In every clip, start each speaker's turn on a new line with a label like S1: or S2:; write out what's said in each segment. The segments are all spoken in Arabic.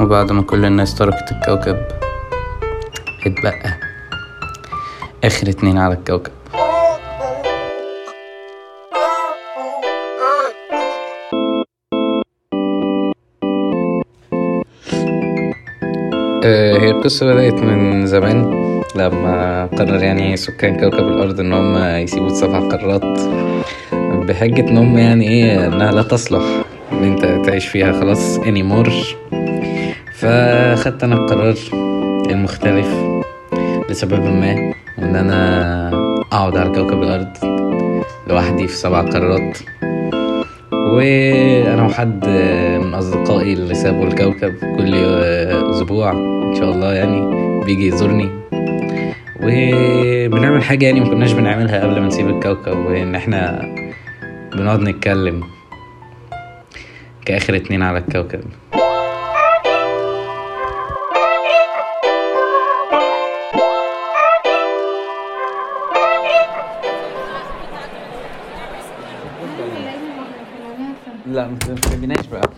S1: بعد ما كل الناس تركت الكوكب اتبقى آخر اتنين على الكوكب آه، هي القصة بدأت من زمان لما قرر يعني سكان كوكب الأرض إن هم يسيبوا سبع قارات بحجة إن هم يعني إيه إنها لا تصلح إن أنت تعيش فيها خلاص anymore فخدت أنا القرار المختلف لسبب ما إن أنا أقعد على كوكب الأرض لوحدي في سبع قارات وانا وحد من اصدقائي اللي سابوا الكوكب كل اسبوع ان شاء الله يعني بيجي يزورني وبنعمل حاجه يعني ما كناش بنعملها قبل ما نسيب الكوكب وان احنا بنقعد نتكلم كاخر اتنين على الكوكب
S2: لا ما تجيناش بقى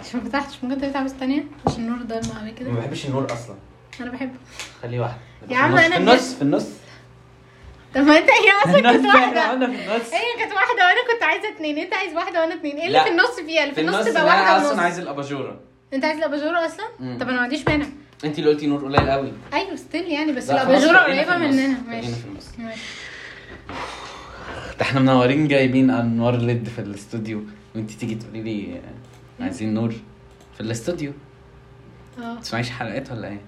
S3: مش ما فتحتش ممكن تفتح بس تانية عشان النور ده على كده
S2: ما بحبش النور اصلا
S3: انا بحبه
S2: خليه واحده
S3: يا عم
S2: في
S3: أنا-
S2: النص في النص
S3: طب ما إيه، انت هي
S2: في
S3: اصلا
S2: النص
S3: كانت
S2: احنا
S3: واحدة
S2: قلنا في النص
S3: هي كانت واحدة وانا كنت عايزة اتنين انت عايز واحدة وانا اتنين ايه اللي
S2: لا.
S3: في النص فيها اللي في النص تبقى
S2: لا، انا
S3: واحدة
S2: اصلا
S3: ونص
S2: عايز الاباجوره
S3: انت عايز الاباجورة اصلا؟
S2: مم.
S3: طب انا ما عنديش مانع
S2: انت اللي قلتي نور قليل قوي
S3: ايوه ستيل يعني بس
S2: لا، خلاص،
S3: الاباجورة
S2: بقينا في
S3: قريبة
S2: النص.
S3: مننا
S2: بقينا
S3: ماشي
S2: في النص.
S3: ماشي.
S2: ده احنا منورين جايبين انوار ليد في الاستوديو وانت تيجي تقولي لي آه، عايزين نور في الاستوديو
S3: اه
S2: تسمعيش حلقات ولا ايه؟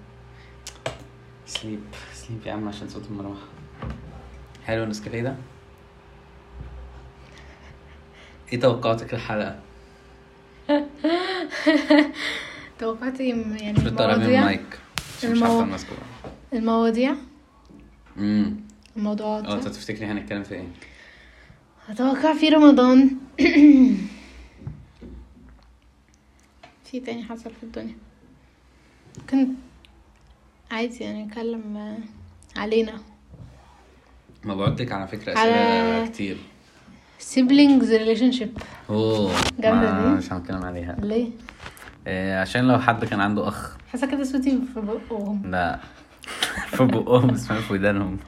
S2: سليب سليب يا عم عشان صوت المروحه حلو النسكافيه ده؟ ايه توقعاتك للحلقه؟
S3: توقعتي يعني
S2: مش بتقربي من
S3: المواضيع
S2: المايك عشان مش
S3: المو-
S2: عارفه الناس كلها
S3: المواضيع
S2: امم
S3: الموضوعات
S2: اه انت تفتكري هنتكلم في ايه؟
S3: اتوقع في رمضان في تاني حصل في الدنيا كنت عادي يعني اتكلم آه، علينا
S2: ما بقولك على فكره
S3: على-
S2: اسئله كتير
S3: siblings relationship
S2: اوه
S3: جامدة
S2: ما-
S3: دي.
S2: مش هنتكلم عليها
S3: ليه
S2: إيه عشان لو حد كان عنده اخ
S3: حاسه كده صوتي في بقهم
S2: لا في بقهم بس ما في ودانهم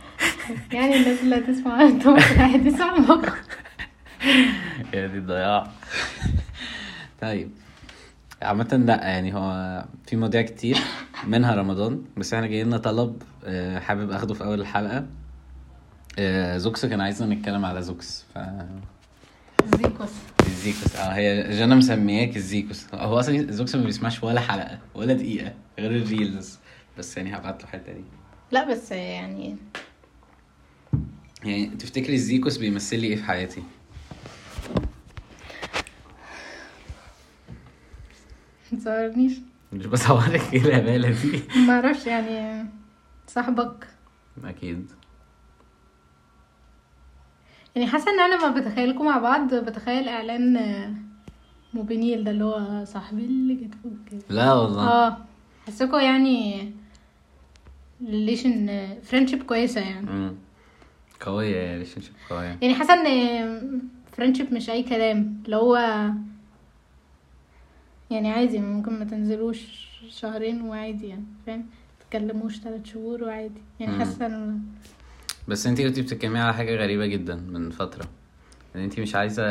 S3: يعني الناس اللي هتسمع انتوا واحد يسمع بقهم
S2: يا دي الضياع طيب عامة لا يعني هو في مواضيع كتير منها رمضان بس احنا جاي لنا طلب آه، حابب اخده في اول الحلقة آه، زوكس كان عايزنا نتكلم على زوكس ف
S3: زيكوس
S2: الزيكوس اه هي جانا مسمياك الزيكوس هو اصلا زوكس ما بيسمعش ولا حلقة ولا دقيقة غير الريلز بس يعني هبعت له الحتة دي
S3: لا بس يعني
S2: يعني تفتكري الزيكوس بيمثل لي ايه في حياتي؟
S3: متصورنيش
S2: مش بصورك ايه الهبالة دي
S3: ما اعرفش يعني صاحبك
S2: اكيد
S3: يعني حاسه ان انا لما بتخيلكم مع بعض بتخيل اعلان آه، موبينيل ده اللي هو صاحبي اللي جت كده
S2: لا والله
S3: اه حاسكوا يعني ريليشن فريندشيب كويسه يعني
S2: مم. قوية يا ريليشن شيب قوية
S3: يعني حاسه ان فريندشيب مش اي كلام اللي هو يعني عادي ممكن ما تنزلوش شهرين وعادي يعني فاهم تتكلموش ثلاث شهور وعادي يعني
S2: مم.
S3: حاسه ان
S2: بس انتي كنتي بتتكلمي على حاجة غريبة جدا من فترة ان انتي مش عايزة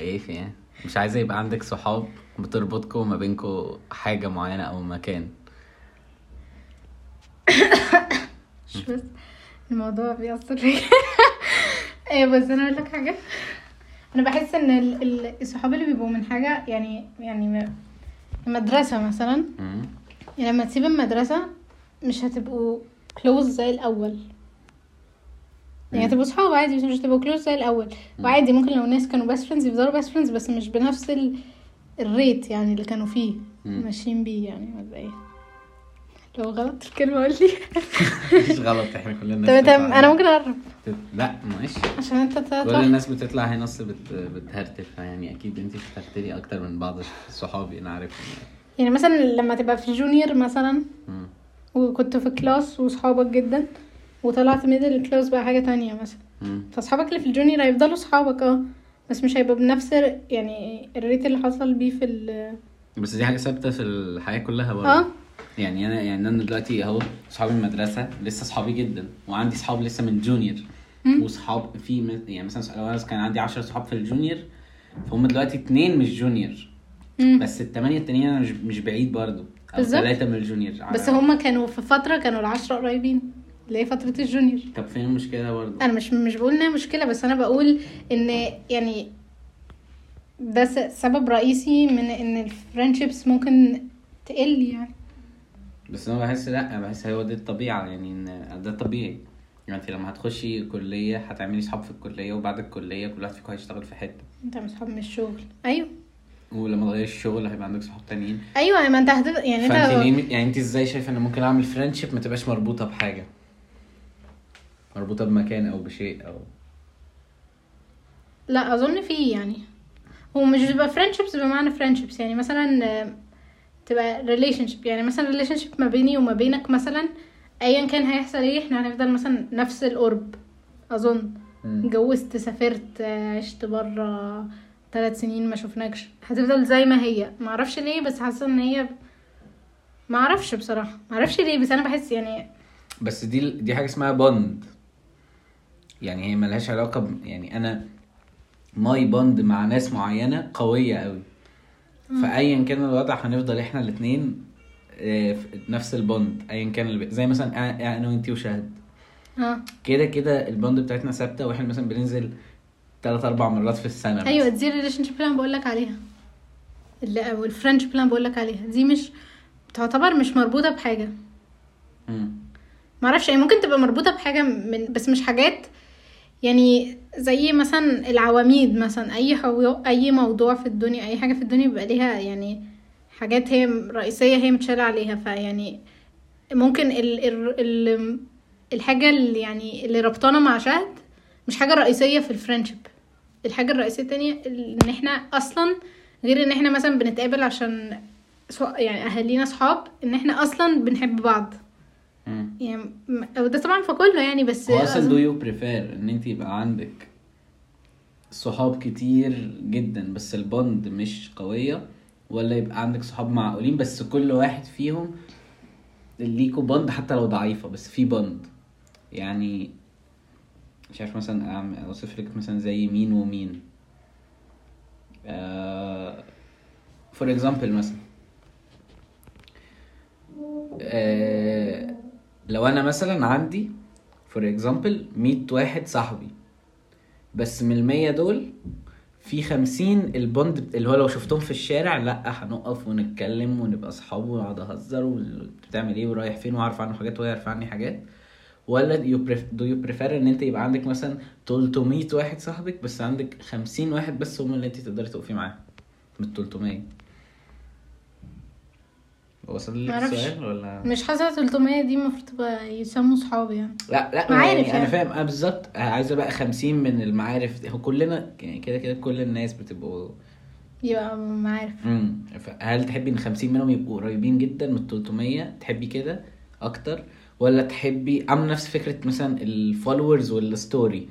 S2: ايه في ايه مش عايزة يبقى عندك صحاب بتربطكوا ما بينكوا حاجة معينة او مكان
S3: مش بس الموضوع بيأثر فيا ايه بس انا اقول لك حاجه انا بحس ان ال- ال- الصحاب اللي بيبقوا من حاجه يعني يعني م- مدرسه مثلا
S2: مم.
S3: يعني لما تسيب المدرسة مش هتبقوا كلوز زي الأول يعني هتبقوا صحاب عادي بس مش هتبقوا كلوز زي الأول وعادي ممكن لو الناس كانوا بس فريندز يفضلوا بس فريندز بس مش بنفس ال... الريت يعني اللي كانوا فيه
S2: مم.
S3: ماشيين بيه يعني ولا ايه لو غلط الكلمة قول لي
S2: مفيش غلط احنا كلنا
S3: طب طب انا ممكن اقرب
S2: لا ماشي
S3: عشان انت ت-
S2: كل الناس بتطلع هي نص بت... بتهرتف يعني اكيد انتي بتهرتلي اكتر من بعض صحابي انا عارفهم يعني.
S3: يعني مثلا لما تبقى في جونيور مثلا
S2: مم.
S3: وكنت في كلاس وصحابك جدا وطلعت ميدل الكلاس بقى حاجة تانية مثلا
S2: مم.
S3: فاصحابك اللي في الجونيور هيفضلوا صحابك اه بس مش هيبقى بنفس ال- يعني الريت اللي حصل بيه في ال
S2: بس دي حاجه ثابته في الحياه كلها برضه
S3: اه
S2: يعني انا يعني انا دلوقتي اهو صحابي من المدرسه لسه صحابي جدا وعندي صحاب لسه من جونيور
S3: مم.
S2: وصحاب في م- يعني مثلا لو انا كان عندي 10 صحاب في الجونيور فهم دلوقتي اتنين مش جونيور
S3: مم.
S2: بس الثمانيه التانيين انا مش, مش بعيد برضه او
S3: بالظبط.
S2: ثلاثه من الجونيور
S3: بس هما كانوا في فترة كانوا العشرة قريبين اللي هي فترة الجونيور
S2: طب فين المشكله برضه؟
S3: انا مش مش بقول انها مشكلة بس انا بقول ان يعني ده س- سبب رئيسي من ان الفريندشيبس ممكن تقل يعني
S2: بس انا بحس لا أنا بحس هو دي الطبيعه يعني ان ده طبيعي يعني انت لما هتخشي كليه هتعملي صحاب في الكليه وبعد الكليه كل واحد فيكم هيشتغل في حته
S3: انت مصحاب من الشغل ايوه
S2: ولما تغيري الشغل هيبقى عندك صحاب تانيين
S3: ايوه ما انت هتبقى يعني
S2: فانت
S3: انت
S2: ليه يعني انت ازاي شايفه ان ممكن اعمل فريندشيب ما تبقاش مربوطه بحاجه مربوطه بمكان او بشيء او
S3: لا اظن فيه يعني هو مش بيبقى فريندشيبس بمعنى فريندشيبس يعني مثلا آه، تبقى ريليشن شيب يعني مثلا ريليشن شيب ما بيني وما بينك مثلا ايا كان هيحصل ايه احنا هنفضل مثلا نفس القرب اظن اتجوزت سافرت آه، عشت بره ثلاث سنين ما شفناكش هتفضل زي ما هي ما اعرفش ليه بس حاسه ان هي ما اعرفش بصراحه ما اعرفش ليه بس انا بحس يعني
S2: بس دي دي حاجه اسمها بوند يعني هي ملهاش علاقه ب... يعني انا ماي بوند مع ناس معينه قويه قوي فايا كان الوضع هنفضل احنا الاثنين نفس البوند ايا كان اللي... بي- زي مثلا أنا- انا وانتي وشهد
S3: اه
S2: كده كده البوند بتاعتنا ثابته واحنا مثلا بننزل ثلاث اربع مرات في السنه
S3: ايوه
S2: مثلاً.
S3: دي الريليشن شيب اللي انا بقول لك عليها اللي او الفرنش اللي انا بقول لك عليها دي مش تعتبر مش مربوطه بحاجه
S2: مم.
S3: ما اعرفش يعني ممكن تبقى مربوطه بحاجه من بس مش حاجات يعني زي مثلا العواميد مثلا اي حو... اي موضوع في الدنيا اي حاجه في الدنيا بيبقى ليها يعني حاجات هي رئيسيه هي متشاله عليها فيعني ممكن ال... ال... ال... الحاجه اللي يعني اللي ربطانا مع شهد مش حاجه رئيسيه في الفرنشيب الحاجه الرئيسيه التانية ال- ان احنا اصلا غير ان احنا مثلا بنتقابل عشان سو- يعني اهالينا صحاب ان احنا اصلا بنحب بعض
S2: مم.
S3: يعني م- أو ده طبعا في كله يعني بس
S2: هو اصلا
S3: أظن-
S2: دو يو بريفير ان انت يبقى عندك صحاب كتير جدا بس البوند مش قويه ولا يبقى عندك صحاب معقولين بس كل واحد فيهم ليكوا بوند حتى لو ضعيفه بس في بوند يعني مش عارف مثلا أعم- اوصف لك مثلا زي مين ومين آه، فور اكزامبل مثلا آه، لو انا مثلا عندي فور اكزامبل 100 واحد صاحبي بس من المية دول في خمسين البوند بت- اللي هو لو شفتهم في الشارع لا هنقف ونتكلم ونبقى اصحاب ونقعد اهزر وبتعمل ايه ورايح فين واعرف عنه حاجات وهو يعرف عني حاجات ولا دو يو بريفير ان انت يبقى عندك مثلا 300 واحد صاحبك بس عندك 50 واحد بس هم اللي انت تقدري تقفي معاهم من ال 300 وصل لك
S3: معرفش.
S2: السؤال ولا
S3: مش حاسه 300 دي المفروض تبقى يسموا صحاب يعني
S2: لا لا
S3: معارف
S2: يعني انا
S3: يعني.
S2: فاهم انا بالظبط عايزه بقى 50 من المعارف دي. هو كلنا يعني كده كده كل الناس بتبقوا
S3: يبقى معارف
S2: امم هل تحبي ان 50 منهم يبقوا قريبين جدا من 300 تحبي كده اكتر ولا تحبي عامله نفس فكره مثلا الفولورز والستوري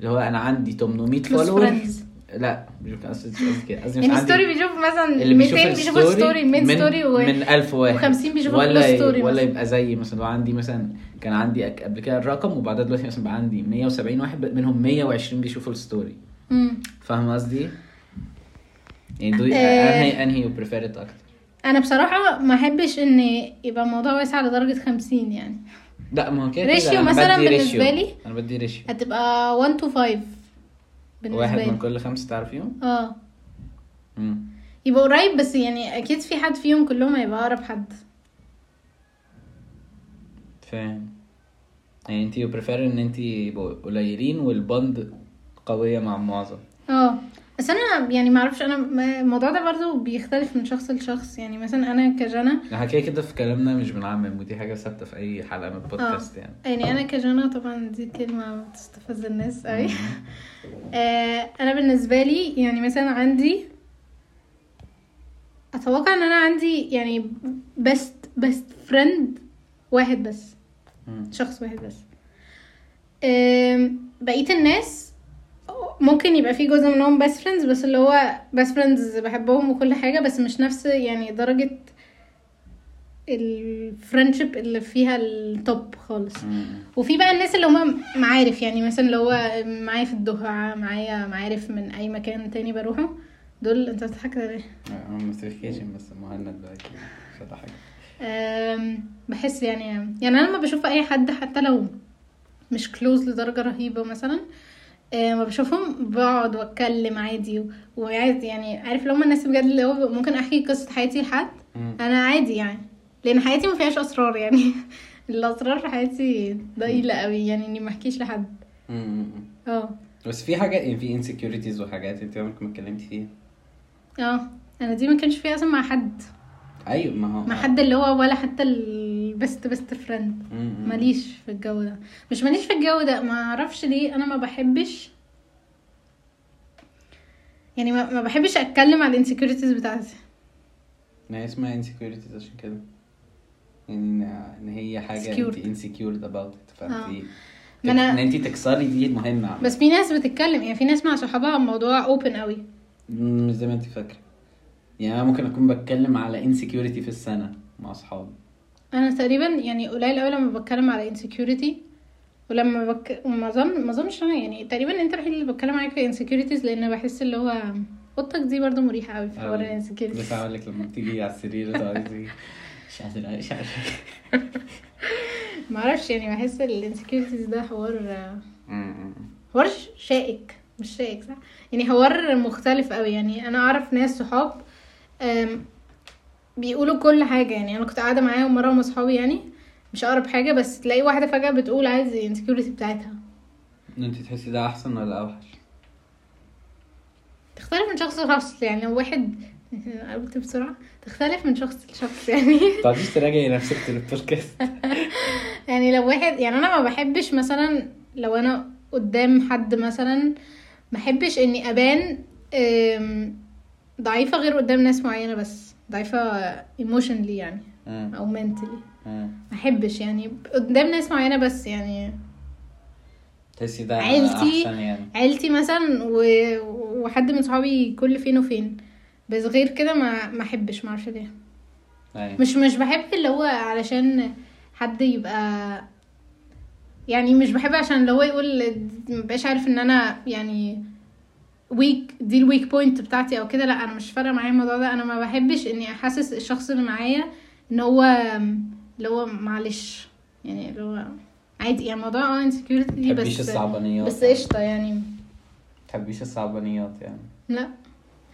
S2: اللي هو انا عندي 800
S3: Close
S2: فولور
S3: friends.
S2: لا مش قصدي مش قصدي كده قصدي مش
S3: يعني ستوري
S2: عندي
S3: بيشوف مثلا
S2: اللي بيشوف
S3: 200 بيشوفوا
S2: الستوري
S3: ستوري 100
S2: من
S3: ستوري و...
S2: من 1000 واحد
S3: و50 بيشوفوا
S2: ولا
S3: كل ستوري
S2: ولا
S3: مثلاً.
S2: يبقى زي مثلا لو عندي مثلا كان عندي أك- قبل كده الرقم وبعدها دلوقتي مثلا بقى عندي 170 واحد منهم 120 بيشوفوا الستوري
S3: مم.
S2: فاهم قصدي؟ يعني دو
S3: آه.
S2: انهي انهي يو بريفير ات اكتر
S3: انا بصراحه ما احبش ان يبقى الموضوع واسع لدرجه 50 يعني
S2: لا ما هو كده
S3: ريشيو
S2: كده أنا
S3: مثلاً
S2: بدي
S3: بالنسبة
S2: ريشيو.
S3: لي.
S2: انا بدي ريشيو
S3: هتبقى 1 تو 5 بالنسبه
S2: واحد من
S3: لي
S2: كل خمسه تعرفيهم؟
S3: اه
S2: مم.
S3: يبقى قريب بس يعني اكيد في حد فيهم كلهم هيبقى اقرب حد
S2: فاهم يعني انت يو بريفير ان انت يبقوا قليلين والبند قويه مع معظم
S3: اه بس انا يعني معرفش انا ما- الموضوع ده برضو بيختلف من شخص لشخص يعني مثلا انا كجنى
S2: احنا يعني كده كده في كلامنا مش بنعمم ودي حاجه ثابته في اي حلقه من البودكاست يعني
S3: يعني انا كجنى طبعا دي كلمه بتستفز الناس قوي آه انا بالنسبه لي يعني مثلا عندي اتوقع ان انا عندي يعني بيست بيست فريند واحد بس
S2: مم.
S3: شخص واحد بس آم، بقيه الناس ممكن يبقى في جزء منهم بس فريندز بس اللي هو بس فريندز بحبهم وكل حاجة بس مش نفس يعني درجة الفرنشيب اللي فيها التوب خالص
S2: مم.
S3: وفي بقى الناس اللي هم معارف يعني مثلا اللي هو معايا في الدفعة معايا معارف من أي مكان تاني بروحه دول انت بتضحك ده ليه؟
S2: نوتيفيكيشن بس مهند بقى كده مش هضحك
S3: أم، بحس يعني يعني انا لما بشوف اي حد حتى لو مش كلوز لدرجه رهيبه مثلا أه، ما بشوفهم بقعد واتكلم عادي و- وعادي يعني عارف لو هم الناس بجد اللي هو ممكن احكي قصه حياتي لحد
S2: مم.
S3: انا عادي يعني لان حياتي ما فيهاش اسرار يعني الاسرار في حياتي ضئيله قوي يعني اني ما احكيش لحد
S2: مم.
S3: اه
S2: بس في حاجات يعني في انسكيورتيز وحاجات انت عمرك ما اتكلمتي فيها
S3: اه انا دي ما كانش فيها اصلا مع حد
S2: ايوه ما هو
S3: مع حد اللي هو ولا حتى البست بست فريند
S2: مم.
S3: ماليش في الجو ده مش ماليش في الجو ده ما اعرفش ليه انا ما بحبش يعني ما ما بحبش اتكلم على الانسكيورتيز بتاعتي
S2: ما هي اسمها insecurities عشان كده يعني ان ان هي حاجه انت
S3: Secured.
S2: insecured about it فانت
S3: ما
S2: ان
S3: أنا-
S2: انت تكسري دي مهمه
S3: بس في ناس بتتكلم يعني في ناس مع صحابها الموضوع اوبن قوي
S2: مم، مش زي ما انت فاكره يعني انا ممكن اكون بتكلم على insecurity في السنه مع اصحابي
S3: انا تقريبا يعني قليل قوي لما بتكلم على انسكيورتي ولما بك... ما اظن ما اظنش أنا يعني تقريبا انت الوحيد اللي بتكلم عليك في انسكيورتيز لان بحس اللي هو اوضتك دي برضو مريحه قوي في حوار الانسكيورتيز
S2: بس هقول لك لما بتيجي على السرير تقعدي مش قادر مش عارف
S3: معرفش يعني بحس الانسكيورتيز ده حوار آه، حوار شائك مش شائك صح يعني حوار مختلف قوي يعني انا اعرف ناس صحاب أم، بيقولوا كل حاجه يعني انا كنت قاعده معاهم مره هم اصحابي يعني مش اقرب حاجه بس تلاقي واحده فجاه بتقول عايز الانسكيورتي بتاعتها
S2: ان انت تحسي ده احسن ولا اوحش
S3: تختلف من شخص لشخص يعني لو واحد قلت بسرعه تختلف من شخص لشخص يعني
S2: تقعديش تراجعي نفسك في البودكاست
S3: يعني لو واحد يعني انا ما بحبش مثلا لو انا قدام حد مثلا ما بحبش اني ابان أم، ضعيفه غير قدام ناس معينه بس ضعيفه emotionally يعني
S2: مم.
S3: او mentally
S2: مم.
S3: ما بحبش يعني قدام ناس معينه بس يعني
S2: تحسي ده
S3: عيلتي-
S2: احسن يعني
S3: عيلتي مثلا و... وحد من صحابي كل فين وفين بس غير كده ما ما احبش ما اعرفش ليه
S2: أيوة.
S3: مش مش بحب اللي هو علشان حد يبقى يعني مش بحب عشان اللي هو يقول مبقاش عارف ان انا يعني ويك دي الويك بوينت بتاعتي او كده لا انا مش فارقه معايا الموضوع ده انا ما بحبش اني احسس الشخص اللي معايا ان هو اللي هو معلش يعني اللي هو عادي يعني موضوع اه انسكيورتي
S2: تحبيش
S3: بس
S2: الصعبانيات
S3: بس قشطه يعني
S2: تحبيش الصعبانيات يعني
S3: لا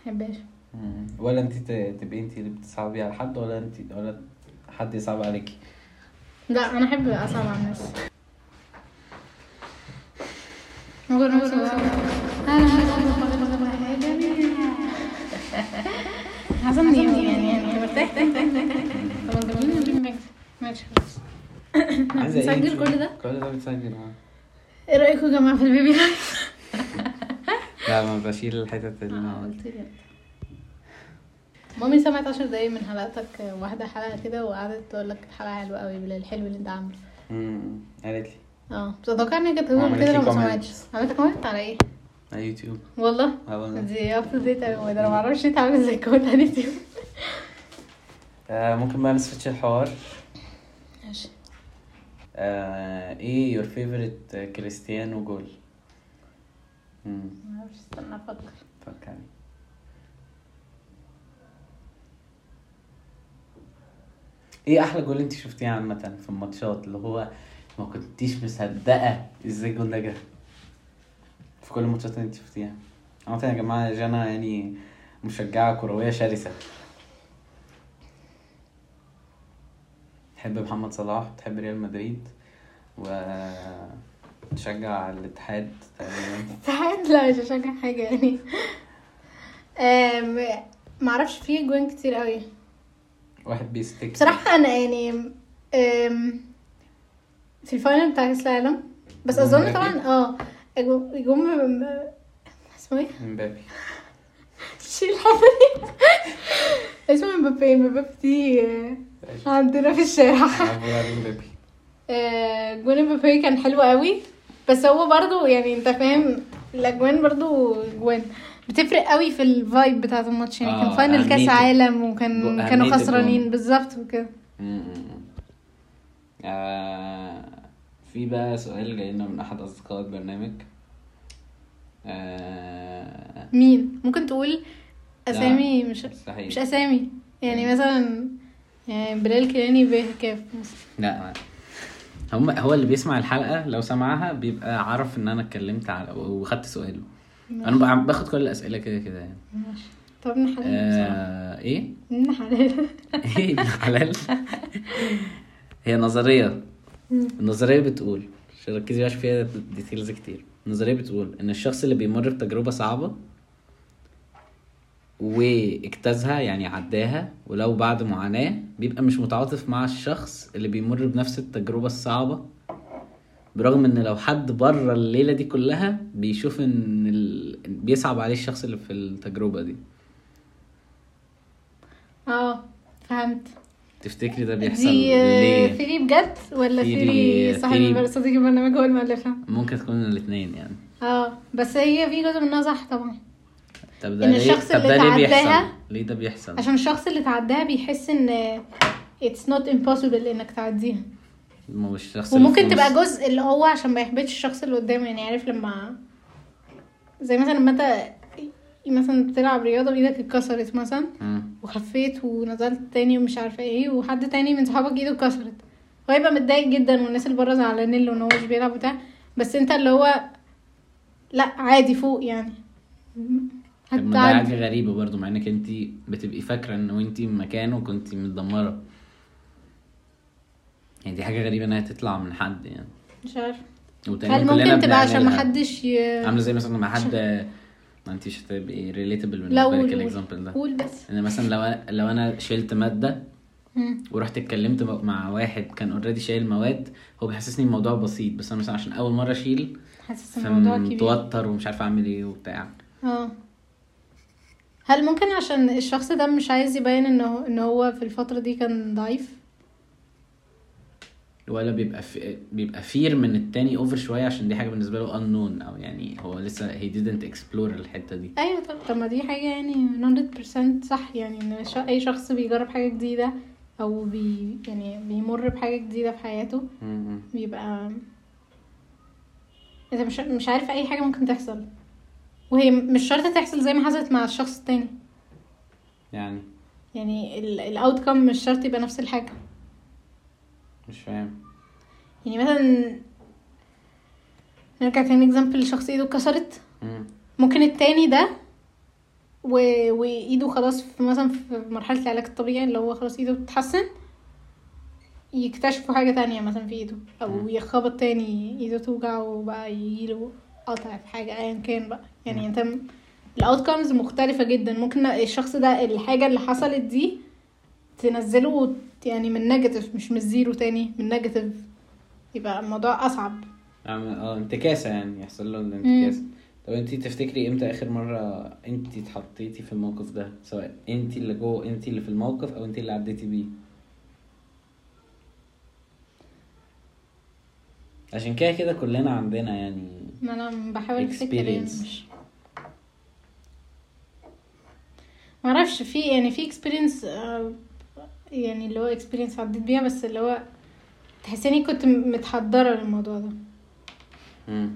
S3: محبهاش
S2: مم. ولا انت ت- تبقي انت اللي بتصعبي على حد ولا انت ولا حد يصعب عليكي
S3: لا انا احب اصعب على الناس ممكن نقول انا حسن يعني يعني مرتاح خلاص جميل ماشي خلاص
S2: عايزه ايه
S3: نسجل
S2: انت؟
S3: كل ده؟
S2: كل ده بتسجل اه
S3: ايه رايكم يا جماعه في البيبي لايف؟
S2: لا ما بشيل الحتت
S3: اه قلت لي انت. مامي سمعت عشر دقايق من حلقتك واحدة حلقة كده وقعدت تقول لك الحلقة حلوة قوي بالحلو اللي انت عامله
S2: امم قالت لي
S3: اه بتتوقع انك تقول
S2: وعملت
S3: كده
S2: لي
S3: لو ما
S2: comment.
S3: سمعتش عملت كومنت على ايه؟
S2: على يوتيوب
S3: والله
S2: اه والله
S3: دي اب تو ديت قوي ده انا معرفش انت عامل ازاي كود على اليوتيوب
S2: آه ممكن بقى نسويتش الحوار
S3: ماشي
S2: آه ايه يور فيفورت كريستيانو جول امم
S3: معرفش استنى افكر
S2: فكرني ايه احلى جول انت شفتيه عامه في الماتشات اللي هو ما كنتيش مصدقه ازاي الجول ده جه في كل الماتشات اللي انت شفتيها عامه يا جماعه جانا يعني مشجعه كرويه شرسه تحب محمد صلاح تحب ريال مدريد و تشجع الاتحاد طيب، تقريبا
S3: ساعات لا مش هشجع حاجة يعني آم، معرفش فيه جوان كتير قوي
S2: واحد بيستك
S3: بصراحة انا يعني آم، في الفاينل بتاع كاس العالم بس اظن طبعا اه الجو- الجون ب- اسمه ايه؟
S2: امبابي
S3: شيل الحاجة دي اسمه مبابي مبابي دي آه، عندنا في الشارع
S2: أبو علي امبابي
S3: آه، جون امبابي كان حلو قوي بس هو برضو يعني انت فاهم الاجوان برضو جوان بتفرق قوي في الفايب بتاعه الماتش يعني كان
S2: آه،
S3: فاينل كاس
S2: أهميته.
S3: عالم وكان
S2: جو-
S3: كانوا
S2: أهمية
S3: خسرانين
S2: الجون.
S3: بالظبط وكده
S2: مم. آه في بقى سؤال جاي لنا من احد اصدقاء البرنامج آه
S3: مين ممكن تقول اسامي مش
S2: مستحيل
S3: مش اسامي يعني مثلا يعني بلال كيلاني بكاف مثلا
S2: لا لا. هم هو اللي بيسمع الحلقه لو سمعها بيبقى عارف ان انا اتكلمت على وخدت سؤاله انا بقى باخد كل الاسئله كده كده يعني
S3: ماشي. طب ابن حلال بصراحة.
S2: آه ايه
S3: ابن حلال
S2: ايه ابن حلال هي نظريه النظريه بتقول عشان ركزي عشان فيها ديتيلز كتير النظريه بتقول ان الشخص اللي بيمر بتجربه صعبه واجتازها يعني عداها ولو بعد معاناه بيبقى مش متعاطف مع الشخص اللي بيمر بنفس التجربه الصعبه برغم ان لو حد بره الليله دي كلها بيشوف ان ال... بيصعب عليه الشخص اللي في التجربه دي
S3: اه فهمت
S2: تفتكري ده بيحصل
S3: دي آه،
S2: ليه
S3: ثيري بجد ولا
S2: ثيري-
S3: ثيري صاحب
S2: ثيري.
S3: البر- صديق البرنامج هو اللي مؤلفها
S2: ممكن تكون الاثنين يعني
S3: اه بس هي في جزء منها صح طبعا
S2: طب ده
S3: إن
S2: ليه
S3: الشخص
S2: طب
S3: اللي
S2: ده ليه بيحصل
S3: تعداها-
S2: ليه ده بيحصل
S3: عشان الشخص اللي تعداها بيحس ان it's not impossible انك تعديها
S2: ما هو الشخص اللي في
S3: وممكن
S2: النص.
S3: تبقى جزء اللي هو عشان ما يحبطش الشخص اللي قدامه يعني عارف لما زي مثلا لما انت مثلا بتلعب رياضه وايدك اتكسرت مثلا
S2: مم.
S3: وخفيت ونزلت تاني ومش عارفه ايه وحد تاني من صحابك ايده اتكسرت وهيبقى متضايق جدا والناس اللي بره زعلانين له ان هو مش بيلعب وبتاع بس انت اللي هو لا عادي فوق يعني
S2: طب ما ده
S3: هتعدي
S2: حاجه غريبه برضو مع انك انت بتبقي فاكره ان وانت مكانه كنت متدمره يعني دي حاجه غريبه انها تطلع من حد يعني
S3: مش عارفه
S2: وتقريباً
S3: هل
S2: كلنا إيه؟
S3: ممكن تبقى عشان
S2: بنعملها.
S3: ما حدش ي...
S2: عامله زي مثلا لما حد ما انت مش هتبقي ريليتبل
S3: لا
S2: بالنسبه لك
S3: قول
S2: الاكزامبل
S3: قول
S2: ده
S3: قول بس
S2: ان مثلا لو أنا- لو انا شلت ماده
S3: مم.
S2: ورحت اتكلمت مع واحد كان اوريدي شايل مواد هو بيحسسني الموضوع بسيط بس انا مثلا عشان اول مره اشيل
S3: حاسس الموضوع كبير
S2: فمتوتر ومش عارف اعمل ايه وبتاع
S3: اه هل ممكن عشان الشخص ده مش عايز يبين ان هو ان هو في الفتره دي كان ضعيف
S2: ولا بيبقى في... بيبقى فير من التاني اوفر شويه عشان دي حاجه بالنسبه له unknown او يعني هو لسه he didn't explore الحته دي
S3: ايوه طب طب ما دي حاجه يعني 100% صح يعني ان ش- اي شخص بيجرب حاجه جديده او بي يعني بيمر بحاجه جديده في حياته بيبقى انت مش مش عارف اي حاجه ممكن تحصل وهي م- مش شرط تحصل زي ما حصلت مع الشخص التاني
S2: يعني
S3: يعني الاوت كام مش شرط يبقى نفس الحاجه
S2: مش فاهم
S3: يعني مثلا نرجع تاني اكزامبل لشخص ايده اتكسرت
S2: مم.
S3: ممكن التاني ده و... وايده خلاص في مثلا في مرحله العلاج الطبيعي اللي هو خلاص ايده بتتحسن يكتشفوا حاجه تانية مثلا في ايده او
S2: مم.
S3: يخبط تاني ايده توجع وبقى يجيله قطع في حاجه ايا كان بقى يعني
S2: مم.
S3: انت الاوتكمز مختلفه جدا ممكن الشخص ده الحاجه اللي حصلت دي تنزله وت- يعني من نيجاتيف مش من الزيرو تاني من نيجاتيف يبقى الموضوع اصعب
S2: عم- اه انتكاسه يعني يحصل له الانتكاسه طب انت تفتكري امتى اخر مره انت اتحطيتي في الموقف ده سواء انت اللي جوه انت اللي في الموقف او انت اللي عديتي بيه عشان كده كده كلنا عندنا يعني
S3: ما انا بحاول افتكر يعني
S2: Experience.
S3: مش ما اعرفش في يعني في اكسبيرينس يعني اللي هو اكسبيرينس عديت بيها بس اللي هو تحسيني كنت م- متحضره للموضوع ده
S2: مم.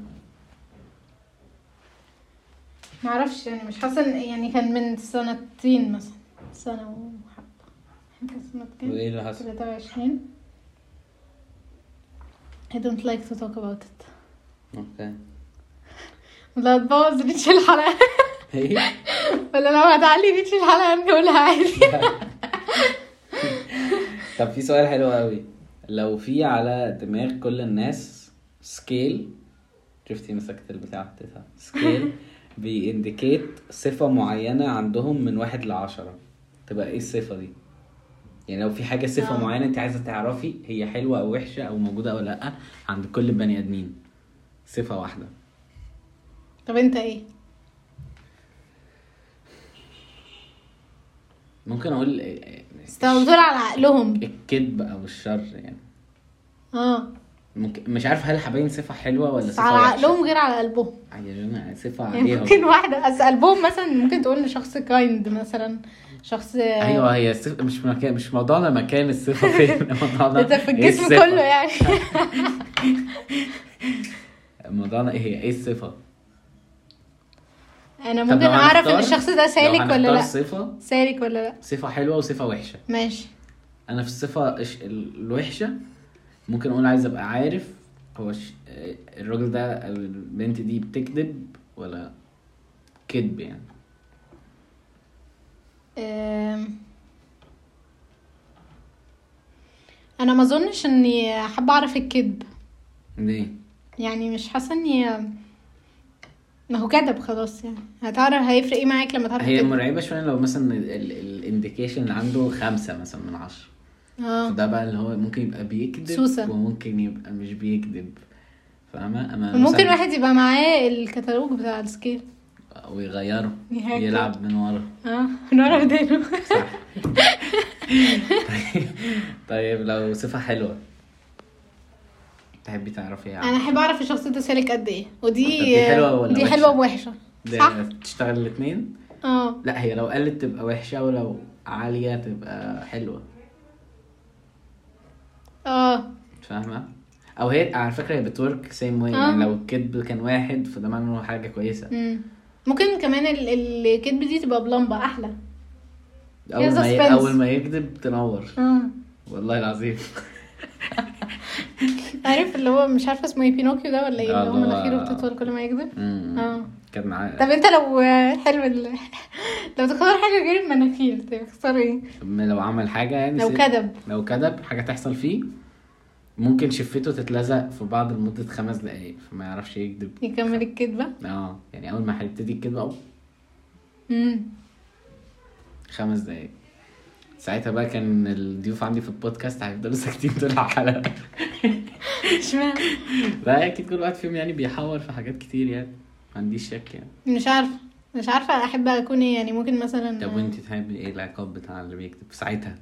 S3: ما اعرفش يعني مش حاسه إن- يعني كان من سنتين مثلا سنه وحبه يعني كان سنه كام
S2: وايه اللي حصل
S3: 23 I don't like to talk about it
S2: اوكي
S3: لا تبوظ ريتش الحلقة
S2: ايه
S3: ولا لو هتعلي ريتش الحلقة نقولها عادي
S2: طب في سؤال حلو قوي لو في على دماغ كل الناس سكيل شفتي مسكت البتاع بتاعتها سكيل بيindicate صفة معينة عندهم من واحد لعشرة تبقى ايه الصفة دي؟ يعني لو في حاجة صفة
S3: آه.
S2: معينة انت عايزة تعرفي هي حلوة او وحشة او موجودة او لأ عند كل البني ادمين صفة واحدة
S3: طب انت ايه؟
S2: ممكن اقول إيه- إيه-
S3: بس دول على عقلهم
S2: الكذب او الشر يعني
S3: اه
S2: ممكن مش عارف هل الحبايب صفه حلوه ولا
S3: بس
S2: صفه
S3: على
S2: وحشة؟
S3: عقلهم غير على قلبهم
S2: يا جماعه صفه
S3: يعني
S2: عليها
S3: ممكن واحدة بس قلبهم مثلا ممكن تقول لشخص كايند مثلا شخص
S2: ايوه هي الصفة مش مكان مش موضوعنا مكان الصفه فين موضوعنا
S3: ده في
S2: إيه
S3: الجسم
S2: الصفة؟
S3: كله يعني
S2: موضوعنا ايه هي ايه الصفه
S3: انا
S2: طب
S3: ممكن
S2: لو
S3: اعرف
S2: هنختار-
S3: ان الشخص ده سالك
S2: لو
S3: ولا
S2: هنختار
S3: لا
S2: صفه
S3: سالك ولا لا
S2: صفه حلوه وصفه وحشه
S3: ماشي
S2: انا في الصفه الش- الوحشه ممكن اقول عايز ابقى عارف هو ش... الراجل ده او البنت دي بتكذب ولا كذب يعني
S3: أم. انا ما اظنش اني حابه اعرف الكذب
S2: ليه
S3: يعني مش حاسه اني ما هو كذب خلاص يعني هتعرف هيفرق ايه معاك لما تعرف
S2: هي
S3: الكذب؟
S2: مرعبه شويه لو مثلا الانديكيشن اللي عنده خمسة مثلا من عشرة
S3: اه
S2: فده بقى اللي هو ممكن يبقى بيكذب
S3: سوسة.
S2: وممكن يبقى مش بيكذب فاهمه اما
S3: وممكن
S2: مثلاً-
S3: واحد يبقى معاه الكتالوج بتاع السكيل
S2: ويغيره
S3: يهاكل.
S2: يلعب من ورا
S3: اه من ورا ودانه
S2: صح طيب لو صفه حلوه تحبي تعرفي
S3: انا
S2: يعني
S3: احب اعرف الشخص ده سالك قد ايه ودي
S2: طب دي حلوة ولا
S3: دي
S2: وحشة؟
S3: حلوه ووحشه صح
S2: ده تشتغل الاثنين
S3: اه
S2: لا هي لو قلت تبقى وحشه ولو عاليه تبقى حلوه
S3: اه
S2: فاهمه او هي على فكره هي بتورك سيم واي يعني
S3: آه.
S2: لو الكذب كان واحد فده معناه إنه حاجه كويسه
S3: مم. ممكن كمان ال- الكدب دي تبقى بلمبه احلى
S2: اول ما ي...
S3: suspense.
S2: اول ما يكذب تنور
S3: اه
S2: والله العظيم
S3: عارف اللي هو مش عارفه اسمه ايه بينوكيو ده ولا ايه
S2: آه،
S3: اللي هو
S2: اللي هو-
S3: مناخيره بتطول كل ما يكذب
S2: أمم.
S3: اه
S2: كان معاه
S3: طب انت لو حلو ال... لو تختار حاجه غير المناخير تختار ايه
S2: أما لو عمل حاجه يعني
S3: لو
S2: سيب-
S3: كذب
S2: لو كذب حاجه تحصل فيه ممكن شفته تتلزق في بعض لمده خمس دقايق فما يعرفش يكذب
S3: يكمل الكدبه
S2: اه يعني اول ما هيبتدي الكذبه أو
S3: امم
S2: خمس دقايق ساعتها بقى كان الضيوف عندي في البودكاست هيفضلوا ساكتين طول الحلقه
S3: اشمعنى
S2: لا اكيد كل واحد فيهم يعني بيحور في حاجات كتير يعني ما عنديش شك يعني
S3: مش عارفه مش عارفه احب اكون ايه يعني ممكن مثلا
S2: طب وانت تحبي ايه العقاب بتاع اللي بيكتب ساعتها؟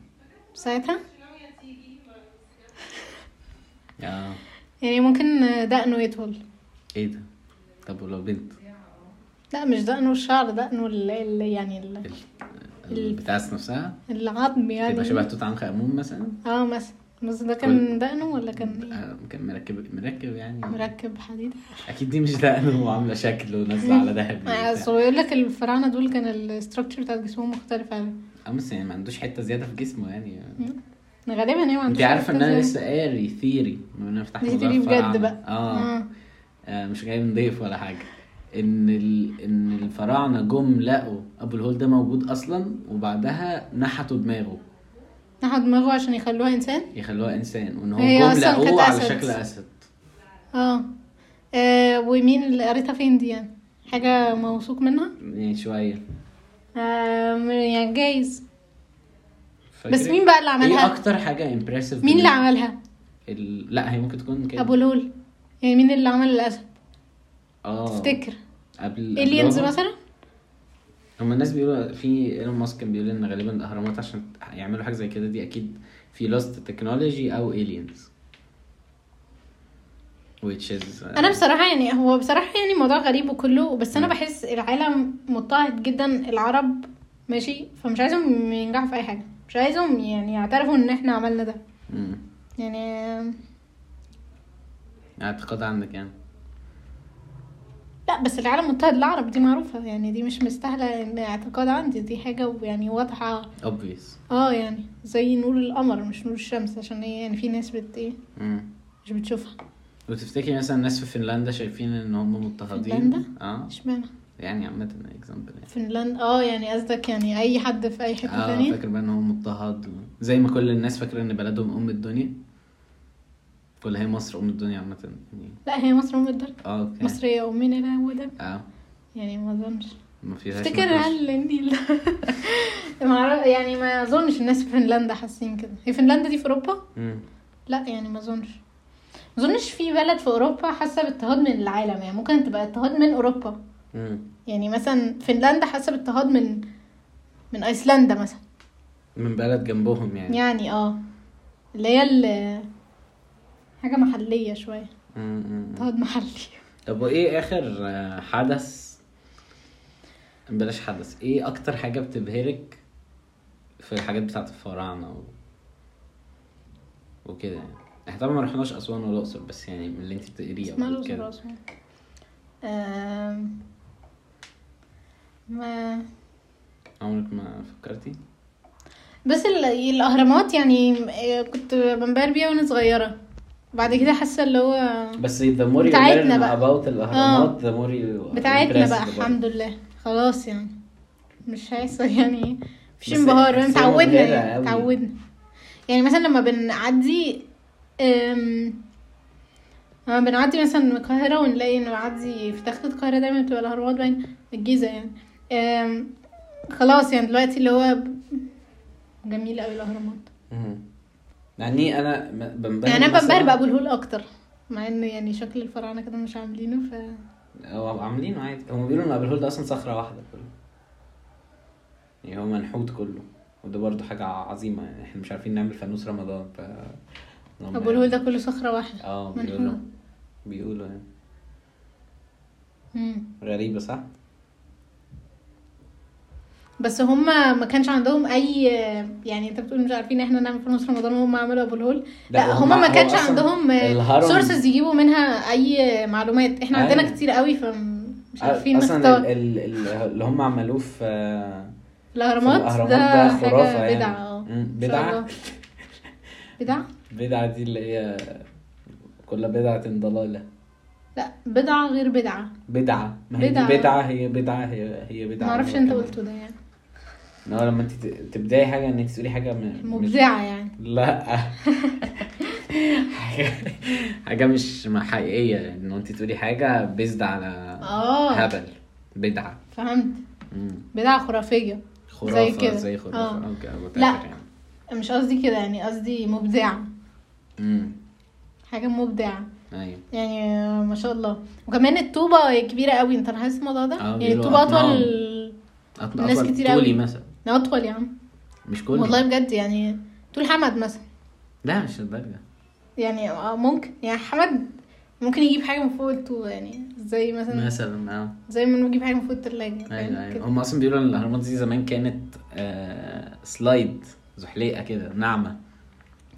S3: ساعتها
S2: اه
S3: يعني ممكن دقنه يطول
S2: ايه ده؟ طب ولو بنت
S3: لا مش دقنه الشعر دقنه ال... ال... يعني ال...
S2: ال- بتاعت نفسها
S3: العظم
S2: تبقى شبه
S3: يعني
S2: توت عنخ امون مثلا
S3: اه مثلا بس ده كان دقنه ولا كان ايه؟
S2: آه، كان مركب مركب يعني
S3: مركب حديد
S2: اكيد دي مش دقن وعامله شكل ونازله على دهب
S3: آه، اصل
S2: وبتاع.
S3: هو يقول لك الفراعنه دول كان الاستراكشر بتاع جسمهم مختلف يعني
S2: اه بس يعني ما عندوش حته زياده في جسمه يعني
S3: غالبا يعني ما
S2: انت
S3: عندوش
S2: عارفه ان انا
S3: مركز.
S2: لسه قاري ثيري من انا فتحت
S3: دي
S2: موضوع
S3: theory بجد
S2: الفراعنة.
S3: بقى.
S2: اه
S3: آه.
S2: آه، مش جاي من ضيف ولا حاجه ان ال... ان الفراعنه جم لقوا ابو الهول ده موجود اصلا وبعدها نحتوا دماغه
S3: نحو دماغه عشان يخلوها انسان
S2: يخلوها انسان وان هو
S3: هي
S2: جم
S3: أصلاً كانت
S2: لقوه على
S3: أسد.
S2: شكل اسد
S3: اه, آه ومين اللي قريتها فين دي يعني حاجه موثوق منها
S2: يعني شويه
S3: آه يعني جايز
S2: فاكرة؟
S3: بس مين بقى اللي عملها؟
S2: ايه اكتر حاجه امبرسيف
S3: مين اللي عملها
S2: ال... لا هي ممكن تكون كده
S3: ابو الهول يعني مين اللي عمل الاسد
S2: اه
S3: تفتكر
S2: قبل
S3: الينز
S2: قبلهم.
S3: مثلا
S2: هما الناس بيقولوا في ايلون ماسك كان بيقول ان غالبا الاهرامات عشان يعملوا حاجه زي كده دي اكيد في لاست تكنولوجي او الينز which is
S3: انا بصراحه يعني هو بصراحه يعني موضوع غريب وكله بس انا بحس العالم مضطهد جدا العرب ماشي فمش عايزهم ينجحوا في اي حاجه مش عايزهم يعني يعترفوا ان احنا عملنا ده
S2: مم.
S3: يعني
S2: اعتقاد عندك يعني
S3: لا بس العالم مضطهد العرب دي معروفة يعني دي مش مستاهلة إن اعتقاد عندي دي حاجة يعني واضحة
S2: obvious
S3: اه يعني زي نور القمر مش نور الشمس عشان هي يعني في ناس بت ايه
S2: مم.
S3: مش بتشوفها
S2: وتفتكري مثلا الناس في فنلندا شايفين ان هم مضطهدين
S3: فنلندا؟
S2: اه
S3: اشمعنى
S2: يعني عامه اكزامبل يعني
S3: فنلندا اه يعني قصدك يعني اي حد في اي حتة
S2: اه
S3: تانية
S2: فاكر بقى ان هو مضطهد و... زي ما كل الناس فاكره ان بلدهم ام الدنيا ولا هي مصر ام الدنيا عامه يعني
S3: لا هي مصر ام الدرب
S2: اه اوكي
S3: مصرية امنا لا ودم
S2: اه
S3: يعني ما اظنش
S2: ما فيهاش
S3: افتكر
S2: نقاش.
S3: هل النيل ما أعرف- يعني ما اظنش الناس في فنلندا حاسين كده هي فنلندا دي في اوروبا
S2: مم.
S3: لا يعني ما اظنش ما اظنش في بلد في اوروبا حاسه باضطهاد من العالم يعني ممكن تبقى اضطهاد من اوروبا
S2: مم.
S3: يعني مثلا فنلندا حاسه باضطهاد من من ايسلندا مثلا آه.
S2: من بلد جنبهم يعني
S3: يعني اه اللي هي ال- حاجة محلية شوية
S2: م- م-
S3: اضطهاد محلي
S2: طب وايه اخر آه، حدث بلاش حدث ايه اكتر حاجه بتبهرك في الحاجات بتاعه الفراعنه و... وكده يعني احنا طبعا ما رحناش اسوان ولا الاقصر بس يعني من اللي انت بتقريه
S3: اسمها
S2: قبل
S3: الأقصر
S2: كده
S3: وأسوان آم، ما
S2: عمرك ما فكرتي
S3: بس ال- الأهرامات يعني آه، كنت بنبهر بيها وأنا صغيرة بعد كده حاسة اللي هو
S2: بس the more you
S3: بتاعتنا
S2: learn
S3: بقى. آه.
S2: about الاهرامات the more you
S3: بتاعتنا
S2: impressed
S3: بقى
S2: about it.
S3: الحمد لله خلاص يعني مش هيحصل يعني مفيش
S2: بس-
S3: انبهار
S2: بس هي
S3: اتعودنا
S2: مبهرة
S3: يعني
S2: أوي.
S3: اتعودنا يعني مثلا لما بنعدي أم... لما بنعدي مثلا من القاهرة ونلاقي ان بعدي في تخت القاهرة دايما بتبقى الأهرامات باينة الجيزة يعني أم... خلاص يعني دلوقتي اللي هو ب- جميل أوي الأهرامات
S2: مم. يعني انا م- بنبهر
S3: يعني أنا بنبهر
S2: مثلاً-
S3: بأبو الهول أكتر مع إن يعني شكل الفراعنة كده مش عاملينه ف
S2: هو عاملينه عادي هم بيقولوا ان ابو الهول ده اصلا صخره واحده كله يعني هو منحوت كله وده برضه حاجه عظيمه يعني احنا مش عارفين نعمل فانوس رمضان ف هم-
S3: أبو الهول ده كله صخرة واحدة
S2: اه
S3: منحوت.
S2: بيقولوا بيقولوا يعني
S3: مم.
S2: غريبه صح؟
S3: بس هما ما كانش عندهم اي يعني انت بتقول مش عارفين احنا نعمل في نص رمضان وهم عملوا ابو الهول
S2: لا،
S3: لا
S2: هما-
S3: هما ما
S2: هو
S3: كانش
S2: أصلاً
S3: عندهم
S2: الهرم-
S3: سورسز يجيبوا منها اي معلومات احنا عندنا
S2: أيوة.
S3: كتير قوي فمش عارفين
S2: اصلا ال-
S3: نختار
S2: ال- ال- اللي هم عملوه في في
S3: الاهرامات ده حاجه بدعه اه
S2: يعني. مم،
S3: إن شاء
S2: بدعه
S3: الله. بدعه
S2: بدعه دي اللي هي كل بدعه ضلاله
S3: لا بدعه غير بدعه
S2: بدعه ما هي
S3: بدعة.
S2: دي بدعه هي بدعه هي هي بدعه
S3: ما اعرفش
S2: هو
S3: انت
S2: كمان.
S3: قلته ده يعني
S2: ان هو لما انت ت- تبداي حاجه ان انت تقولي حاجه م- مش
S3: مبدعه يعني
S2: لا حاجه حاجه مش ما حقيقيه ان انت تقولي حاجه بيزد على
S3: اه
S2: هبل بدعه
S3: فهمت
S2: مم.
S3: بدعه خرافيه
S2: خرافه
S3: كده.
S2: زي خرافه
S3: آه.
S2: اوكي whatever
S3: لا.
S2: يعني.
S3: مش قصدي كده يعني قصدي مبدعه
S2: مم.
S3: حاجه مبدعه
S2: ايوه
S3: يعني ما شاء الله وكمان الطوبة كبيرة قوي انت لاحظت الموضوع ده؟
S2: اه،
S3: يعني
S2: بيقولوا
S3: الطوبة
S2: اطنان.
S3: اطول
S2: أط-
S3: ناس
S2: أطول
S3: كتير
S2: طولي
S3: أوي.
S2: مثلا
S3: لا اطول يا عم
S2: مش كل
S3: والله بجد يعني طول حمد مثلا
S2: لا مش الدرجه
S3: يعني اه ممكن يعني حمد ممكن يجيب حاجة من فوق الطوبة يعني زي مثلا
S2: مثلا اه
S3: زي ما نجيب حاجة من فوق التلاجة فاهم
S2: ايوه ايوه
S3: أيوة، كده.
S2: هم اصلا بيقولوا ان الاهرامات دي زمان كانت آه سلايد زحليقه كده ناعمه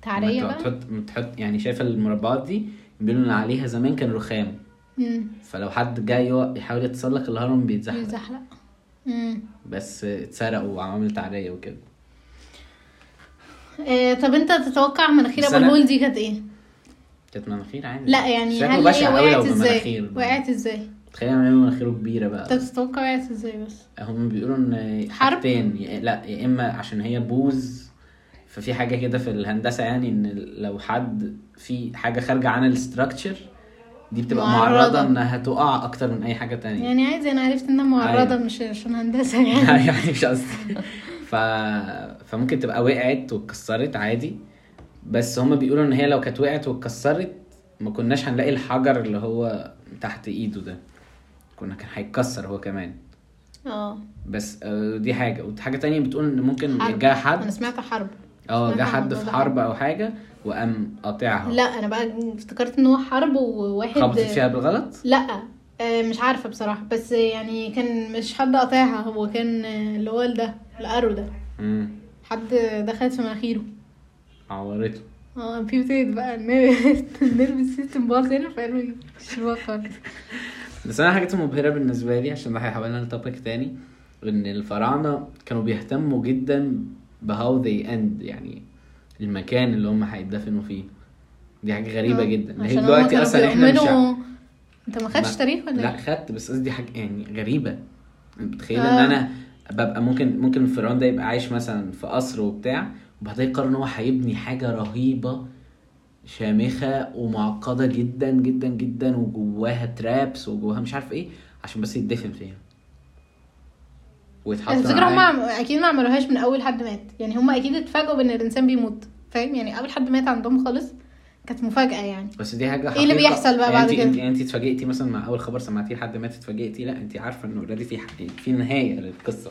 S3: تعرية
S2: لما
S3: بقى
S2: تحط بتحط يعني شايف المربعات دي بيقولوا ان عليها زمان كان رخام
S3: امم
S2: فلو حد جاي يو- يحاول يتسلق الهرم بيتزحلق
S3: بيزحلق امم
S2: بس اتسرقوا وعملت عليا وكده
S3: آه طب انت تتوقع
S2: بس
S3: مناخير ابو
S2: أنا-
S3: الهول دي كانت ايه؟
S2: كانت مناخير عادي
S3: لا يعني
S2: شكله
S3: هل هي
S2: بشع قوي لو
S3: وقعت ازاي؟
S2: بمناخير
S3: وقعت ازاي؟
S2: تخيل يعملوا مناخيره كبيره
S3: انت
S2: بقى
S3: تتوقع وقعت ازاي بس؟
S2: هم بيقولوا ان
S3: حرب؟
S2: حاجتين يا- لا يا اما عشان هي بوز ففي حاجه كده في الهندسه يعني ان لو حد في حاجه خارجه عن الاستراكشر دي بتبقى
S3: معرضة.
S2: معرضه انها تقع اكتر من اي حاجه تانية
S3: يعني عادي انا عرفت انها معرضه
S2: أيوة.
S3: مش عشان هندسه يعني
S2: يعني مش قصدي ف... فممكن تبقى وقعت واتكسرت عادي بس هما بيقولوا ان هي لو كانت وقعت واتكسرت ما كناش هنلاقي الحجر اللي هو تحت ايده ده كنا كان هيتكسر هو كمان
S3: اه
S2: بس آه، دي حاجه وحاجه تانية بتقول ان ممكن
S3: حرب.
S2: جه
S3: انا
S2: حد
S3: سمعت حرب
S2: اه
S3: سمعت
S2: جه
S3: عن
S2: حد
S3: الموضوع
S2: في
S3: ده.
S2: حرب او حاجه وقام قاطعها
S3: لا انا بقى افتكرت ان هو حرب وواحد
S2: خبطت فيها بالغلط
S3: لا آه، مش عارفه بصراحه بس يعني كان مش حد قاطعها هو كان آه، اللي هو ده القرو ده
S2: امم
S3: حد دخلت في مناخيره
S2: عورته
S3: اه في بتاعت بقى النيرف سيستم باظ هنا فقالوا يشيلوها خالص
S2: بس انا حاجات مبهره بالنسبه لي عشان ده هيحولنا لتوبيك تاني ان الفراعنه كانوا بيهتموا جدا بهاو ذي اند يعني المكان اللي هم هيدفنوا فيه دي حاجه غريبه
S3: آه،
S2: جدا اللي هي
S3: عشان هما
S2: دلوقتي
S3: كانوا
S2: اصلا احنا مش
S3: بيؤمنوا- انت ما خدتش
S2: ما-
S3: تاريخ ولا
S2: لا
S3: ايه؟
S2: خدت بس قصدي حاجه يعني غريبه متخيل ان
S3: آه.
S2: انا ببقى ممكن ممكن الفرعون ده يبقى عايش مثلا في قصر وبتاع وبعدين يقرر ان هو هيبني حاجه رهيبه شامخه ومعقده جدا جدا جدا وجواها ترابس وجواها مش عارف ايه عشان بس يتدفن فيها ويتحط
S3: بس الفكره
S2: معاه.
S3: هم اكيد ما عملوهاش من اول حد مات يعني هم اكيد اتفاجئوا بان الانسان بيموت فاهم يعني اول حد مات عندهم خالص كانت مفاجاه يعني
S2: بس دي حاجه
S3: إيه اللي
S2: حقيقة.
S3: بيحصل بقى
S2: يعني
S3: بعد
S2: انت-
S3: كده؟
S2: انت انت اتفاجئتي مثلا مع اول خبر سمعتيه لحد ما اتفاجئتي لا انت عارفه انه اوريدي في في نهايه للقصه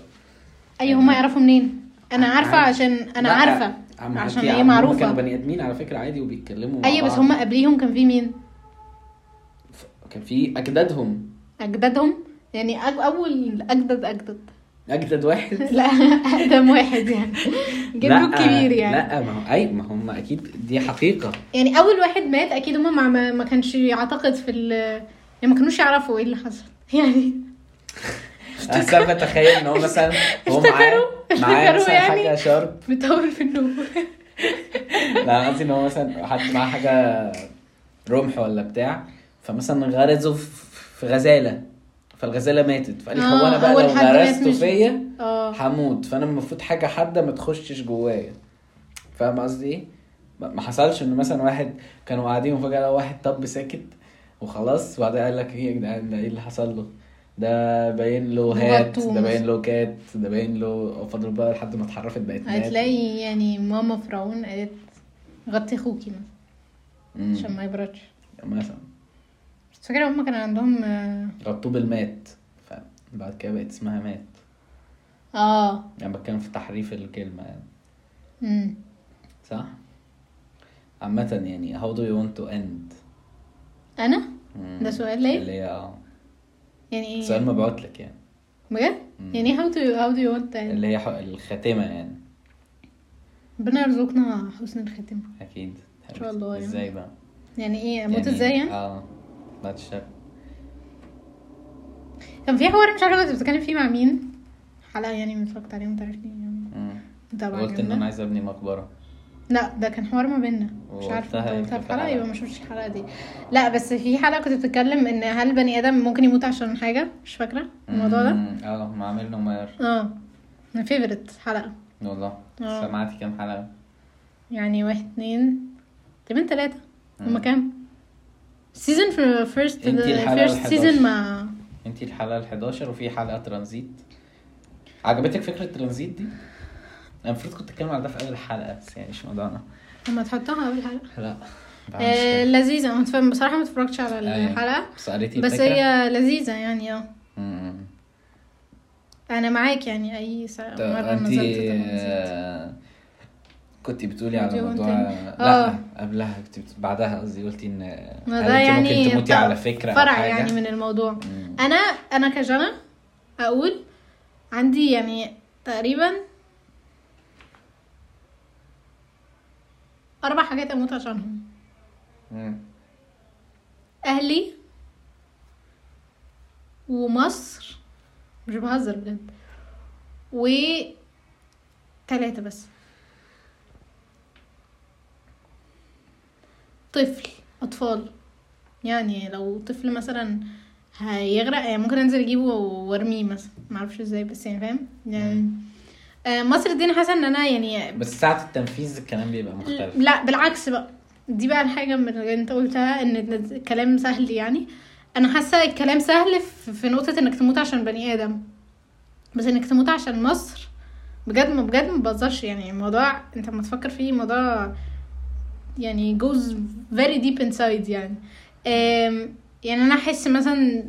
S3: اي أيوة، هم يعرفوا منين انا عارفه
S2: أيوة. عارف.
S3: عشان انا
S2: لا،
S3: عارفه
S2: عم
S3: عشان
S2: هدي-
S3: هي
S2: هم
S3: معروفة.
S2: كانوا بني ادمين على فكره عادي وبيتكلموا مع
S3: ايوه بس
S2: بعض.
S3: هم قبليهم كان في مين
S2: كان في اجدادهم
S3: اجدادهم يعني أج- اول اجدد اجدد
S2: اجدد واحد
S3: لا اقدم واحد يعني جده الكبير يعني
S2: لا ما هو اي ما هم اكيد دي حقيقه
S3: يعني اول واحد مات اكيد هما ما- ما, ما كانش يعتقد في ال يعني ما كانوش يعرفوا ايه اللي حصل يعني
S2: بس انا بتخيل ان هو مثلا هو معاه
S3: افتكروا-
S2: معاه
S3: افتكروا
S2: مثلا
S3: يعني.
S2: حاجه شارب
S3: بتطول في النوم
S2: لا قصدي ان هو مثلا حد معاه حاجه رمح ولا بتاع فمثلا غرزه في- في غزاله فالغزاله ماتت فقال لي
S3: آه،
S2: هو انا بقى
S3: أول
S2: لو
S3: حد مات
S2: غرزته
S3: مش-
S2: فيا
S3: اه
S2: هموت فانا المفروض حاجه حاده ما تخشش جوايا فاهم قصدي ايه؟ ما- ما حصلش ان مثلا واحد كانوا قاعدين وفجاه لقى واحد طب ساكت وخلاص وبعدين قال لك ايه يا جدعان ده ايه اللي حصل له؟ ده باين له هات
S3: مغطوه
S2: ده
S3: مثلا.
S2: باين له كات ده باين له فضل بقى لحد ما اتحرفت بقت مات.
S3: هتلاقي يعني ماما فرعون قالت غطي اخوكي مثلا
S2: مم.
S3: عشان ما يبردش
S2: مثلا
S3: بس فاكره هما كان عندهم آه،
S2: غطوه بالمات فبعد كده بقت اسمها مات
S3: اه
S2: يعني بتكلم في تحريف الكلمه يعني
S3: امم
S2: صح؟ عامة يعني how do you want to end؟
S3: انا
S2: مم.
S3: ده سؤال ليا؟
S2: اللي هي اه
S3: يعني ايه
S2: سؤال مبعوت لك يعني
S3: بجد
S2: مم.
S3: يعني هاو تو هاو دو يو وانت
S2: اللي هي حق- الخاتمة يعني
S3: ربنا يرزقنا حسن الختم
S2: اكيد
S3: إن شاء الله يعني.
S2: ازاي بقى؟
S3: يعني ايه اموت
S2: يعني-
S3: ازاي يعني
S2: اه بعد الشر
S3: كان في حوار مش عارفه كنت بتتكلم فيه مع مين حلقه يعني من اتفرجت عليهم تعرفني يعني
S2: مم.
S3: طبعا
S2: قلت ان انا عايز ابني مقبرة
S3: لا ده كان حوار ما بيننا مش عارفه
S2: وقلتها
S3: انت قلتها
S2: يمكن في حلقة.
S3: في حلقه يبقى ما شفتش الحلقه دي لا بس في حلقه كنت بتتكلم ان هل بني ادم ممكن يموت عشان حاجه مش فاكره الموضوع ده
S2: مم. اه ما عملنا مير
S3: اه من فيفرت حلقه
S2: والله
S3: آه.
S2: سمعتي كام حلقة؟
S3: يعني واحد اتنين تقريبا تلاتة هما كام؟ سيزون في فيرست
S2: انتي الحلقة
S3: فيرست
S2: ال11.
S3: سيزون مع
S2: انتي الحلقة ال 11 وفي حلقة ترانزيت عجبتك فكرة ترانزيت دي؟ انا المفروض كنت اتكلم على ده في اول الحلقة بس يعني مش موضوعنا
S3: لما تحطها اول حلقة
S2: لا بقى مش
S3: آه
S2: فاهم.
S3: لذيذة أنا متف- بصراحة ما اتفرجتش على
S2: أيوة.
S3: آه، الحلقة
S2: بس قريتي
S3: بس
S2: الفكرة؟
S3: هي لذيذة يعني اه
S2: مم.
S3: أنا معاك يعني أي سا...
S2: طب
S3: مرة
S2: انت
S3: نزلت تنزلت.
S2: كنت آه، بتقولي على
S3: فيديو
S2: موضوع
S3: تاني.
S2: لا
S3: آه.
S2: قبلها كنت بت... بعدها قصدي قلتي ان
S3: ما
S2: هل
S3: ده
S2: انت
S3: يعني
S2: ممكن تموتي
S3: ف-
S2: على فكرة أو
S3: فرع
S2: حاجة؟
S3: يعني من الموضوع
S2: مم.
S3: أنا أنا كجنى أقول عندي يعني تقريبا أربع حاجات أموت عشانهم
S2: مم.
S3: اهلي ومصر مش بهزر بجد و تلاتة بس طفل اطفال يعني لو طفل مثلا هيغرق يعني ممكن انزل اجيبه وارميه مثلا معرفش ازاي بس يعني فاهم يعني آه، مصر دي انا حاسه ان انا يعني
S2: بس ساعة التنفيذ الكلام بيبقى مختلف
S3: لا بالعكس بقى دي بقى الحاجة من اللي انت قلتها ان الكلام سهل يعني انا حاسة الكلام سهل في- في نقطة انك تموت عشان بني ادم بس انك تموت عشان مصر بجد ما بجد ما بهزرش يعني الموضوع انت لما تفكر فيه موضوع يعني goes very deep inside يعني أم، يعني انا احس مثلا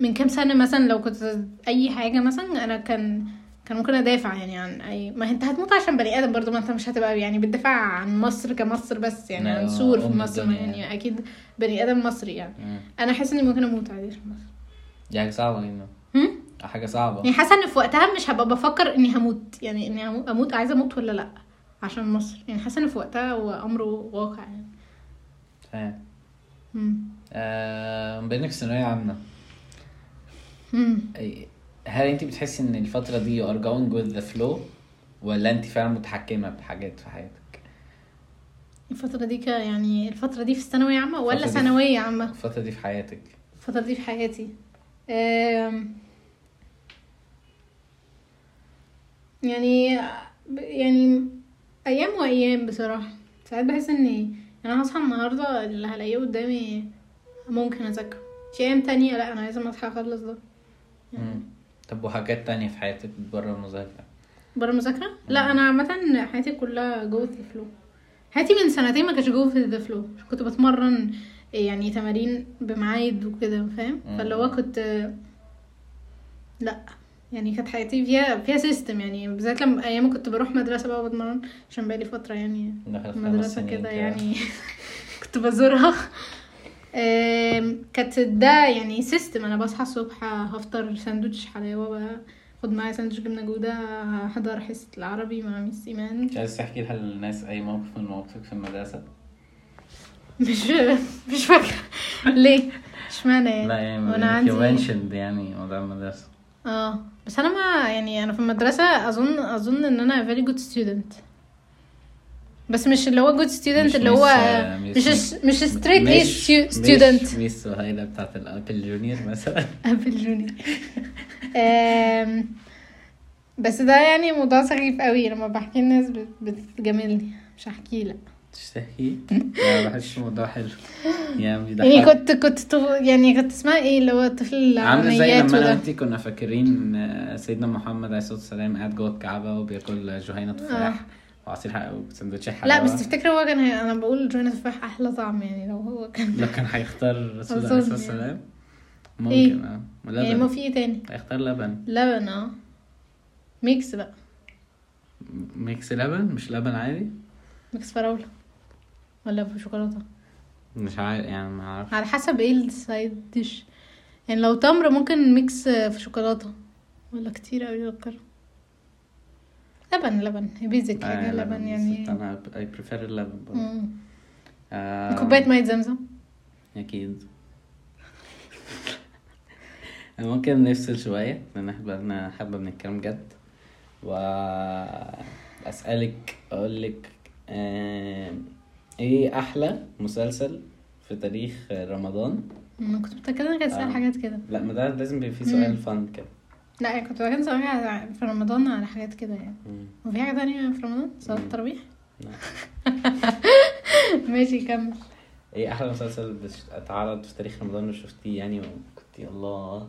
S3: من كام سنة مثلا لو كنت اي حاجة مثلا انا كان كان ممكن ادافع يعني عن اي ما انت هتموت عشان بني ادم برضو ما انت مش هتبقى يعني بتدافع عن مصر كمصر بس يعني
S2: لا،
S3: عن سور في
S2: أم
S3: مصر
S2: الدنيا
S3: يعني
S2: يعني.
S3: اكيد بني ادم مصري يعني
S2: مم.
S3: انا حاسة اني ممكن اموت عادي عشان مصر
S2: دي حاجة صعبة جدا
S3: هم؟
S2: حاجة صعبة
S3: يعني حاسه ان في وقتها مش هبقى بفكر اني هموت يعني اني همو- اموت عايزه اموت ولا لا عشان مصر يعني حاسه ان في وقتها هو امره واقع يعني
S2: فاهم
S3: مم.
S2: آه، بما انك في ثانوية عامة
S3: مم.
S2: أي- هل انت بتحسي ان الفترة دي you are going with the flow ولا انت فعلا متحكمة بحاجات في حياتك؟
S3: الفتره دي ك يعني الفتره دي في الثانويه عامه ولا
S2: الفترة دي-
S3: ثانويه عامه
S2: الفترة دي في حياتك
S3: الفتره دي في حياتي أم... يعني يعني ايام وايام بصراحه ساعات بحس اني يعني انا هصحى النهارده اللي هلاقيه قدامي ممكن اذاكره في ايام تانية لا انا لازم اصحى اخلص ده يعني.
S2: مم. طب وحاجات تانية في حياتك بره المذاكرة
S3: بره المذاكره لا انا عامه حياتي كلها جوه ذا فلو حياتي من سنتين ما كانتش جوه في ذا فلو كنت بتمرن يعني تمارين بميعاد وكده فاهم
S2: مم.
S3: فاللي هو كنت لا يعني كانت حياتي فيها فيها سيستم يعني بالذات لما ايام كنت بروح مدرسه بقى بتمرن عشان بقالي فتره يعني
S2: دخلت خمس
S3: مدرسه
S2: سنين
S3: كده يعني كنت بزورها آم، كانت ده يعني سيستم انا بصحى الصبح هفطر ساندوتش حلاوه بقى خد معايا ساندوتش جبنه جوده هحضر حصه العربي مع ميس ايمان
S2: مش عايز تحكي لها للناس اي موقف من مواقفك في المدرسه
S3: مش مش فاكره ليه اشمعنى يعني
S2: لا يعني
S3: وانا
S2: you
S3: عندي
S2: mentioned يعني موضوع المدرسه
S3: اه بس انا ما يعني انا في المدرسه اظن اظن ان انا very good student بس مش اللي هو good student
S2: مش
S3: اللي هو
S2: miss-
S3: مش
S2: miss-
S3: مش strictly
S2: مش-
S3: stu-
S2: مش
S3: student
S2: ميس وهايلة بتاعت الابل جونيور مثلا
S3: ابل جوني آم، بس ده يعني موضوع سخيف قوي لما بحكي الناس بتجاملني مش هحكي لك
S2: تشتكي لا بحس الموضوع حلو يعني
S3: يعني
S2: بيضحك
S3: كنت كنت طف- يعني كنت اسمها ايه اللي هو الطفل
S2: عامله زي
S3: العمليات
S2: لما انا
S3: وده
S2: وانتي كنا فاكرين آه، سيدنا محمد عليه الصلاه والسلام قاعد جوه الكعبه وبياكل جهينه تفاح وعصير حق- وسندوتش حلاوه
S3: آه. لا بس تفتكر هو كان هي... انا بقول جوينة تفاح احلى طعم يعني لو هو كان
S2: لو كان هيختار رسول الله عليه الصلاه
S3: أظن
S2: والسلام
S3: إيه؟
S2: ممكن اه
S3: يعني ما
S2: لبن
S3: في ايه تاني
S2: هيختار لبن
S3: لبن اه ميكس بقى
S2: ميكس لبن مش لبن عادي
S3: ميكس فراولة ولا بشوكولاتة
S2: مش عارف يعني ما اعرفش
S3: على حسب ايه السايد ديش يعني لو تمر ممكن ميكس في شوكولاتة ولا كتير اوي الكرة لبن لبن بيزك
S2: آه،
S3: حاجة لبن يعني
S2: انا اي بريفير اللبن برضه آه،
S3: مم.
S2: آم،
S3: كوباية مية زمزم
S2: اكيد ممكن نفصل شوية لأن احنا بقالنا حبة بنتكلم جد و أسألك أقولك آم، إيه أحلى مسلسل في تاريخ رمضان؟
S3: انا كنت متأكدة انك
S2: آه.
S3: هتسأل حاجات كده
S2: لا ما ده لازم يبقى فيه
S3: مم.
S2: سؤال فن كده
S3: لا يعني كنت بكلم زمان على- في رمضان على حاجات كده يعني وفي حاجة تانية في رمضان صلاة
S2: مم.
S3: التراويح
S2: لا.
S3: ماشي كمل
S2: إيه أحلى مسلسل بش- اتعرض في تاريخ رمضان وشفتيه يعني وكنت الله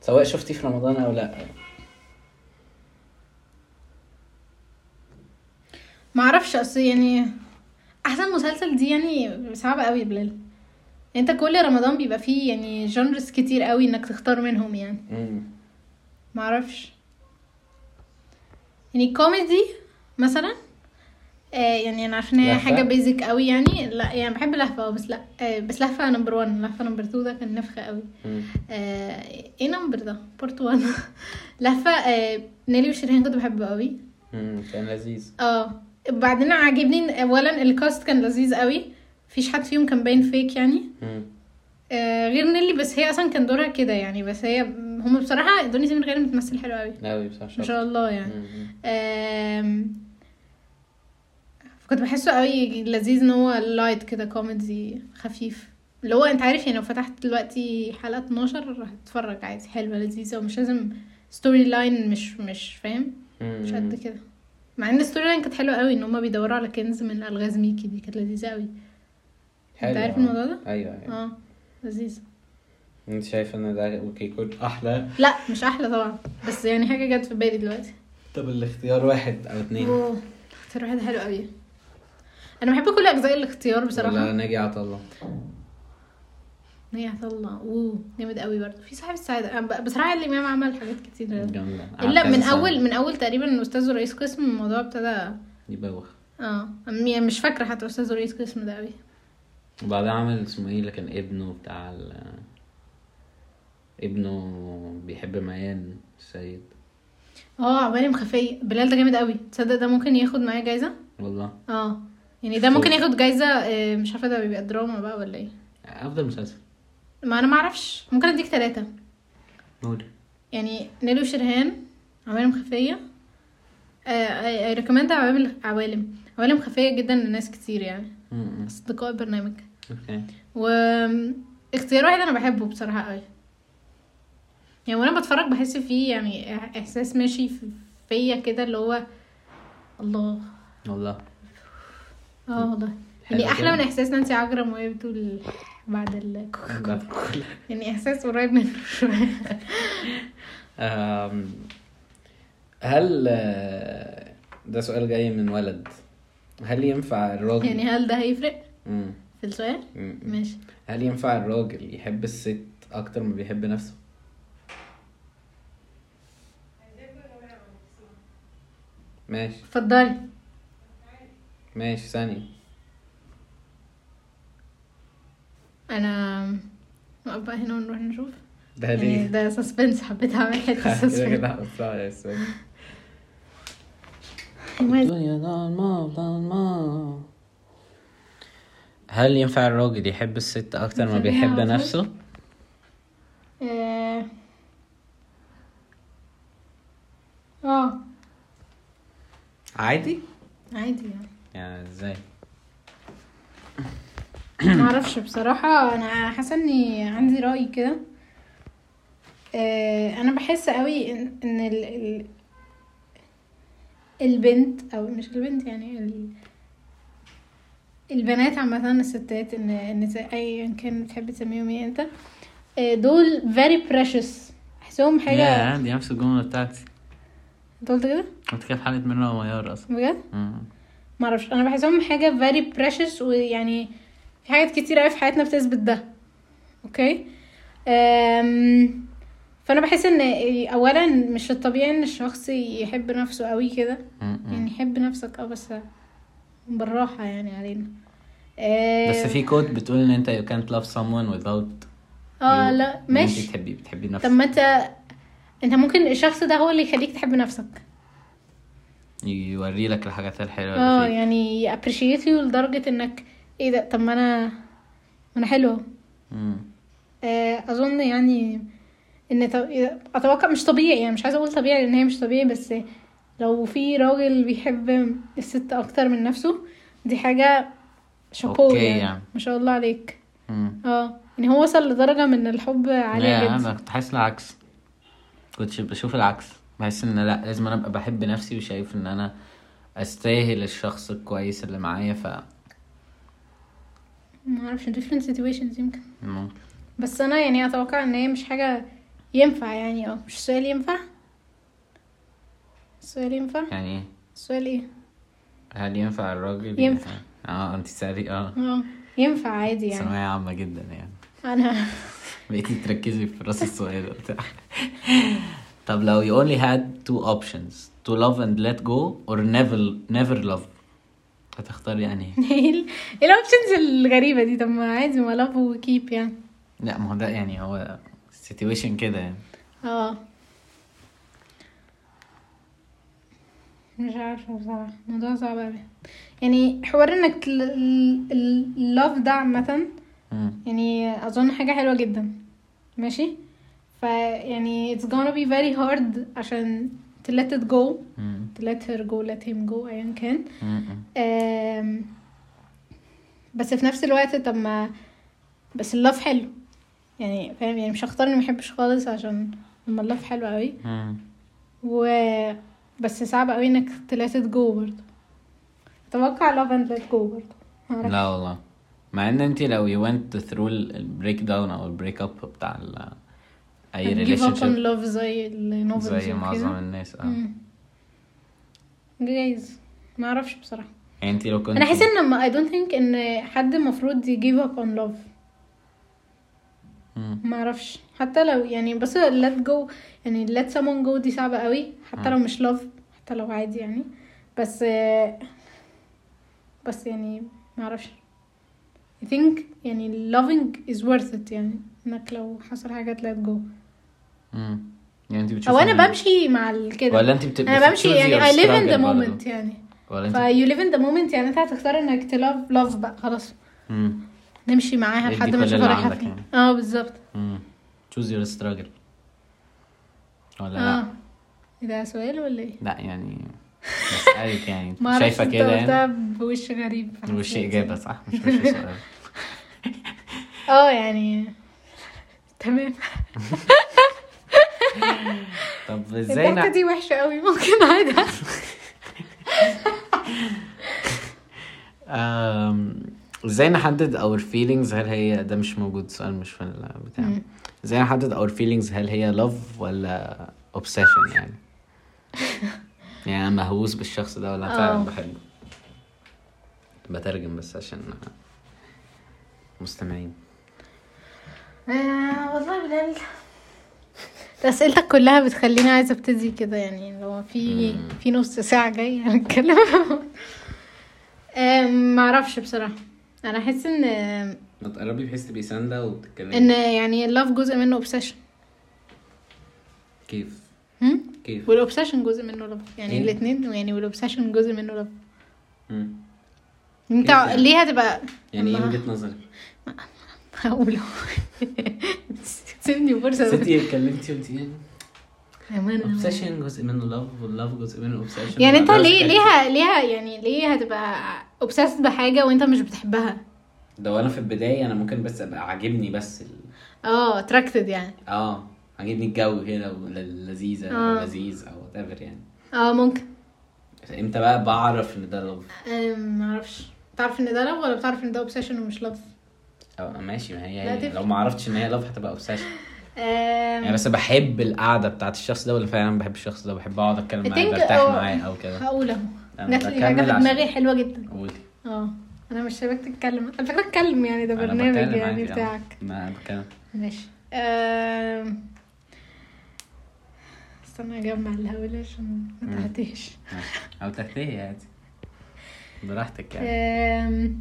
S2: سواء شفتيه في رمضان أو لأ
S3: معرفش اصل يعني احسن مسلسل دي يعني صعبة قوي يا بلال انت كل رمضان بيبقى فيه يعني جونرز كتير قوي انك تختار منهم يعني
S2: مم.
S3: معرفش يعني كوميدي مثلا آه يعني انا عارفه ان هي
S2: لهفة؟
S3: حاجه بيزك قوي يعني لا يعني بحب لهفه آه، بس لا آه بس لهفه نمبر 1 لهفه نمبر 2 ده كان نفخه قوي
S2: مم.
S3: آه ايه نمبر ده بارت 1 لهفه آه نيلي وشيرين كنت بحبه قوي
S2: مم. كان لذيذ
S3: اه بعدين عاجبني إن- اولا الكاست كان لذيذ قوي مفيش حد فيهم كان باين فيك يعني
S2: مم.
S3: آه غير نيلي بس هي اصلا كان دورها كده يعني بس هي هم بصراحه دنيا سمير غانم بتمثل حلو قوي
S2: قوي بصراحه
S3: ما
S2: شاطر.
S3: شاء الله يعني
S2: مم.
S3: آم، كنت بحسه قوي لذيذ ان هو لايت كده كوميدي خفيف اللي هو انت عارف يعني لو فتحت دلوقتي حلقة 12 هتتفرج عادي حلوة لذيذة ومش لازم ستوري لاين مش مش فاهم مش قد كده مع ان الستوري لاين كانت حلوة قوي ان هما بيدوروا على كنز من الغاز ميكي دي كانت لذيذة قوي
S2: حلو،
S3: عارف
S2: آه.
S3: الموضوع ده؟
S2: ايوه ايوه
S3: اه لذيذة
S2: انت شايف ان ده اوكي كود احلى
S3: لا مش احلى طبعا بس يعني حاجة جت في بالي دلوقتي
S2: طب الاختيار واحد او اتنين
S3: اوه اختيار واحد حلو قوي انا بحب كل اجزاء الاختيار بصراحة
S2: ولا ناجي عطا الله
S3: هي هتطلع اوه جامد قوي برضه في صاحب السعاده أنا ب- بصراحه الامام عمل حاجات كتير
S2: جامدة.
S3: الا
S2: قعد
S3: من
S2: كذا سنة
S3: اول من اول تقريبا استاذ رئيس قسم الموضوع ابتدى
S2: يبوخ
S3: اه أم- يعني مش فاكره حتى استاذ رئيس قسم ده قوي
S2: وبعدها عمل اسمه ايه اللي كان ابنه بتاع ال... ابنه بيحب ميان السيد
S3: اه عبالي مخفيه بلال ده جامد قوي تصدق ده ممكن ياخد معايا جايزه
S2: والله
S3: اه يعني ده ممكن
S2: شوف.
S3: ياخد جايزه آه، مش عارفه ده بيبقى دراما بقى ولا ايه
S2: افضل مسلسل
S3: ما انا معرفش ممكن اديك ثلاثه
S2: قول
S3: يعني نيلو شرهان عوالم خفية آه، اي ريكومند عوالم عوالم عوالم خفية جدا لناس كتير يعني
S2: مم.
S3: أصدقاء البرنامج
S2: اوكي
S3: و اختيار واحد أنا بحبه بصراحة قوي يعني وأنا بتفرج بحس فيه يعني إح- إحساس ماشي في- فيا كده اللي هو الله
S2: والله
S3: اه والله
S2: حلو
S3: يعني أحلى
S2: كده.
S3: من إحساس نانسي عجرم وهي بتقول بعد ال
S2: بعد كل-
S3: يعني إحساس قريب منه شوية
S2: أم، هل آه، ده سؤال جاي من ولد هل ينفع الراجل
S3: يعني هل ده هيفرق
S2: مم.
S3: في السؤال؟
S2: مم.
S3: ماشي
S2: هل ينفع الراجل يحب الست اكتر ما بيحب نفسه ماشي
S3: اتفضلي
S2: ماشي ثانية
S3: انا نقف بقى هنا ونروح نشوف
S2: ده
S3: يعني
S2: ليه؟
S3: ده سسبنس حبيت اعمل حته
S2: كده
S3: سسبنس
S2: كده هقطعها يا أستاذ.
S3: المهم،
S2: الدنيا ضلمة ضلمة هل ينفع الراجل يحب الست أكتر ما
S3: خليها
S2: بيحب
S3: على طول.
S2: نفسه؟
S3: آه. اه
S2: عادي؟
S3: عادي يعني
S2: يعني ازاي؟
S3: معرفش بصراحة أنا حاسة إني عندي رأي كده آه، أنا بحس قوي إن إن ال ال البنت أو مش البنت يعني ال البنات عامة الستات إن إن ت- أيا كان بتحب تسميهم إيه أنت آه، دول very precious أحسهم حاجة
S2: يا دي نفس الجملة بتاعتي
S3: أنت قلت كده
S2: كنت كده في حلقة منى وميار أصلا
S3: بجد؟
S2: مم.
S3: معرفش انا بحسهم حاجه very precious ويعني في حاجات كتير قوي في حياتنا بتثبت ده اوكي أم فانا بحس ان اولا مش الطبيعي ان الشخص يحب نفسه قوي كده
S2: مم.
S3: يعني يحب نفسك اه بس بالراحه يعني علينا أم،
S2: بس في كود بتقول إن أنت you can't love someone without
S3: اه
S2: you-
S3: لا
S2: إن أنت
S3: ماشي
S2: بتحبي بتحبي
S3: طب
S2: نفسك
S3: ما انت انت ممكن الشخص ده هو اللي يخليك تحب نفسك
S2: يوري لك الحاجات الحلوة
S3: اه
S2: اللي فيك
S3: يعني يابريشيت يو لدرجه انك ايه ده طب ما انا ما انا حلوه
S2: مم.
S3: آه، اظن يعني ان طب... اتوقع مش طبيعي يعني مش عايزه اقول طبيعي لان هي مش طبيعي بس لو في راجل بيحب الست اكتر من نفسه دي حاجه شابوه
S2: أوكي
S3: يعني.
S2: يعني.
S3: ما شاء الله عليك
S2: مم.
S3: اه يعني هو وصل لدرجه من الحب عاليه
S2: لا
S3: جدا
S2: انا كنت حاسس العكس كنت بشوف العكس بحس ان لا لازم انا ابقى بحب نفسي وشايف ان انا استاهل الشخص الكويس اللي معايا ف
S3: ما اعرفش different situations يمكن
S2: ممكن
S3: بس انا يعني اتوقع ان هي مش حاجه ينفع يعني اه مش سؤال ينفع السؤال ينفع
S2: يعني إيه؟
S3: السؤال ايه
S2: هل ينفع الراجل
S3: ينفع.
S2: اه انت ساري اه
S3: اه ينفع عادي يعني
S2: ثانوية عامة جدا يعني
S3: انا
S2: بقيتي تركزي في راس السؤال وبتاع طب لو you only had two options to love and let go or never never love يعني هتختاري انهي؟
S3: ايه ال- إيه الاوبشنز الغريبه دي طب ما عادي ما لاف وكيب يعني
S2: لا ما هو ده يعني هو situation كده يعني
S3: اه مش عارفه بصراحه الموضوع صعب قوي يعني حوار انك اللاف ده عامه
S2: مم.
S3: يعني اظن حاجه حلوه جدا ماشي ف يعني it's gonna be very hard عشان to let it go
S2: مم.
S3: to let her go let him go ايا كان
S2: مم.
S3: آم، بس في نفس الوقت طب ما بس اللاف حلو يعني فاهم يعني مش هختار اني محبش خالص عشان لما اللاف حلو قوي
S2: مم.
S3: و بس صعب قوي انك تلاتة جو برضه اتوقع لاف اند ليت جو برضه معرفش.
S2: لا والله مع ان انت لو you went through البريك داون او البريك اب بتاع ال اي
S3: I'd give up
S2: ريليشن
S3: on
S2: شيب
S3: love زي النوفلز
S2: زي
S3: وكده.
S2: معظم الناس اه
S3: مم. جايز ما اعرفش بصراحه
S2: يعني انت لو كنت
S3: انا حاسه ان ما I don't think ان حد المفروض يجيف up on love
S2: مم.
S3: ما اعرفش حتى لو يعني بس let go يعني let someone go دي صعبة قوي حتى لو مش love حتى لو عادي يعني بس آه، بس يعني ما اعرفش I think يعني loving is worth it يعني انك لو حصل حاجة let go
S2: مم. يعني انت بتشوفي
S3: او انا
S2: إن-
S3: بمشي مع ال- كده
S2: ولا انت بت...
S3: انا بمشي
S2: بتشوفي
S3: يعني
S2: your
S3: I live in
S2: struggle
S3: the
S2: برضه.
S3: moment يعني
S2: ولا
S3: ف
S2: انت
S3: you live in the moment يعني انت هتختار انك to love love بقى خلاص
S2: مم.
S3: نمشي معاها
S2: ادي
S3: لحد
S2: كل
S3: ما نشوف
S2: اللي
S3: رايحة
S2: عندك
S3: فين
S2: يعني.
S3: اه بالظبط
S2: مم. choose your struggle ولا
S3: اه
S2: لا
S3: إيه ده سؤال ولا ايه؟
S2: لا يعني بسألك يعني
S3: ما اعرفش
S2: شايفة
S3: انت
S2: كده يعني
S3: قلتها بوش غريب
S2: وش إجابة صح مش وش سؤال
S3: اه يعني تمام
S2: طب ازاي
S3: الضحكه
S2: نع-
S3: دي وحشه قوي ممكن عادي
S2: أم، ازاي نحدد اور feelings هل هي ده مش موجود سؤال مش في البتاع
S3: مم.
S2: ازاي نحدد اور feelings هل هي love ولا obsession يعني يعني انا مهووس بالشخص ده ولا أنا فعلا
S3: آه.
S2: بحبه بترجم بس عشان مستمعين
S3: آه، والله بلال اسئلتك كلها بتخليني عايزه ابتدي كده يعني لو في
S2: مم.
S3: في نص ساعه جايه هنتكلم أم، معرفش بصراحه انا احس ان
S2: ما تقربي بحيث تبقي ساندة وبتتكلمي
S3: ان يعني اللاف جزء منه اوبسيشن
S2: كيف كيف
S3: والاوبسيشن جزء منه لاف يعني
S2: إيه؟
S3: الاثنين يعني والاوبسيشن جزء منه لاف
S2: مم.
S3: انت
S2: كيف يعني؟
S3: ليه هتبقى
S2: يعني ايه
S3: الله.
S2: وجهة نظرك؟
S3: هقوله سيبني فرصه بس.
S2: ستي اتكلمتي وانت ايه؟
S3: يا مان، أنا-
S2: اوبسيشن جزء منه لاف واللاف جزء منه اوبسيشن
S3: يعني انت ليه ليها ليها يعني ليه هتبقى اوبسيس بحاجه وانت مش بتحبها
S2: ده وانا في البدايه انا ممكن بس ابقى عاجبني بس ال...
S3: اه اتراكتد يعني
S2: اه عاجبني الجو كده لذيذه
S3: آه.
S2: او لذيذ او وات ايفر يعني
S3: اه ممكن
S2: امتى بقى بعرف ان ده لاف
S3: أم، معرفش بتعرف ان ده لاف ولا بتعرف ان ده اوبسيشن ومش لاف
S2: اه ماشي ما هي
S3: لا
S2: يعني
S3: تفرق.
S2: لو ما عرفتش ان هي لاف هتبقى اوبسيشن يعني بس بحب القعده بتاعت الشخص ده ولا فعلا بحب الشخص ده بحب اقعد اتكلم معاه
S3: think-
S2: برتاح
S3: اه.
S2: معاه او كده
S3: هقول اهو
S2: أنا
S3: جات لي
S2: بكمل
S3: حاجه في
S2: عشان-
S3: دماغي حلوه جدا
S2: قولي
S3: اه انا مش سايباك تتكلم على فكره اتكلم يعني ده
S2: أنا
S3: برنامج
S2: بتكلم
S3: يعني
S2: عادي، اه.
S3: بتاعك
S2: ما أنا بتكلم
S3: ماشي أم، استنى اجمع اللي هقوله عشان ما
S2: مم.
S3: تعديش
S2: ماشي. او تحتيه عادي براحتك يعني
S3: أم،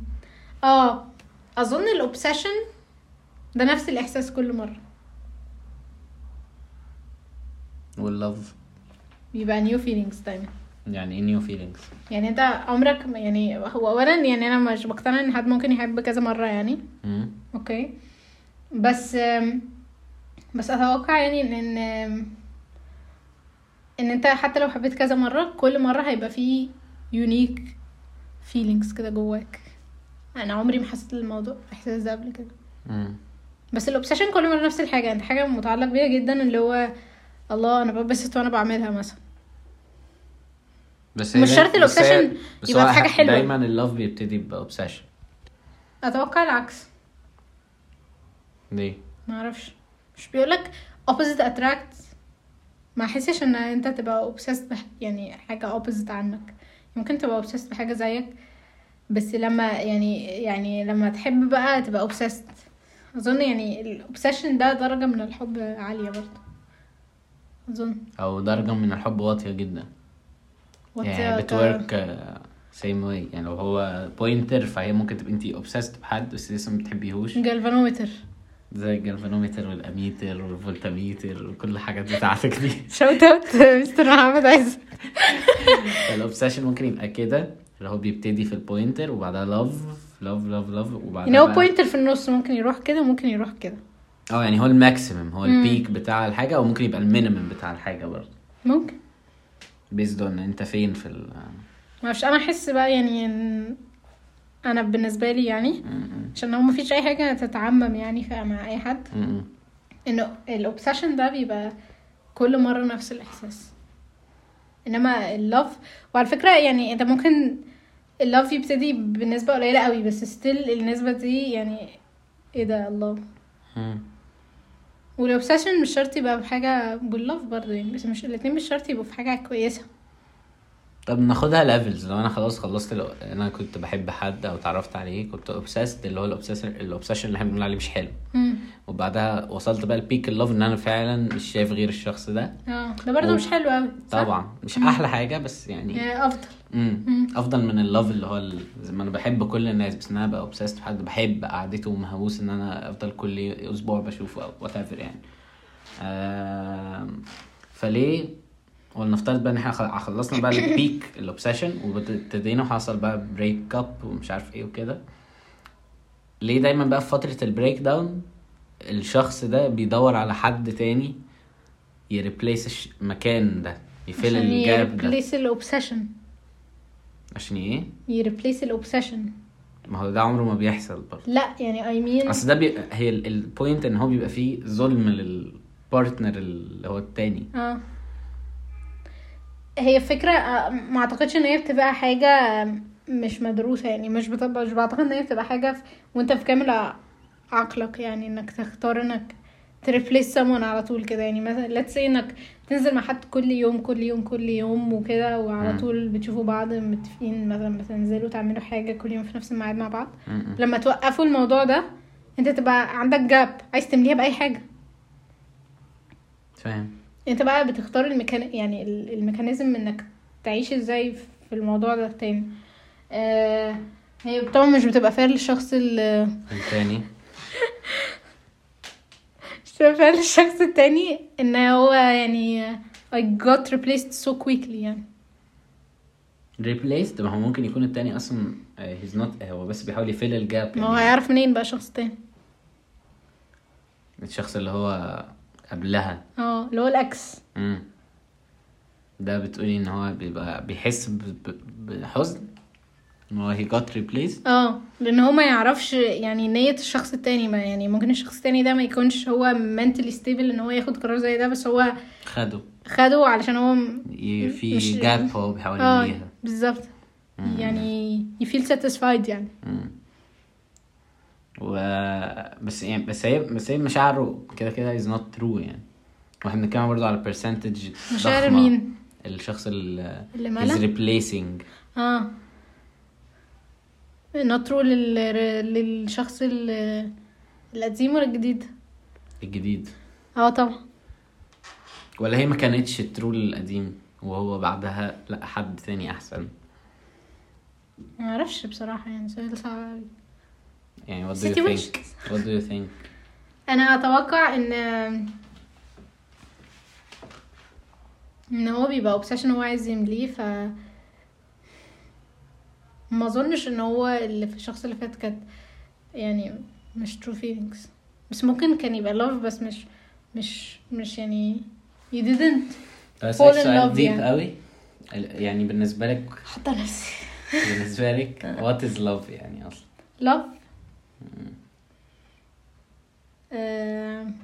S3: اه اظن الاوبسيشن ده نفس الاحساس كل مره
S2: واللاف
S3: بيبقى نيو فيلينجز دايما
S2: يعني ايه نيو فيلينجز
S3: يعني انت عمرك ما- يعني هو اولا يعني انا مش مقتنعه ان حد ممكن يحب كذا مره يعني اوكي بس أم، بس اتوقع يعني ان ان أم، ان انت حتى لو حبيت كذا مره كل مره هيبقى فيه يونيك فيلينجز كده جواك انا عمري ما حسيت الموضوع الاحساس ده قبل كده بس الاوبسيشن كل مره نفس الحاجه انت حاجه متعلق بيها جدا اللي هو الله انا ببسط وانا بعملها مثلا
S2: بس
S3: مش
S2: هي-
S3: شرط
S2: بس هي-
S3: الأوبسيشن
S2: بس
S3: يبقى
S2: هو
S3: في حاجة
S2: ح-
S3: حلوة.
S2: دايما اللاف بيبتدي باوبسيشن
S3: اتوقع العكس
S2: ليه؟
S3: ما اعرفش مش بيقولك opposite attract ما احسش ان انت تبقى obsessed بح... يعني حاجه opposite عنك ممكن تبقى obsessed بحاجه زيك بس لما يعني يعني لما تحب بقى تبقى obsessed اظن يعني الاوبسيشن ده درجه من الحب عاليه برضه اظن
S2: او درجه من الحب واطيه جدا
S3: What
S2: يعني
S3: the-
S2: بتورك سيم واي يعني لو هو بوينتر فهي ممكن تبقي انت اوبسيست بحد بس لسه ما بتحبيهوش
S3: جالفانومتر
S2: زي الجالفانومتر والاميتر والفولتاميتر وكل الحاجات بتاعتك دي
S3: شوت اوت مستر محمد عايز
S2: فالاوبسيشن ممكن يبقى كده اللي هو بيبتدي في البوينتر وبعدها لاف لاف لاف لاف وبعدها
S3: يعني هو
S2: بقى-
S3: بوينتر في النص ممكن يروح كده وممكن يروح كده
S2: اه يعني هو الماكسيمم هو
S3: مم.
S2: البيك بتاع الحاجه او ممكن يبقى المينيمم بتاع الحاجه برضه
S3: ممكن
S2: بيزد اون انت فين في ال
S3: معرفش انا احس بقى يعني ان انا بالنسبه لي يعني
S2: مم.
S3: عشان هو مفيش اي حاجه تتعمم يعني ف- مع اي حد
S2: مم.
S3: انه الاوبسيشن ده بيبقى كل مره نفس الاحساس انما اللوف وعلى فكره يعني انت ممكن اللوف يبتدي بنسبه قليله قوي بس ستيل النسبه دي يعني ايه ده الله
S2: مم.
S3: والاوبسيشن مش شرط يبقى بحاجه باللوف برضه يعني بس مش الاتنين مش شرط يبقوا في حاجه كويسه
S2: طب ناخدها ليفلز لو انا خلاص خلصت لو انا كنت بحب حد او اتعرفت عليه كنت اوبسيست اللي هو الاوبسيشن الاوبسيشن اللي احنا بنقول عليه مش حلو
S3: امم
S2: وبعدها وصلت بقى البيك اللاف ان انا فعلا مش شايف غير الشخص ده
S3: اه ده برضه
S2: و-
S3: مش حلو قوي
S2: طبعا مش احلى حاجه بس يعني
S3: افضل
S2: امم افضل من اللاف اللي هو ال- زي ما انا بحب كل الناس بس ان انا ابقى اوبسيست بحد بحب قعدته ومهووس ان انا افضل كل اسبوع بشوفه او وات ايفر يعني آم، فليه ولنفترض بقى ان احنا خل- خلصنا بقى البيك الاوبسيشن وابتدينا وحصل بقى بريك اب ومش عارف ايه وكده ليه دايما بقى في فترة البريك داون الشخص ده بيدور على حد تاني يريبليس المكان ده يفيل
S3: عشان
S2: الجاب ده
S3: يريبليس الاوبسيشن
S2: عشان ايه؟
S3: يريبليس الاوبسيشن
S2: ما هو ده عمره ما بيحصل برضه
S3: لا يعني اي مين
S2: اصل ده بيبقى هي البوينت ان هو بيبقى فيه ظلم للبارتنر اللي هو التاني
S3: اه هي فكرة آه، ما اعتقدش ان هي بتبقى حاجة آه، مش مدروسة يعني مش بتبقى مش بعتقد ان هي بتبقى حاجة في... وانت في كامل ع- عقلك يعني انك تختار انك تريبليس someone على طول كده يعني مثلا let's say انك تنزل مع حد كل يوم كل يوم كل يوم وكده وعلى
S2: مم.
S3: طول بتشوفوا بعض متفقين مثلا بتنزلوا تعملوا حاجة كل يوم في نفس الميعاد مع بعض
S2: م-م.
S3: لما توقفوا الموضوع ده انت تبقى عندك جاب عايز تمليها بأي حاجة
S2: فاهم
S3: انت بقى يعني بتختار المكان يعني ال- الميكانيزم انك تعيش ازاي في الموضوع ده تاني آه... هي طبعا مش بتبقى فير للشخص اللي
S2: التاني
S3: مش بتبقى فير للشخص التاني ان هو يعني I got replaced so quickly يعني
S2: replaced ما هو ممكن يكون التاني آه، اصلا هيز نوت هو بس بيحاول يفيل يعني. الجاب
S3: ما هو هيعرف منين بقى شخص تاني
S2: الشخص اللي هو قبلها
S3: اه اللي هو العكس
S2: امم ده بتقولي ان هو بيبقى بيحس ب- ب- بحزن ان هو he got replaced
S3: اه لان هو ما يعرفش يعني نية الشخص التاني ما يعني ممكن الشخص التاني ده ما يكونش هو mentally stable ان هو ياخد قرار زي ده بس هو
S2: خده
S3: خده علشان هو م-
S2: ي- في
S3: مش-
S2: جاب هو بيحاول
S3: اه
S2: يمليها
S3: بالظبط يعني you feel satisfied يعني
S2: مم. و بس يعني بس هي بس هي مشاعره كده كده is not true يعني واحنا بنتكلم برضه على percentage
S3: مشاعر
S2: ضخمة.
S3: مين؟
S2: الشخص اللي
S3: اللي
S2: is
S3: مالها
S2: replacing
S3: اه نطرو لل... للشخص ال- القديم ولا الجديد
S2: الجديد
S3: اه طبعا
S2: ولا هي ما كانتش ترول القديم وهو بعدها لا حد تاني احسن
S3: ما اعرفش بصراحه يعني سؤال صعب قوي
S2: يعني what do you
S3: Situation.
S2: think what do you think
S3: انا اتوقع ان ان هو بيبقى اوبسيشن هو عايز يمليه ف ما اظنش ان هو اللي في الشخص اللي فات كانت يعني مش true feelings بس ممكن كان يبقى love بس مش مش مش يعني you didn't
S2: بس
S3: Fall in
S2: سؤال
S3: love
S2: ديب
S3: يعني.
S2: قوي ال- يعني بالنسبه لك
S3: حتى نفسي
S2: بالنسبه لك what is love يعني اصلا
S3: love Mm. آم،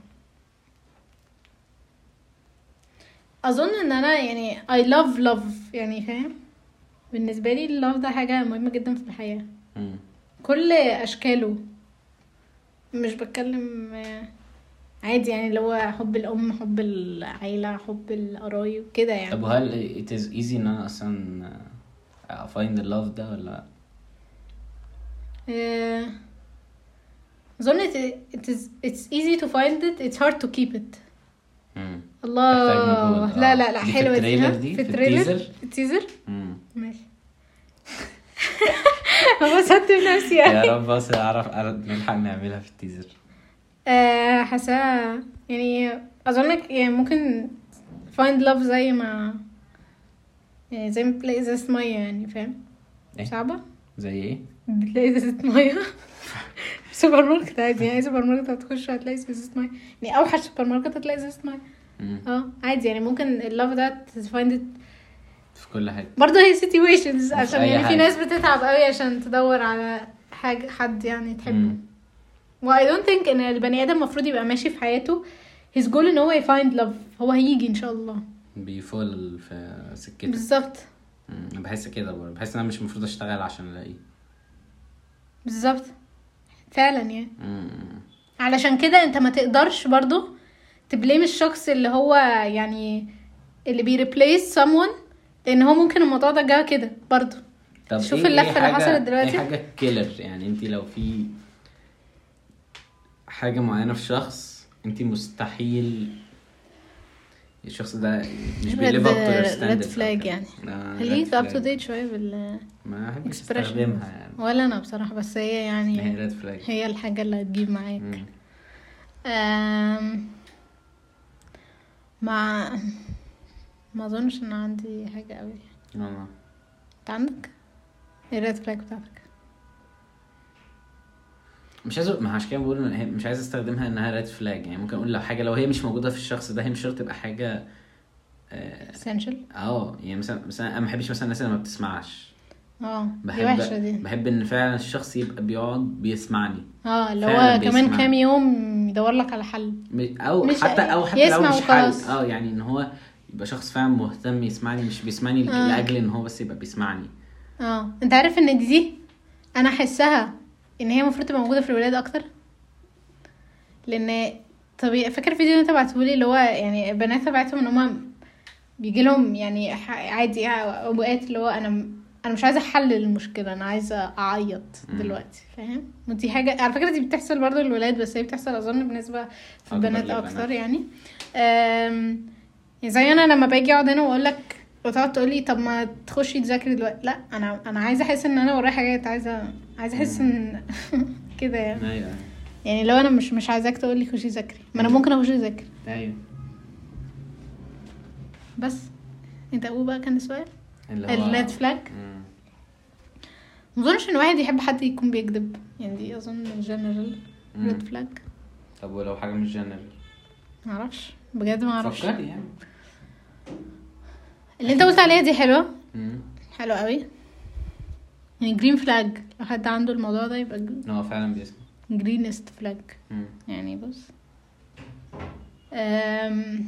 S3: اظن ان انا يعني I love love يعني فاهم بالنسبة لي اللوف ده حاجة مهمة جدا في الحياة
S2: مم.
S3: كل اشكاله مش بتكلم آه، عادي يعني اللي هو حب الام حب العيلة حب القرايب كده
S2: طب
S3: يعني
S2: وهل it is easy ان انا اصلا آه، find the love ده ولا
S3: آه، اظن it, it is it's easy to find it it's hard to keep it
S2: مم. محتاج
S3: الله
S2: مجهود،
S3: لا
S2: آه.
S3: لا لا
S2: دي في
S3: حلوه دي ها؟
S2: التريلر دي،
S3: في
S2: في
S3: التريلر
S2: التيزر؟
S3: في التيزر
S2: مم.
S3: ماشي انبسطت بنفسي
S2: يا
S3: يعني
S2: رب بس اعرف أعرف- نلحق نعملها في التيزر
S3: آه، حاساها يعني اظنك يعني ممكن find love زي ما يعني زي ما بتلاقي ازازة مية يعني فاهم
S2: إيه؟
S3: صعبة
S2: زي ايه؟
S3: بتلاقي ازازة مية في سوبر ماركت عادي يعني اي سوبر ماركت هتخش هتلاقي ازازة مية يعني اوحش سوبر ماركت هتلاقي ازازة مية
S2: مم.
S3: اه عادي يعني ممكن اللوف ده find it
S2: في كل حاجه
S3: برضه هي situations عشان
S2: أي
S3: يعني في
S2: حاجة.
S3: ناس بتتعب قوي عشان تدور على حاجة حد يعني تحبه
S2: مم.
S3: و I don't think ان البني ادم المفروض يبقى ماشي في حياته his goal ان هو يفايند love هو هيجي ان شاء الله
S2: بيفول في سكته
S3: بالظبط
S2: مم، انا بحس كده برضه بحس ان انا مش المفروض اشتغل عشان الاقيه
S3: بالظبط فعلا يعني
S2: مم.
S3: علشان كده انت ما تقدرش برضه تبليم الشخص اللي هو يعني اللي بيريبليس someone لان هو ممكن الموضوع ده جه كده برضه
S2: طب
S3: شوف
S2: إيه- إيه
S3: اللفة اللي
S2: حاجة-
S3: حصلت دلوقتي.
S2: ايه حاجه كيلر يعني انت لو في حاجه معينه في شخص انت مستحيل الشخص ده مش
S3: Red-
S2: بيليف اب تو
S3: red flag يعني. خليك اب تو ديت شويه بال
S2: آه، ما بحبش
S3: expression.
S2: استخدمها يعني
S3: ولا انا بصراحه بس هي يعني
S2: هي ريد فلاج
S3: هي الحاجة اللي هتجيب معاك أم... مع ما اظنش ان عندي حاجة قوي
S2: والله
S3: انت عندك ايه الريد فلاج بتاعتك
S2: مش عايز ما عشان كده بقول إن هي- مش عايز استخدمها انها ريد فلاج يعني ممكن اقول لو حاجه لو هي مش موجوده في الشخص ده هي مش شرط تبقى حاجه آه،
S3: essential
S2: اه يعني مثلا مثلا انا ما بحبش مثلا الناس اللي ما بتسمعش
S3: اه دي
S2: بحب
S3: وحشة دي
S2: بحب ان فعلا الشخص يبقى بيقعد بيسمعني
S3: اه اللي
S2: فعلاً
S3: هو كمان
S2: بيسمع.
S3: كام يوم يدور لك على حل
S2: م- او
S3: مش- يعني
S2: حتى او حتى لو
S3: يسمع
S2: مش حل
S3: وخلاص.
S2: اه يعني ان هو يبقى شخص فعلا مهتم يسمعني مش بيسمعني لك-
S3: آه.
S2: لاجل ان هو بس يبقى بيسمعني
S3: اه انت عارف ان دي- دي انا احسها ان هي المفروض تبقى موجوده في الولاد اكتر لان طبيعي فاكر الفيديو اللي انت بعتهولي اللي هو يعني البنات تبعتهم ان هما بيجيلهم يعني ح- عادي اوقات اللي هو انا م- انا مش عايزه احلل المشكله انا عايزه اعيط دلوقتي فاهم ودي حاجه على فكره دي بتحصل برضه للولاد بس هي بتحصل اظن بالنسبه في
S2: أكبر
S3: البنات
S2: للبنات.
S3: اكتر يعني أم، يعني زي انا لما باجي اقعد هنا واقول لك وتقعد تقول لي طب ما تخشي تذاكري دلوقتي لا انا انا عايزه احس ان انا ورايا حاجات عايزه عايزه احس ان كده يعني
S2: ايوه
S3: يعني لو انا مش مش عايزاك تقول لي خشي ذاكري ما انا ممكن اخش اذاكر
S2: ايوه
S3: بس انت قول بقى كان السؤال
S2: اللي
S3: الريد فلاج
S2: مم.
S3: ما اظنش ان واحد يحب حد يكون بيكذب يعني دي اظن جنرال
S2: مم.
S3: ريد فلاج
S2: طب ولو حاجه مش جنرال
S3: معرفش بجد معرفش
S2: فكري يعني
S3: اللي انت قلت عليها دي حلوه
S2: مم.
S3: حلوه قوي يعني جرين فلاج لو حد عنده الموضوع ده يبقى
S2: ان هو فعلا بيسمع
S3: جرينست فلاج
S2: مم.
S3: يعني بص أم...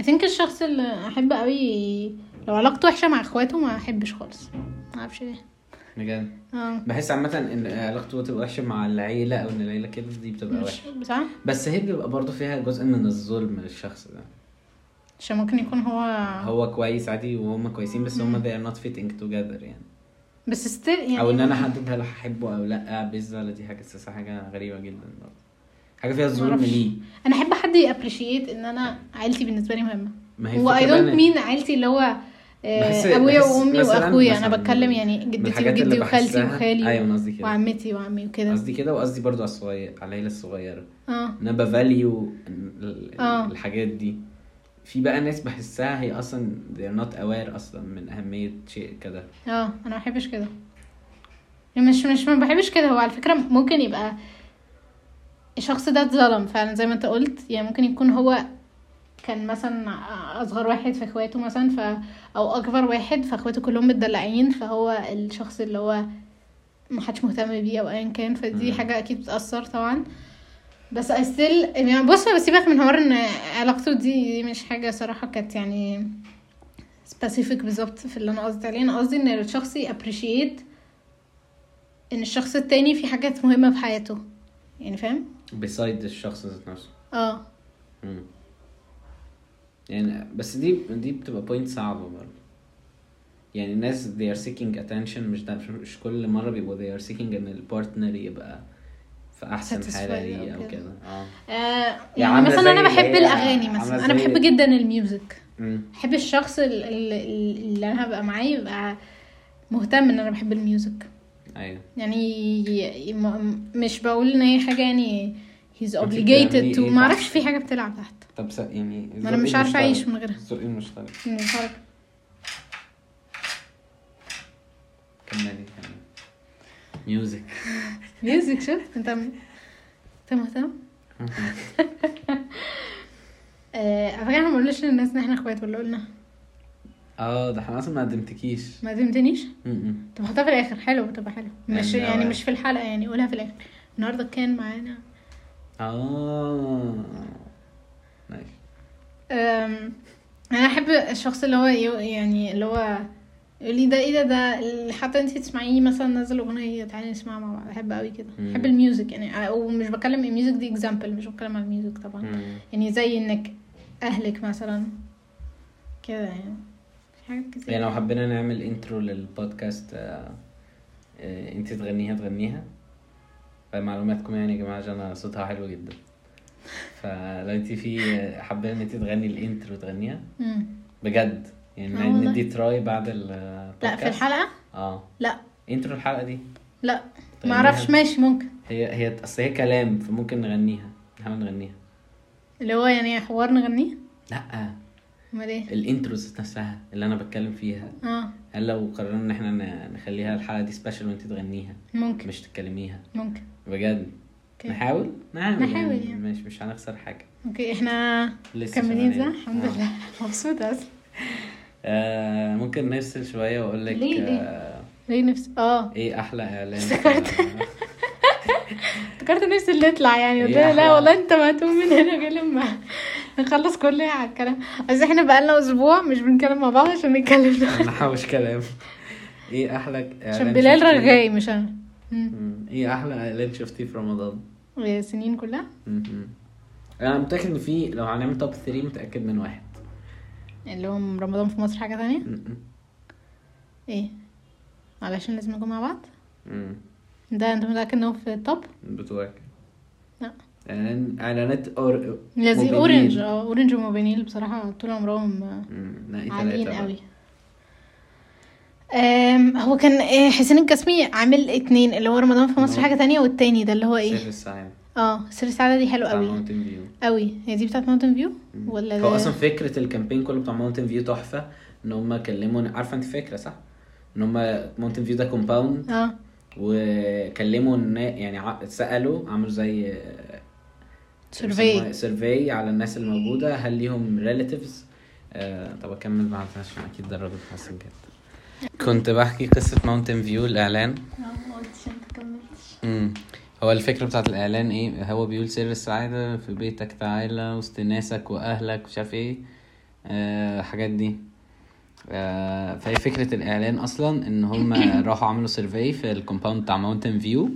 S3: I think الشخص اللي احب قوي لو علاقته وحشه مع اخواته ما احبش خالص ما اعرفش ليه
S2: بجد
S3: اه
S2: بحس عامه ان علاقته بتبقى وحشه مع العيله او ان العيله كده دي بتبقى
S3: مش
S2: وحشه
S3: صح
S2: بس هي بيبقى برضه فيها جزء من الظلم للشخص ده
S3: عشان ممكن يكون هو
S2: هو كويس عادي وهم كويسين بس هم they are not fitting together يعني
S3: بس ستيل يعني
S2: او ان انا احدد هل هحبه او لا بيتزا دي حاجه اساسا حاجه غريبه جدا برضه حاجه فيها ظلم
S3: معرفش.
S2: ليه
S3: انا احب حد يابريشيت ان انا عيلتي بالنسبه لي مهمه
S2: ما هي
S3: هو
S2: الفكرة
S3: اي
S2: بقى
S3: دونت
S2: إن-
S3: مين عيلتي اللي هو آه،
S2: بحس-
S3: ابويا
S2: بحس
S3: وامي
S2: مثلاً-
S3: واخويا انا
S2: مثلاً
S3: بتكلم يعني جدتي
S2: بالحاجات اللي
S3: وجدي وخالتي
S2: بحسها-
S3: وخالي
S2: أيوة، أنا قصدي كده.
S3: وعمتي وعمي وكده
S2: قصدي كده وقصدي برضه على الصغير على العيله الصغيره
S3: اه
S2: انا بفاليو ال-
S3: آه.
S2: ال- الحاجات دي في بقى ناس بحسها هي اصلا they're not aware اصلا من اهميه شيء كده
S3: اه انا ما بحبش كده يعني مش مش ما بحبش كده هو على فكره ممكن يبقى الشخص ده اتظلم فعلا زي ما انت قلت يعني ممكن يكون هو كان مثلا اصغر واحد في اخواته مثلا ف او اكبر واحد فاخواته كلهم متدلعين فهو الشخص اللي هو محدش مهتم بيه او ايا كان فدي
S2: مم.
S3: حاجه اكيد بتاثر طبعا بس استيل يعني بص هو سيبك من حوار ان علاقته دي مش حاجه صراحه كانت يعني سبيسيفيك بالظبط في اللي انا قصدي عليه انا قصدي ان الشخص يابريشيت ان الشخص التاني في حاجات مهمه في حياته يعني فاهم
S2: beside الشخص ذات نفسه
S3: اه
S2: مم. يعني بس دي دي بتبقى بوينت صعبه برضه يعني الناس they are seeking attention مش ده مش كل مره بيبقوا they are seeking ان البارتنر يبقى في احسن حاله
S3: Satisfied
S2: ليه
S3: أو
S2: او
S3: كده.
S2: كده اه
S3: آه، يعني
S2: عاملة
S3: مثلا انا
S2: زي اللي
S3: بحب
S2: هي-
S3: الاغاني
S2: عاملة
S3: مثلا انا
S2: زي-
S3: بحب جدا الميوزك
S2: مم.
S3: بحب الشخص ال- ال- ال- اللي انا هبقى معاه يبقى مهتم ان انا بحب الميوزك
S2: ايوه
S3: يعني ي- ي- م- مش بقول ان هي حاجه يعني he's
S2: بتعملي
S3: obligated to
S2: إيه
S3: ما اعرفش
S2: تحت؟
S3: في حاجه بتلعب تحت
S2: طب س- يعني
S3: ما انا مش عارفه اعيش من غيرها
S2: الذوق المشترك
S3: من الحركة.
S2: كملي كملي ميوزك
S3: ميوزك شفت انت م- انت مهتم آه، على فكره احنا ما قلناش للناس ان احنا اخوات ولا قلنا
S2: اه ده احنا اصلا ما قدمتكيش
S3: ما دمتنيش
S2: م-م.
S3: طب حطها في الاخر حلو تبقى حلو مش
S2: يعني
S3: يعني
S2: أوي.
S3: مش في الحلقه يعني قولها في الاخر النهارده كان معانا
S2: اه نايس
S3: أم، انا احب الشخص اللي هو يو- يعني اللي هو يقول لي ده ايه ده ده اللي حتى انت تسمعيه مثلا نزل اغنيه تعالي نسمعها مع بعض احب قوي كده
S2: مم.
S3: احب الميوزك يعني ومش بكلم الميوزك دي اكزامبل مش بتكلم عن الميوزك طبعا
S2: م.
S3: يعني زي انك اهلك مثلا كده يعني في حاجات كتير
S2: يعني لو حبينا نعمل انترو للبودكاست آه، آه، انت تغنيها تغنيها فمعلوماتكم يعني يا جماعه جانا صوتها حلو جدا فلو انت في آه، حابه ان انت تغني الانترو تغنيها
S3: مم.
S2: بجد يعني
S3: آه والله.
S2: ندي تراي بعد
S3: لا في
S2: البودكاست
S3: الحلقه
S2: اه
S3: لا
S2: انترو الحلقه دي
S3: لا
S2: طيب،
S3: معرفش
S2: نعم.
S3: ماشي ممكن
S2: هي هي اصل هي كلام فممكن نغنيها نحاول نغنيها
S3: اللي هو يعني حوار نغنيه
S2: لا
S3: امال
S2: إيه.
S3: ايه
S2: الانتروز ذات نفسها اللي انا بتكلم فيها
S3: اه
S2: هل لو قررنا ان احنا ن- نخليها الحلقه دي سبيشال وانت تغنيها
S3: ممكن
S2: مش تتكلميها
S3: ممكن
S2: بجد
S3: اوكي
S2: نحاول نعمل
S3: نحاول
S2: يعني.
S3: يعني.
S2: مش مش هنخسر حاجه
S3: اوكي احنا
S2: لسه
S3: مكملين
S2: شغالين.
S3: صح الحمد
S2: آه.
S3: لله مبسوطه اصلا
S2: آه ممكن نفصل شويه واقول لك
S3: ليه- ليه؟
S2: آه
S3: ليه نفسي اه
S2: ايه احلى اعلان
S3: افتكرت نفسي اللي يطلع يعني
S2: إيه
S3: قلت لها،
S2: أحلى.
S3: لا والله انت مهتم من هنا غير لما نخلص كل على الكلام بس احنا بقالنا اسبوع مش بنتكلم مع بعض عشان نتكلم
S2: نحوش كلام ايه احلى اعلان
S3: عشان بلال
S2: شفتيه؟
S3: رغاي مش انا مم.
S2: مم. ايه احلى اعلان شفتيه في رمضان
S3: اه سنين كلها
S2: مم. انا متاكد ان في لو هنعمل توب 3 متاكد من واحد
S3: اللي هو رمضان في مصر حاجة تانية
S2: م-
S3: ايه علشان لازم نكون مع بعض
S2: م.
S3: ده انت متأكد ان هو في التوب
S2: بتواكب
S3: لا.
S2: إعلان- اعلانات اور
S3: لذي
S2: موبينيل.
S3: اورنج اه اورنج وموبينيل بصراحة طول عمرهم آه،
S2: م، نقي
S3: عاليين
S2: ثلاثة
S3: قوي أم هو كان آه، حسين الجسمي عامل اتنين اللي هو رمضان في مصر
S2: نعم.
S3: حاجة تانية والتاني ده اللي هو
S2: سيف
S3: ايه
S2: السعيد
S3: اه سر السعادة دي حلو
S2: بتاع
S3: قوي
S2: ماونتن فيو
S3: قوي هي دي بتاعت ماونتن فيو
S2: مم.
S3: ولا
S2: هو
S3: ده؟
S2: اصلا فكره الكامبين كله بتاع ماونتن فيو تحفه ان هم كلموا عارفه انت فكره صح؟ ان هم ماونتن فيو ده كومباوند
S3: اه
S2: وكلموا النا- يعني ع- سالوا عملوا زي
S3: سيرفي
S2: سيرفي على الناس الموجوده هل ليهم ريلاتيفز آه طب اكمل بعد عشان اكيد ده الراجل حسن جدا كنت بحكي قصه ماونتن فيو الاعلان امم هو الفكره بتاعت الاعلان ايه هو بيقول سر السعاده في بيتك تعالى وسط ناسك واهلك مش عارف ايه آه حاجات دي آه فهي فكره الاعلان اصلا ان هم راحوا عملوا سيرفي في الكومباوند بتاع ماونتن فيو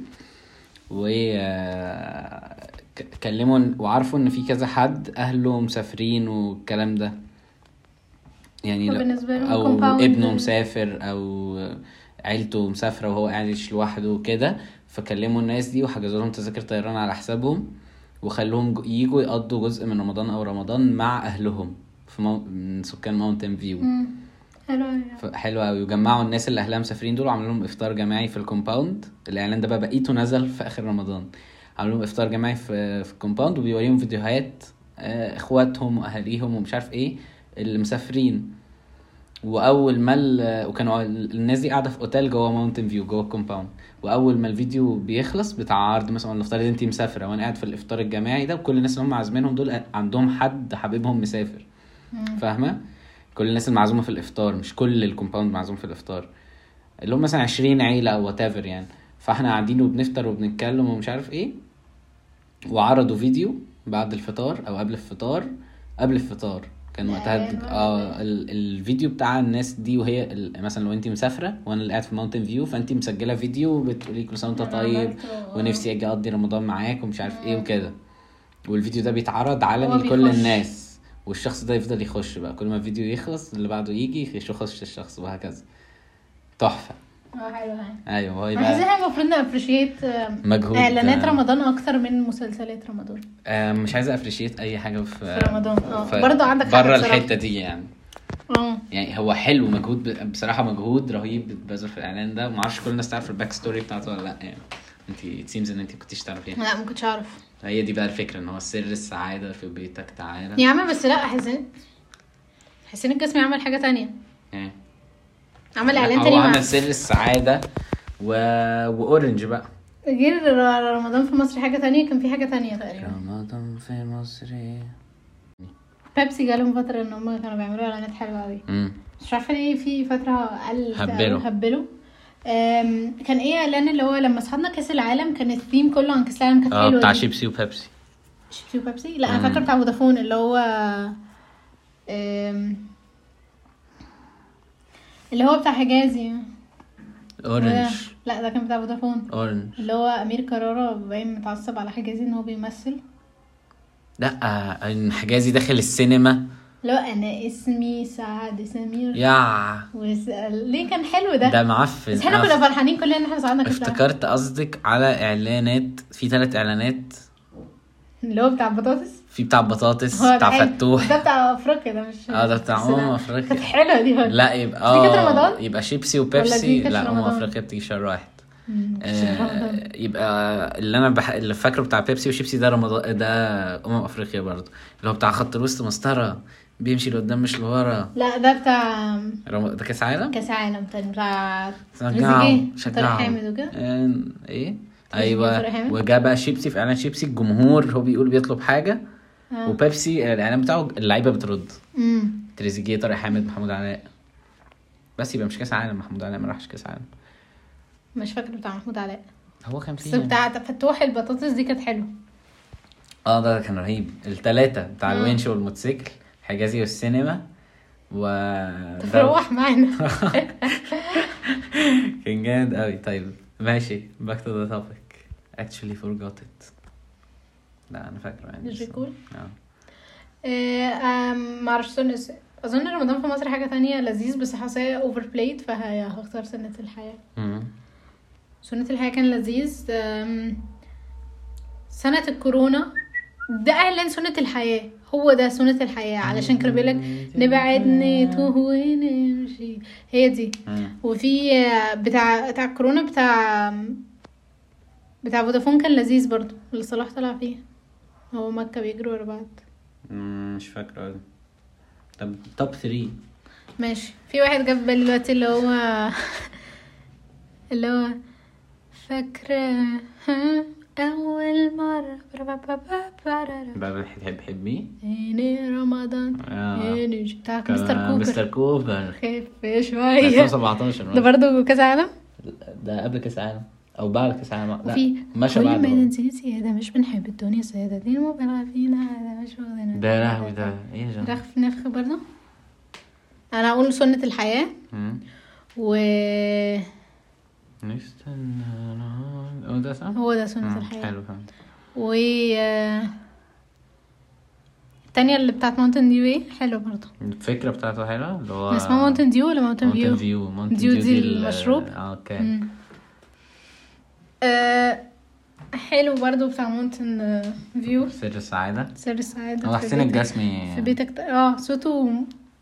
S2: و آه، ك- كلموا إن- وعرفوا ان في كذا حد اهله مسافرين والكلام ده يعني لو-
S3: وبالنسبة لهم
S2: او
S3: compound-
S2: ابنه مسافر او عيلته مسافره وهو قاعد يعيش لوحده وكده فكلموا الناس دي وحجزوا لهم تذاكر طيران على حسابهم وخلوهم ج- يجوا يقضوا جزء من رمضان او رمضان مع اهلهم في مو... من سكان ماونتن فيو
S3: حلو
S2: ف- حلو قوي وجمعوا الناس اللي اهلها مسافرين دول وعملوا لهم افطار جماعي في الكومباوند الاعلان ده بقى بقيته نزل في اخر رمضان عملوا لهم افطار جماعي في في الكومباوند وبيوريهم فيديوهات آه، اخواتهم واهاليهم ومش عارف ايه اللي مسافرين واول ما ال- وكانوا ال- الناس دي قاعده في اوتيل جوه ماونتن فيو جوه الكومباوند واول ما الفيديو بيخلص بتاع عرض مثلا نفترض انت مسافره وانا قاعد في الافطار الجماعي ده وكل الناس اللي هم عازمينهم دول عندهم حد حبيبهم مسافر فاهمه كل الناس المعزومه في الافطار مش كل الكومباوند معزوم في الافطار اللي هم مثلا 20 عيله او وات يعني فاحنا قاعدين وبنفطر وبنتكلم ومش عارف ايه وعرضوا فيديو بعد الفطار او قبل الفطار قبل الفطار كان وقتها
S3: الإعلان ولا
S2: اه ال- الفيديو بتاع الناس دي وهي ال- مثلا لو انت مسافره وانا اللي قاعد في ماونتن فيو فانت مسجله فيديو بتقولي كل سنه وانت
S3: أنا
S2: طيب
S3: عملته، آه.
S2: ونفسي اجي اقضي رمضان معاك ومش عارف ايه وكده والفيديو ده بيتعرض علني
S3: هو
S2: لكل
S3: بيخش.
S2: الناس والشخص ده يفضل يخش بقى كل ما الفيديو يخلص اللي بعده يجي يخش الشخص وهكذا تحفه
S3: اه حلو يعني
S2: ايوه هو
S3: أنا حاسة إن
S2: يبقى
S3: احنا المفروض نابريشيت
S2: مجهود
S3: اعلانات
S2: آه،
S3: رمضان اكتر من مسلسلات رمضان
S2: آه، مش عايز افريشيت اي حاجه في
S3: في رمضان، آه.
S2: في-
S3: برضه عندك حق
S2: بره
S3: بصراحة.
S2: الحته دي يعني
S3: اه
S2: يعني هو حلو مجهود ب- بصراحه مجهود رهيب بتبذل في الاعلان ده ومعرفش كل الناس تعرف الباك ستوري بتاعته ولا لا يعني انت سيمز ان انت كنتيش تعرفيها
S3: لا ما كنتش اعرف
S2: هي دي بقى الفكره ان هو سر السعاده في بيتك تعالى
S3: يا عم بس لا حسين حسين الجسمي عمل حاجة تانية
S2: يعني
S3: عمل اعلان
S2: هو
S3: تاني مع
S2: عمل سر السعاده و... واورنج بقى
S3: غير ر- رمضان في مصر حاجة تانية كان في حاجة تانية
S2: آه.
S3: تقريبا
S2: رمضان في مصر
S3: بيبسي جالهم فترة ان هم كانوا بيعملوا اعلانات حلوة قوي
S2: امم
S3: مش عارفة ليه في فترة قال
S2: هبلوا.
S3: هبلوا أم، كان ايه اعلان اللي هو لما صحنا كاس العالم كان الثيم كله عن كاس العالم كانت حلوة دي.
S2: آه، شيبسي وبيبسي
S3: شيبسي وبيبسي لا انا فاكره بتاع فودافون اللي هو أم، اللي هو بتاع حجازي
S2: اورنج
S3: لا ده كان بتاع فودافون
S2: اورنج
S3: اللي هو امير كرارة باين متعصب على حجازي ان هو بيمثل
S2: لا آه، إن حجازي داخل السينما
S3: لا انا اسمي سعد سمير
S2: يا
S3: وس... ليه كان حلو ده,
S2: ده معفن
S3: بس
S2: أف-
S3: احنا كنا فرحانين كلنا ان احنا صعدنا كاس العالم.
S2: افتكرت قصدك على اعلانات في ثلاث اعلانات
S3: اللي هو بتاع البطاطس
S2: في بتاع بطاطس
S3: هو
S2: بتاع
S3: حلو.
S2: فتوح
S3: ده بتاع افريقيا ده مش
S2: اه ده بتاع
S3: بس
S2: أمم
S3: لا.
S2: أفريقيا.
S3: كانت حلوه دي برضه.
S2: لا يبقى
S3: بس دي كانت
S2: اه
S3: رمضان؟
S2: يبقى شيبسي
S3: ولا دي
S2: وبيبسي
S3: كانت
S2: لا ام
S3: رمضان؟
S2: افريقيا بتيجي شهر واحد
S3: أمم، مش رمضان.
S2: آه، يبقى اللي انا بح... اللي فاكره بتاع بيبسي وشيبسي ده رمضان ده امم افريقيا برضو اللي هو بتاع خط الوسط مسطره بيمشي لقدام مش لورا
S3: لا ده بتاع
S2: رم... ده كاس عالم
S3: كاس عالم تاني بتاع
S2: شجعوا
S3: تريزيجيه طارق
S2: شجعوا
S3: حامد وكده
S2: آه، ايه
S3: طارق
S2: ايوه
S3: حامد.
S2: وجا بقى شيبسي في اعلان شيبسي الجمهور هو بيقول بيطلب حاجه
S3: آه.
S2: وبيبسي الاعلان بتاعه اللعيبه بترد
S3: امم
S2: تريزيجيه طارق حامد محمود علاء بس يبقى مش كاس عالم محمود علاء ما راحش كاس عالم
S3: مش فاكر بتاع محمود علاء
S2: هو كان
S3: بس
S2: فيه
S3: بتاع فتوح البطاطس دي كانت حلوه
S2: اه ده كان رهيب التلاتة بتاع
S3: مم.
S2: الونش والموتوسيكل حجازي والسينما و ده
S3: تروح معانا
S2: كان جامد قوي طيب ماشي باك تو ذا توبيك actually forgot it لا انا فاكره يعني
S3: مش
S2: بس-
S3: بيقول
S2: اه
S3: آه، آم، إيه، معرفش سن اظن رمضان في مصر حاجه تانية لذيذ بس حاساه اوفر بلايد فهختار سنه الحياه
S2: مم.
S3: سنة الحياة كان لذيذ أم، سنة الكورونا ده أعلن سنة الحياة هو ده سنة الحياة علشان كانوا بيقولك نبعد نتوه ونمشي هي دي
S2: مم.
S3: وفي آه، بتاع بتاع الكورونا بتاع بتاع فودافون كان لذيذ برضو اللي صلاح طلع فيه هو مكة بيجروا ورا بعض
S2: مم، مش فاكره أوي. طب توب 3
S3: ماشي في واحد جاب بالي دلوقتي اللي هو اللي هو فاكرة ها، أول مرة برا با با با را را.
S2: بقى بتحب بتحبيه
S3: عيني رمضان
S2: آه.
S3: عيني ج- بتاع
S2: كان
S3: مستر كوبر
S2: مستر كوبر
S3: خف شوية
S2: 2017
S3: ده برضه كأس عالم
S2: ده قبل كاس عالم او بعد كاس عالم لا
S3: وفي
S2: مشى
S3: كل
S2: بعد
S3: ما
S2: برضه.
S3: ننسي سيادة مش بنحب الدنيا سيادة دي المبالغة فينا هذا مش واخدنا
S2: ده يا لهوي ده ايه يا جماعه
S3: رخف نفخ برضه أنا هقول سنة الحياة
S2: مم.
S3: و
S2: نستنى نقعد- هو ده صح؟
S3: هو ده سنة
S2: مم.
S3: الحياة
S2: حلو فهمت
S3: و آه، التانية اللي بتاعت ماونتن ديو ايه حلو برضه
S2: الفكره بتاعته حلوه اللي هو
S3: اسمها ماونتن ديو ولا ماونتن
S2: مونتن
S3: فيو
S2: فيو مونتن
S3: ديو
S2: فيو
S3: دي
S2: ال-
S3: المشروب.
S2: اه اوكي
S3: مم. آه، حلو برضه بتاع ماونتن فيو
S2: سر السعاده
S3: سر السعادة
S2: هو
S3: في
S2: حسين
S3: بيتك-
S2: الجسمي
S3: في بيتك ت- اه صوته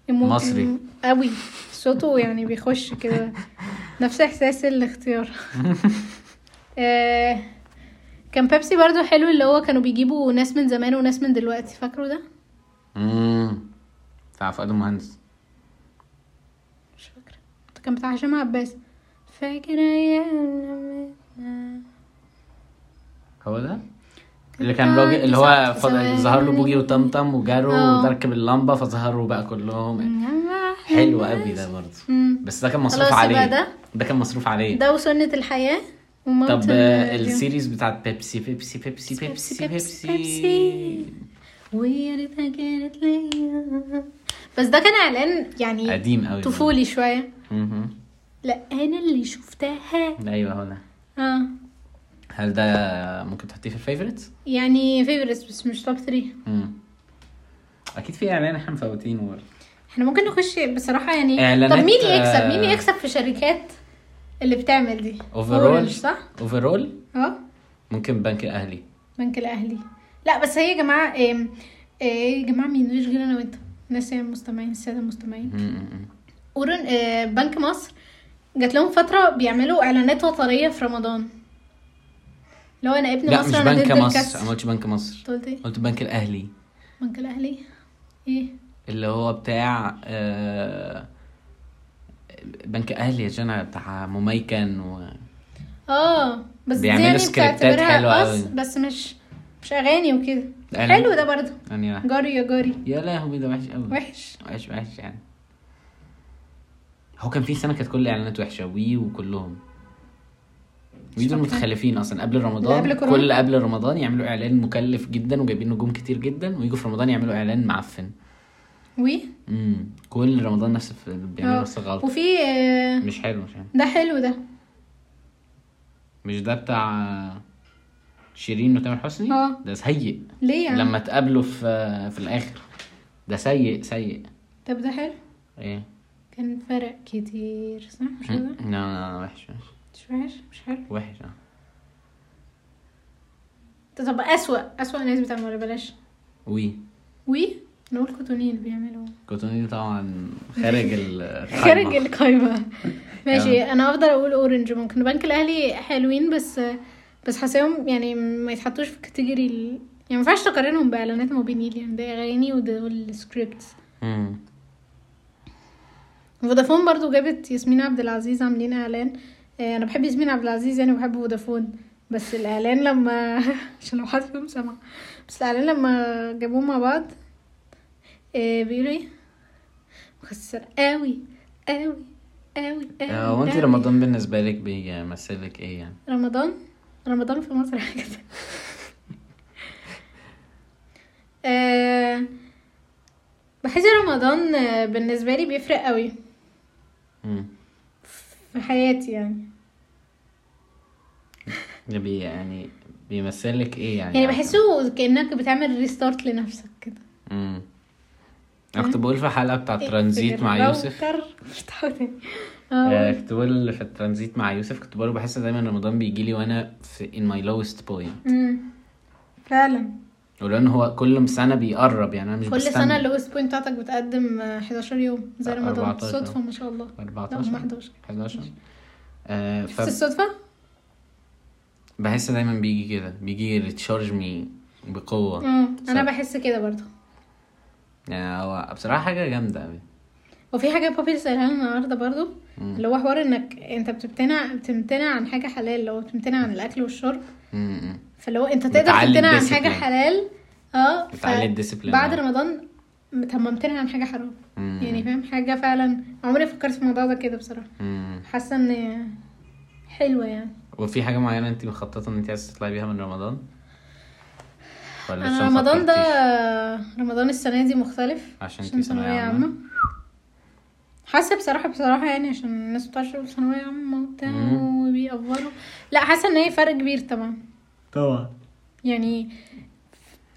S3: يمو-
S2: يعني. مصري.
S3: يمو- قوي صوته يعني بيخش كده نفس احساس الاختيار آه، كان بيبسي برضو حلو اللي هو كانوا بيجيبوا ناس من زمان وناس من دلوقتي فاكروا ده
S2: امم بتاع فؤاد المهندس
S3: مش فاكرة كان بتاع هشام عباس فاكرة يا لما-
S2: هو ده اللي كان راجل اللي هو
S3: عندي
S2: فضل-
S3: سبت
S2: ظهر له بوجي
S3: زمان.
S2: وطمطم وجاروا
S3: آه.
S2: وركب اللمبه فظهروا بقى كلهم حلو قوي ده برضه
S3: مم.
S2: بس ده كان مصروف
S3: خلاص يبقى
S2: عليه
S3: ده.
S2: ده كان مصروف عليه
S3: ده وسنة الحياة
S2: طب
S3: وموطن
S2: آه،
S3: اليوم.
S2: السيريز بتاعت بيبسي بيبسي بيبسي بيبسي
S3: بيبسي، بيبسي،
S2: بيبسي
S3: ويا ريتها كانت ليا بس ده كان اعلان يعني
S2: قديم قوي
S3: طفولي شويه
S2: مهم.
S3: لا انا اللي شفتها
S2: ايوه هو ده
S3: اه
S2: هل ده ممكن تحطيه في الفيفوريتس؟
S3: يعني فيفرس بس مش توب 3
S2: اكيد في اعلان احنا مفوتينه برضه
S3: احنا ممكن نخش بصراحه يعني
S2: إعلانات،
S3: طب مين يكسب مين
S2: آه،
S3: يكسب في شركات اللي بتعمل دي
S2: اوفرول
S3: Orange، صح
S2: اوفرول
S3: اه
S2: ممكن بنك الاهلي
S3: بنك الاهلي لا بس هي يا جماعه ايه يا جماعه مين مش غير انا وانت الناس يعني المستمعين الساده المستمعين
S2: مم.
S3: أورن آه، بنك مصر جات لهم فترة بيعملوا إعلانات وطنية في رمضان لو أنا ابن
S2: لا
S3: مصر
S2: مش
S3: أنا
S2: بنك
S3: ضد
S2: مصر
S3: الكسر
S2: أنا ما قلتش بنك مصر
S3: أنت قلت إيه؟
S2: قلت بنك الاهلي
S3: بنك الأهلي إيه؟
S2: اللي هو بتاع آه، بنك اهلي يا جنى بتاع مميكن و
S3: آه بس دي
S2: بيعملوا
S3: يعني
S2: سكريبتات
S3: بتعتبرها
S2: حلوة
S3: قص
S2: أوي.
S3: بس مش مش أغاني وكده
S2: أنا-
S3: حلو ده برضه
S2: يعني واحد.
S3: جاري يا جاري
S2: يا لهوي ده وحش قوي
S3: وحش
S2: وحش وحش يعني هو كان في سنه كانت كل الاعلانات وحشه وي وكلهم وي دول
S3: فاكرة.
S2: متخلفين اصلا قبل
S3: لا،
S2: رمضان
S3: قبل كورونا.
S2: كل قبل رمضان يعملوا اعلان مكلف جدا وجايبين نجوم كتير جدا ويجوا في رمضان يعملوا اعلان معفن
S3: وي
S2: امم كل رمضان نفس الف- بيعملوا
S3: آه.
S2: نفس الغلطه
S3: وفي آه،
S2: مش حلو مش حلو
S3: ده حلو ده
S2: مش ده بتاع شيرين وتامر حسني
S3: آه.
S2: ده سيء
S3: ليه يعني؟
S2: لما تقابلوا في في الاخر ده سيء سيء
S3: طب ده حلو
S2: ايه
S3: كان فرق كتير صح مش
S2: لا
S3: كده؟
S2: لا لا، وحش وحش
S3: مش وحش مش حلو
S2: وحش اه
S3: طب أسوأ أسوأ ناس بتعمل ولا بلاش
S2: وي
S3: وي نقول كوتونيل بيعملوا
S2: كوتوني طبعا خارج ال
S3: خارج القايمة ماشي انا افضل اقول اورنج ممكن بنك الاهلي حلوين بس بس حاساهم يعني ما يتحطوش في كاتيجوري ال... يعني ما ينفعش تقارنهم باعلانات موبينيل يعني ده اغاني وده السكريبت
S2: مم.
S3: فودافون برضو جابت ياسمين عبد العزيز عاملين اعلان آه، انا بحب ياسمين عبد العزيز يعني بحب فودافون بس الاعلان لما عشان لو حد فيهم سمع بس الاعلان لما جابوه مع بعض آه، بيقولوا ايه مخسر قوي قوي قوي قوي
S2: آه، هو انت
S3: قوي.
S2: رمضان بالنسبه لك بيمثل لك ايه يعني؟
S3: رمضان رمضان في مصر حاجة تانية. آه، بحس رمضان آه، بالنسبة لي بيفرق قوي
S2: مم.
S3: في حياتي يعني
S2: ده بي يعني بيمثل لك ايه يعني؟
S3: يعني بحسه كانك بتعمل ريستارت لنفسك كده
S2: مم. انا كنت بقول في حلقه بتاع
S3: إيه،
S2: ترانزيت مع يوسف
S3: افتحوا تاني
S2: آه،
S3: اه
S2: كنت بقول في الترانزيت مع يوسف كنت بقول بحس دايما رمضان بيجي لي وانا في in my lowest point
S3: أمم. فعلا
S2: ولان هو كل سنه بيقرب يعني انا مش
S3: كل
S2: بستنى
S3: سنه اللوست بوينت بتاعتك بتقدم آه، 11 يوم زي
S2: آه،
S3: رمضان
S2: 14
S3: صدفه ما شاء الله لا هم
S2: 14
S3: 11
S2: 11 آه
S3: شفت الصدفه؟
S2: فبحس دايما بيجي كده بيجي ريتشارج مي بقوه
S3: اه انا
S2: صح.
S3: بحس كده برضه
S2: يعني هو بصراحه حاجه جامده قوي
S3: وفي حاجه بابي سألها لنا النهارده برضه
S2: مم.
S3: اللي هو حوار انك انت بتمتنع بتمتنع عن حاجه حلال لو بتمتنع عن الاكل والشرب فاللي هو انت تقدر
S2: بتعلي
S3: تمتنع عن
S2: الديسيبلين.
S3: حاجه حلال اه ف-
S2: بتعلي الديسيبلين،
S3: بعد
S2: آه.
S3: رمضان طب ما امتنع عن حاجه حرام يعني فاهم حاجه فعلا عمري ما فكرت في الموضوع ده كده بصراحه حاسه ان حلوه يعني
S2: وفي حاجه معينه انت مخططه ان انت عايزه تطلعي بيها من رمضان ولا لسه
S3: انا
S2: ما
S3: رمضان ده
S2: فكرتيش؟
S3: رمضان السنه دي مختلف
S2: عشان انتي ثانوية عامة.
S3: حاسه بصراحه بصراحه يعني عشان الناس بتوع الشغل ثانويه عامه وبتاع
S2: مم.
S3: وبيأفوروا لا حاسه ان هي فرق كبير طبعا
S2: طبعا
S3: يعني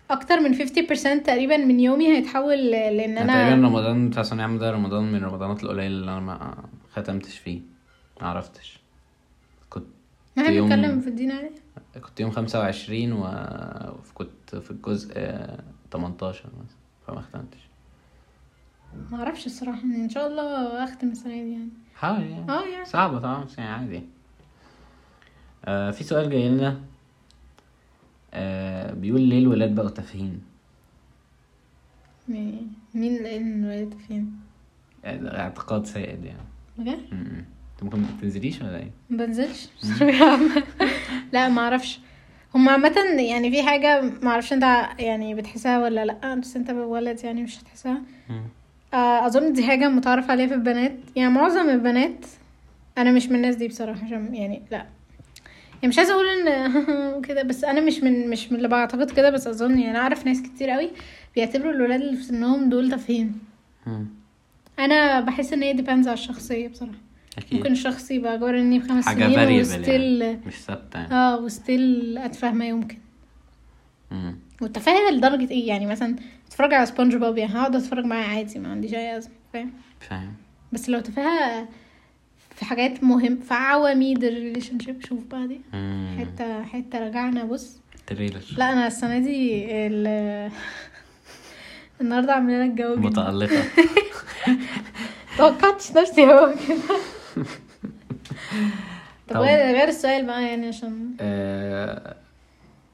S3: اكتر من 50% تقريبا من يومي هيتحول ل-
S2: انا
S3: لان
S2: تقريبا
S3: انا
S2: يعني رمضان بتاع ثانوية عامة ده رمضان من رمضانات القليلة اللي انا ما ختمتش فيه ما عرفتش كنت
S3: احنا
S2: يوم-
S3: بنتكلم في الدين عادي
S2: كنت يوم خمسة وعشرين وكنت في الجزء تمنتاشر مثلا فما ختمتش
S3: ما اعرفش الصراحه يعني ان شاء الله اختم السنه دي يعني
S2: حاول يعني
S3: اه يعني
S2: صعبة طبعا بس يعني عادي آه في سؤال جاي لنا آه بيقول ليه الولاد بقوا تافهين
S3: يعني مين اللي قال ان الولاد فين
S2: آه، اعتقاد سائد يعني
S3: بجد
S2: م- م. انت ممكن ما تنزليش ولا ايه؟
S3: ما بنزلش ثانوية عامة. لا ما اعرفش هما عامة يعني في حاجة ما اعرفش انت يعني بتحسها ولا لا بس انت ولد يعني مش هتحسها آه، اظن دي حاجة متعارف عليها في البنات يعني معظم البنات انا مش من الناس دي بصراحة عشان يعني لا يعني مش عايزة اقول ان كده بس انا مش من مش من اللي بعتقد كده بس اظن يعني اعرف ناس كتير قوي بيعتبروا الولاد اللي في سنهم دول تافهين
S2: م.
S3: انا بحس ان هي ديبانز على الشخصية بصراحة ممكن الشخص يبقى جارني بخمس
S2: حاجة
S3: سنين
S2: variable
S3: وستيل
S2: يعني مش ثابتة يعني
S3: اه وستيل اتفه ما يمكن
S2: مم.
S3: والتفاهه لدرجه ايه يعني مثلا اتفرج على سبونج بوب يعني هقعد اتفرج معاه عادي ما عنديش اي ازمه فاهم
S2: فاهم
S3: بس لو تفاهه في حاجات مهم في عواميد الريليشن شيب شوف بقى دي
S2: مم.
S3: حته حته رجعنا بص
S2: تريلر
S3: لا انا السنه دي ال النهارده عاملين لنا الجو جدا.
S2: متألقة
S3: توقعتش نفسي هو كده طب
S2: طب.
S3: غير غير السؤال بقى يعني عشان
S2: آه،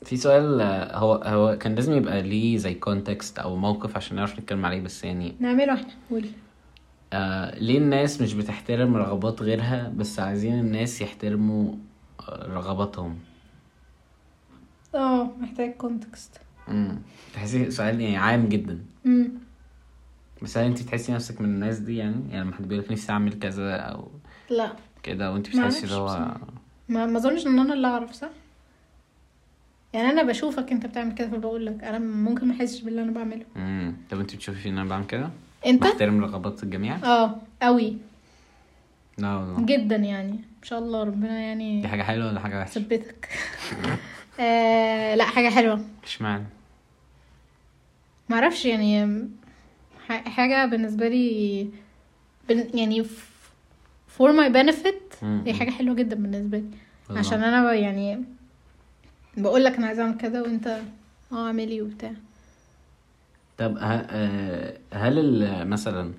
S2: في سؤال آه، هو هو كان لازم يبقى ليه زي كونتكست او موقف عشان نعرف نتكلم عليه بس يعني
S3: نعمله احنا قولي
S2: آه ليه الناس مش بتحترم رغبات غيرها بس عايزين الناس يحترموا آه، رغباتهم
S3: اه محتاج كونتكست
S2: امم تحسي سؤال يعني عام جدا
S3: امم
S2: بس هل انت بتحسي نفسك من الناس دي يعني يعني لما حد بيقول لك نفسي اعمل كذا او
S3: لا
S2: كده وانت
S3: ما
S2: بتحسي اللي
S3: أعرفش
S2: هو
S3: بصراحة. ما ما اظنش ان انا اللي اعرف صح يعني انا بشوفك انت بتعمل كده فبقول لك انا ممكن ما احسش باللي انا بعمله
S2: امم طب انت بتشوفي ان انا بعمل كده؟
S3: انت
S2: بحترم رغبات الجميع؟
S3: اه قوي
S2: لا والله
S3: جدا يعني ان شاء الله ربنا
S2: اه. دي
S3: يعني
S2: حاجة حلوة ولا حاجة وحشة؟
S3: يثبتك آه لا حاجه حلوه
S2: اشمعنى؟
S3: ما اعرفش يعني ح- حاجه بالنسبه لي بن يعني ف- for my benefit
S2: مم.
S3: هي حاجه حلوه جدا بالنسبه لي
S2: والله.
S3: عشان انا ب- يعني بقول لك انا عايزه اعمل كده وانت اه اعملي وبتاع
S2: طب ه- آه، هل ال- مثلا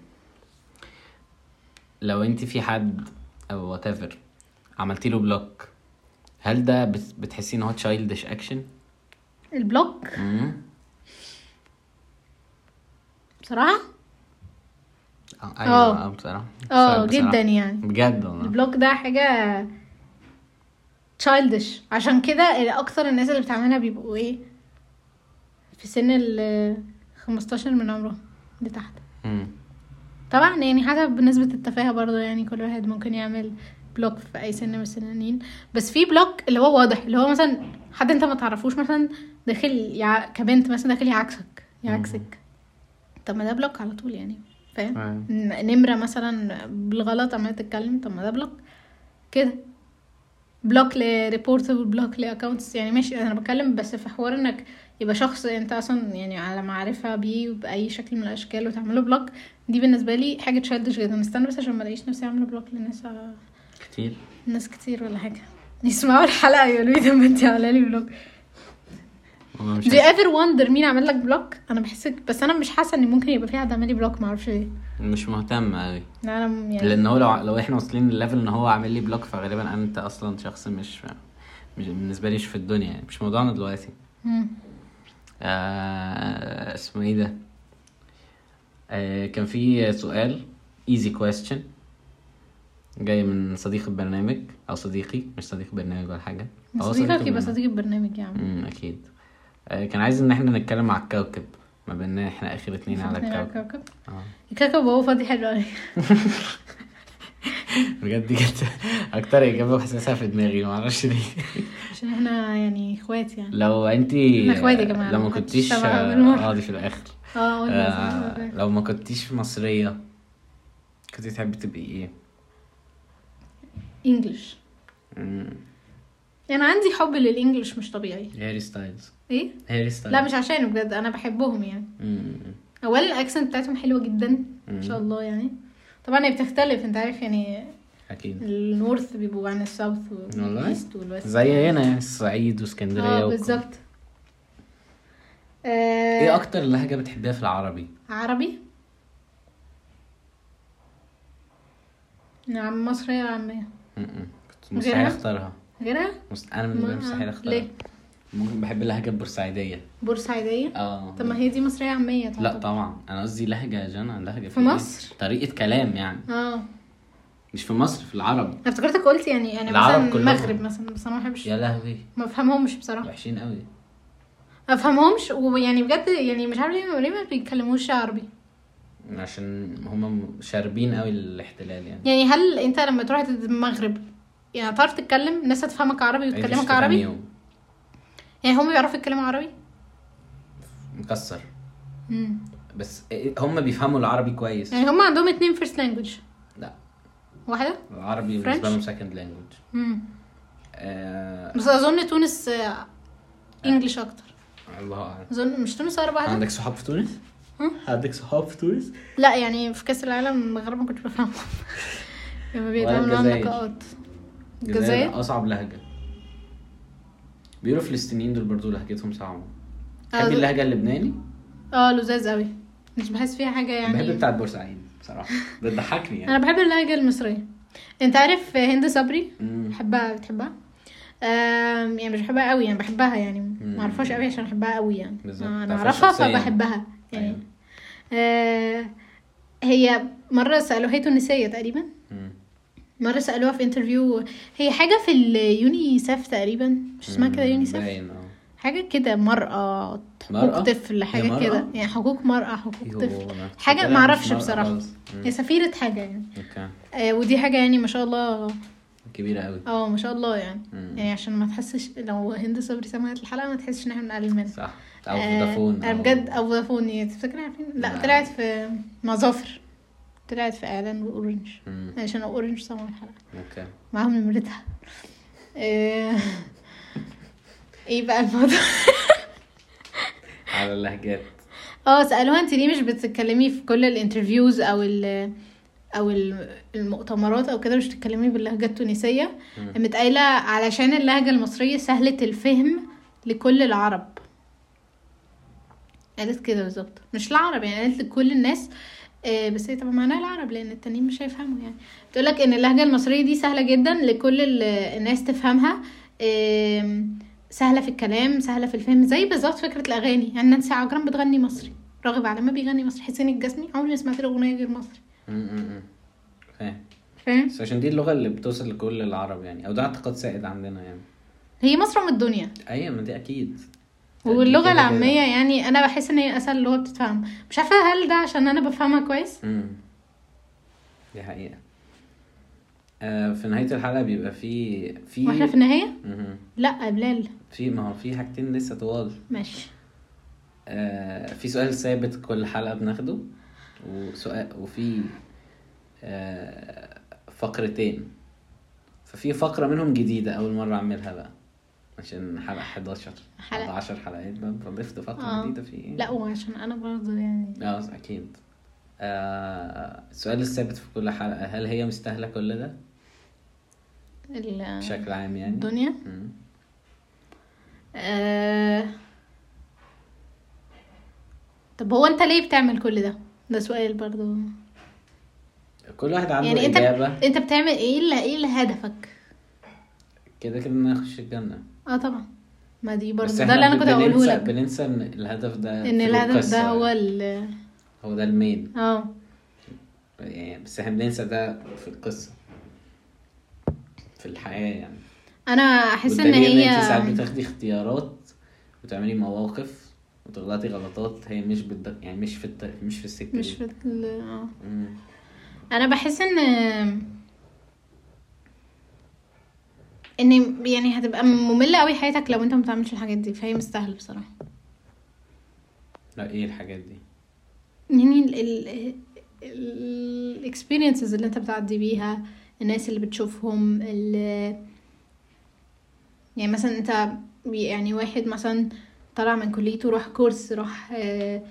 S2: لو انت في حد او وات ايفر عملتي له بلوك هل ده بت- بتحسي ان هو تشايلدش اكشن؟
S3: البلوك بصراحه
S2: ايوه اه بصراحة
S3: اه
S2: بصراحة- بصراحة. آه.
S3: جدا يعني
S2: بجد والله
S3: البلوك ده حاجه childish عشان كده اكتر الناس اللي بتعملها بيبقوا ايه في سن ال 15 من عمرهم لتحت
S2: مم.
S3: طبعا يعني حسب نسبة التفاهة برضه يعني كل واحد ممكن يعمل بلوك في أي سن من السنانين بس في بلوك اللي هو واضح اللي هو مثلا حد انت ما تعرفوش مثلا داخل يع... كبنت مثلا داخل يعكسك يعكسك طب ما ده بلوك على طول يعني
S2: أيوة.
S3: فاهم ن- نمرة مثلا بالغلط عمالة تتكلم طب ما ده بلوك كده بلوك لريبورتبل بلوك لاكونتس يعني ماشي انا بتكلم بس في حوار انك يبقى شخص انت اصلا يعني على معرفه بيه باي شكل من الاشكال وتعمله بلوك دي بالنسبه لي حاجه تشدش جدا استنى بس عشان ما الاقيش نفسي عامله بلوك لناس
S2: كتير
S3: ناس كتير ولا حاجه يسمعوا الحلقه يقولوا لي ده ما انت عامله لي بلوك
S2: هما مش
S3: Do you ever wonder مين عمل لك بلوك؟ انا بحس بس انا مش حاسه ان ممكن يبقى في حد عمل لي بلوك معرفش ليه.
S2: مش مهتم قوي
S3: لا انا م- يعني
S2: لان هو لو لو احنا واصلين لليفل ان هو عامل لي بلوك فغالبا انت اصلا شخص مش مش بالنسبه لي مش في الدنيا يعني مش موضوعنا دلوقتي
S3: مم.
S2: آه اسمه ايه ده آه كان في سؤال ايزي كويستشن جاي من صديق البرنامج او صديقي مش صديق برنامج ولا حاجه
S3: بس يعني.
S2: هو
S3: صديقك يبقى
S2: البرنامج.
S3: صديق البرنامج يا عم.
S2: امم اكيد آه كان عايز ان احنا نتكلم على الكوكب ما بيننا احنا اخر اتنين على
S3: صديقنا
S2: الكوكب
S3: الكوكب
S2: آه.
S3: الكوكب وهو فاضي حلو قوي
S2: بجد كانت اكتر اجابه حاسسها في دماغي ما اعرفش ليه
S3: عشان احنا يعني اخوات يعني
S2: لو انت
S3: احنا اخوات يا جماعة،
S2: لو ما
S3: محدش
S2: كنتيش
S3: تبع بالمرة.
S2: اه دي في الاخر
S3: اه قلنا
S2: آه،
S3: صح، أوكي.
S2: لو ما كنتيش مصريه كنت تحبي تبقي ايه؟
S3: انجلش يعني عندي حب للانجلش مش طبيعي
S2: هاري ستايلز
S3: ايه
S2: هاري ستايلز
S3: لا مش عشانه بجد انا بحبهم يعني اولا الاكسنت بتاعتهم حلوه جدا ان شاء الله يعني طبعا هي بتختلف انت عارف يعني
S2: اكيد
S3: النورث بيبقوا عن الساوث
S2: والله؟
S3: والايست والويست
S2: زي هنا يعني الصعيد واسكندريه
S3: اه
S2: وكل-
S3: بالظبط آه،
S2: ايه اكتر لهجه بتحبيها في العربي؟
S3: عربي نعم مصرية عامية
S2: مم. كنت
S3: غيرها؟
S2: مستحيل اختارها
S3: غيرها
S2: مست... انا بالنسبه لي
S3: ما-
S2: مستحيل اختارها
S3: ليه؟
S2: ممكن بحب اللهجه البورسعيديه
S3: بورسعيدية
S2: اه
S3: طب ما هي دي مصرية عامية
S2: لا
S3: تعتبر.
S2: طبعا انا قصدي لهجه جنى لهجه
S3: في
S2: إيه؟
S3: مصر؟
S2: طريقه كلام يعني
S3: اه انا
S2: مش في مصر في العرب
S3: افتكرتك قلت يعني يعني
S2: العرب
S3: مثلا
S2: كلهم. يعني.
S3: المغرب مثلا بس انا ما بحبش
S2: يا لهوي
S3: ما بفهمهمش بصراحة
S2: وحشين قوي
S3: ما بفهمهمش ويعني بجد يعني مش عارفة ليه ليه ما بيتكلموش عربي
S2: عشان هم شاربين قوي الاحتلال يعني
S3: يعني هل انت لما تروح المغرب يعني هتعرف تتكلم الناس هتفهمك عربي وتكلمك عربي يعني هم بيعرفوا يتكلموا عربي
S2: مكسر
S3: امم
S2: بس إيه، هم بيفهموا العربي كويس
S3: يعني هم عندهم اتنين فيرست لانجوج
S2: لا
S3: واحدة
S2: العربي
S3: French؟
S2: بالنسبه لهم سكند لانجوج
S3: امم
S2: آه...
S3: بس اظن تونس آه، انجلش اكتر
S2: الله اعلم
S3: اظن مش تونس اقرب واحده
S2: عندك صحاب في تونس؟
S3: هم؟
S2: عندك صحاب في تونس؟
S3: لا يعني في كاس العالم المغرب ما كنتش بفهمهم لما بيتعملوا معاهم
S2: الجزائر.
S3: لقاءات الجزائر
S2: اصعب لهجه بيقولوا الفلسطينيين دول برضو لهجتهم صعبه
S3: آه،
S2: تحبي اللهجه اللبناني؟
S3: اه لذاذ قوي مش بحس فيها حاجه
S2: بحب
S3: يعني
S2: بتاعت بورسعيد بصراحه بتضحكني يعني
S3: انا بحب اللهجه المصريه انت عارف هند صبري
S2: مم.
S3: بحبها بتحبها آم، يعني مش بحبها قوي يعني بحبها يعني ما اعرفهاش قوي عشان بحبها قوي يعني
S2: بالظبط.
S3: انا
S2: تعرفها
S3: اعرفها
S2: شخصياً.
S3: فبحبها
S2: أيوة.
S3: يعني آه، هي مره سالوها هي تونسيه تقريبا
S2: مم.
S3: مرة سألوها في انترفيو هي حاجة في اليونيسف تقريبا مش اسمها كده
S2: مم،
S3: يونيسف
S2: باين اه
S3: حاجة كده مرأة حقوق
S2: مرأة؟
S3: طفل
S2: هي
S3: حاجة
S2: مرأة؟
S3: كده يعني حقوق مرأة حقوق
S2: يوه،
S3: طفل
S2: أنا
S3: حاجة
S2: فاكرها مش
S3: معرفش
S2: مرأة
S3: بصراحة
S2: خالص. مم.
S3: هي سفيرة حاجة يعني
S2: اوكي
S3: آه ودي حاجة يعني ما شاء الله
S2: كبيره قوي
S3: اه ما شاء الله يعني
S2: مم.
S3: يعني عشان ما تحسش لو هند صبري سمعت الحلقة ما تحسش ان احنا بنقلل منها
S2: صح او
S3: آه،
S2: فودافون نعم.
S3: انا بجد او فودافون يعني تفتكر عارفين لا
S2: لا.
S3: طلعت في مع ظافر طلعت في اعلان اورنج
S2: مم.
S3: عشان اورنج سمعوا الحلقة
S2: اوكي
S3: معاهم نمرتها آه، ايه بقى الموضوع
S2: على اللهجات
S3: اه سالوها انت ليه مش بتتكلمي في كل الانترفيوز او ال او ال- المؤتمرات او كده مش بتتكلمي باللهجه التونسيه قامت قايله علشان اللهجه المصريه سهله الفهم لكل العرب قالت كده بالظبط مش العرب يعني قالت لكل الناس آه، بس هي طبعا معناها العرب لان التانيين مش هيفهموا يعني بتقولك ان اللهجه المصريه دي سهله جدا لكل ال- الناس تفهمها آم، سهله في الكلام سهله في الفهم زي بالظبط فكره الاغاني يعني نانسي عجرم بتغني مصري راغب علامه بيغني مصري حسين الجسمي عمري ما سمعت له اغنيه غير مصري
S2: مم، مم، مم. فاهم
S3: فاهم
S2: بس عشان دي اللغه اللي بتوصل لكل العرب يعني او ده اعتقاد سائد عندنا يعني
S3: هي مصر ام الدنيا
S2: ايوه ما دي اكيد
S3: واللغه
S2: كده كده.
S3: العاميه يعني انا بحس ان هي اسهل لغه بتتفهم مش عارفه هل ده عشان انا بفهمها كويس
S2: مم. دي حقيقه آه في نهايه الحلقه بيبقى في في
S3: واحنا في النهايه
S2: مم.
S3: لا يا بلال
S2: في ما هو في حاجتين لسه طوال
S3: ماشي
S2: آه في سؤال ثابت كل حلقه بناخده وسؤال وفي آه فقرتين في ففي فقرة منهم جديدة أول مرة أعملها بقى عشان حلقة 11
S3: حلقة.
S2: 11 حلقات بقى ضفت فقرة
S3: آه.
S2: جديدة في إيه؟
S3: لا وعشان انا برضه يعني
S2: اه اكيد آه السؤال الثابت في كل حلقه هل هي مستاهله كل ده
S3: ال-
S2: بشكل عام يعني
S3: الدنيا
S2: مم.
S3: آه... طب هو انت ليه بتعمل كل ده ده سؤال برضو
S2: كل واحد عنده
S3: يعني
S2: يعني
S3: انت
S2: اجابه
S3: انت بتعمل ايه اللي ايه اللي هدفك
S2: كده كده ان انا اخش الجنه
S3: اه طبعا ما دي برضو
S2: بس
S3: ده
S2: احنا
S3: اللي انا كنت
S2: بننسى-
S3: هقوله لك
S2: بننسى ان الهدف ده
S3: ان
S2: في
S3: الهدف
S2: القصة
S3: ده هو
S2: يعني.
S3: ال
S2: هو ده المين
S3: اه
S2: يعني بس احنا بننسى ده في القصه في الحياه يعني
S3: انا احس ان
S2: والدليل
S3: هي
S2: انت ساعات بتاخدي اختيارات وتعملي مواقف وتغلطي غلطات هي مش بالد... يعني مش في الت... مش في السكه
S3: مش
S2: دي.
S3: في ال- اه
S2: مم.
S3: انا بحس ان ان يعني هتبقى مملة قوي حياتك لو انت ما بتعملش الحاجات دي فهي مستاهله بصراحه
S2: لا ايه الحاجات دي
S3: يعني الاكسبيرينسز اللي انت بتعدي بيها الناس اللي بتشوفهم ال يعني مثلا انت يعني واحد مثلا طلع من كليته راح كورس راح آه،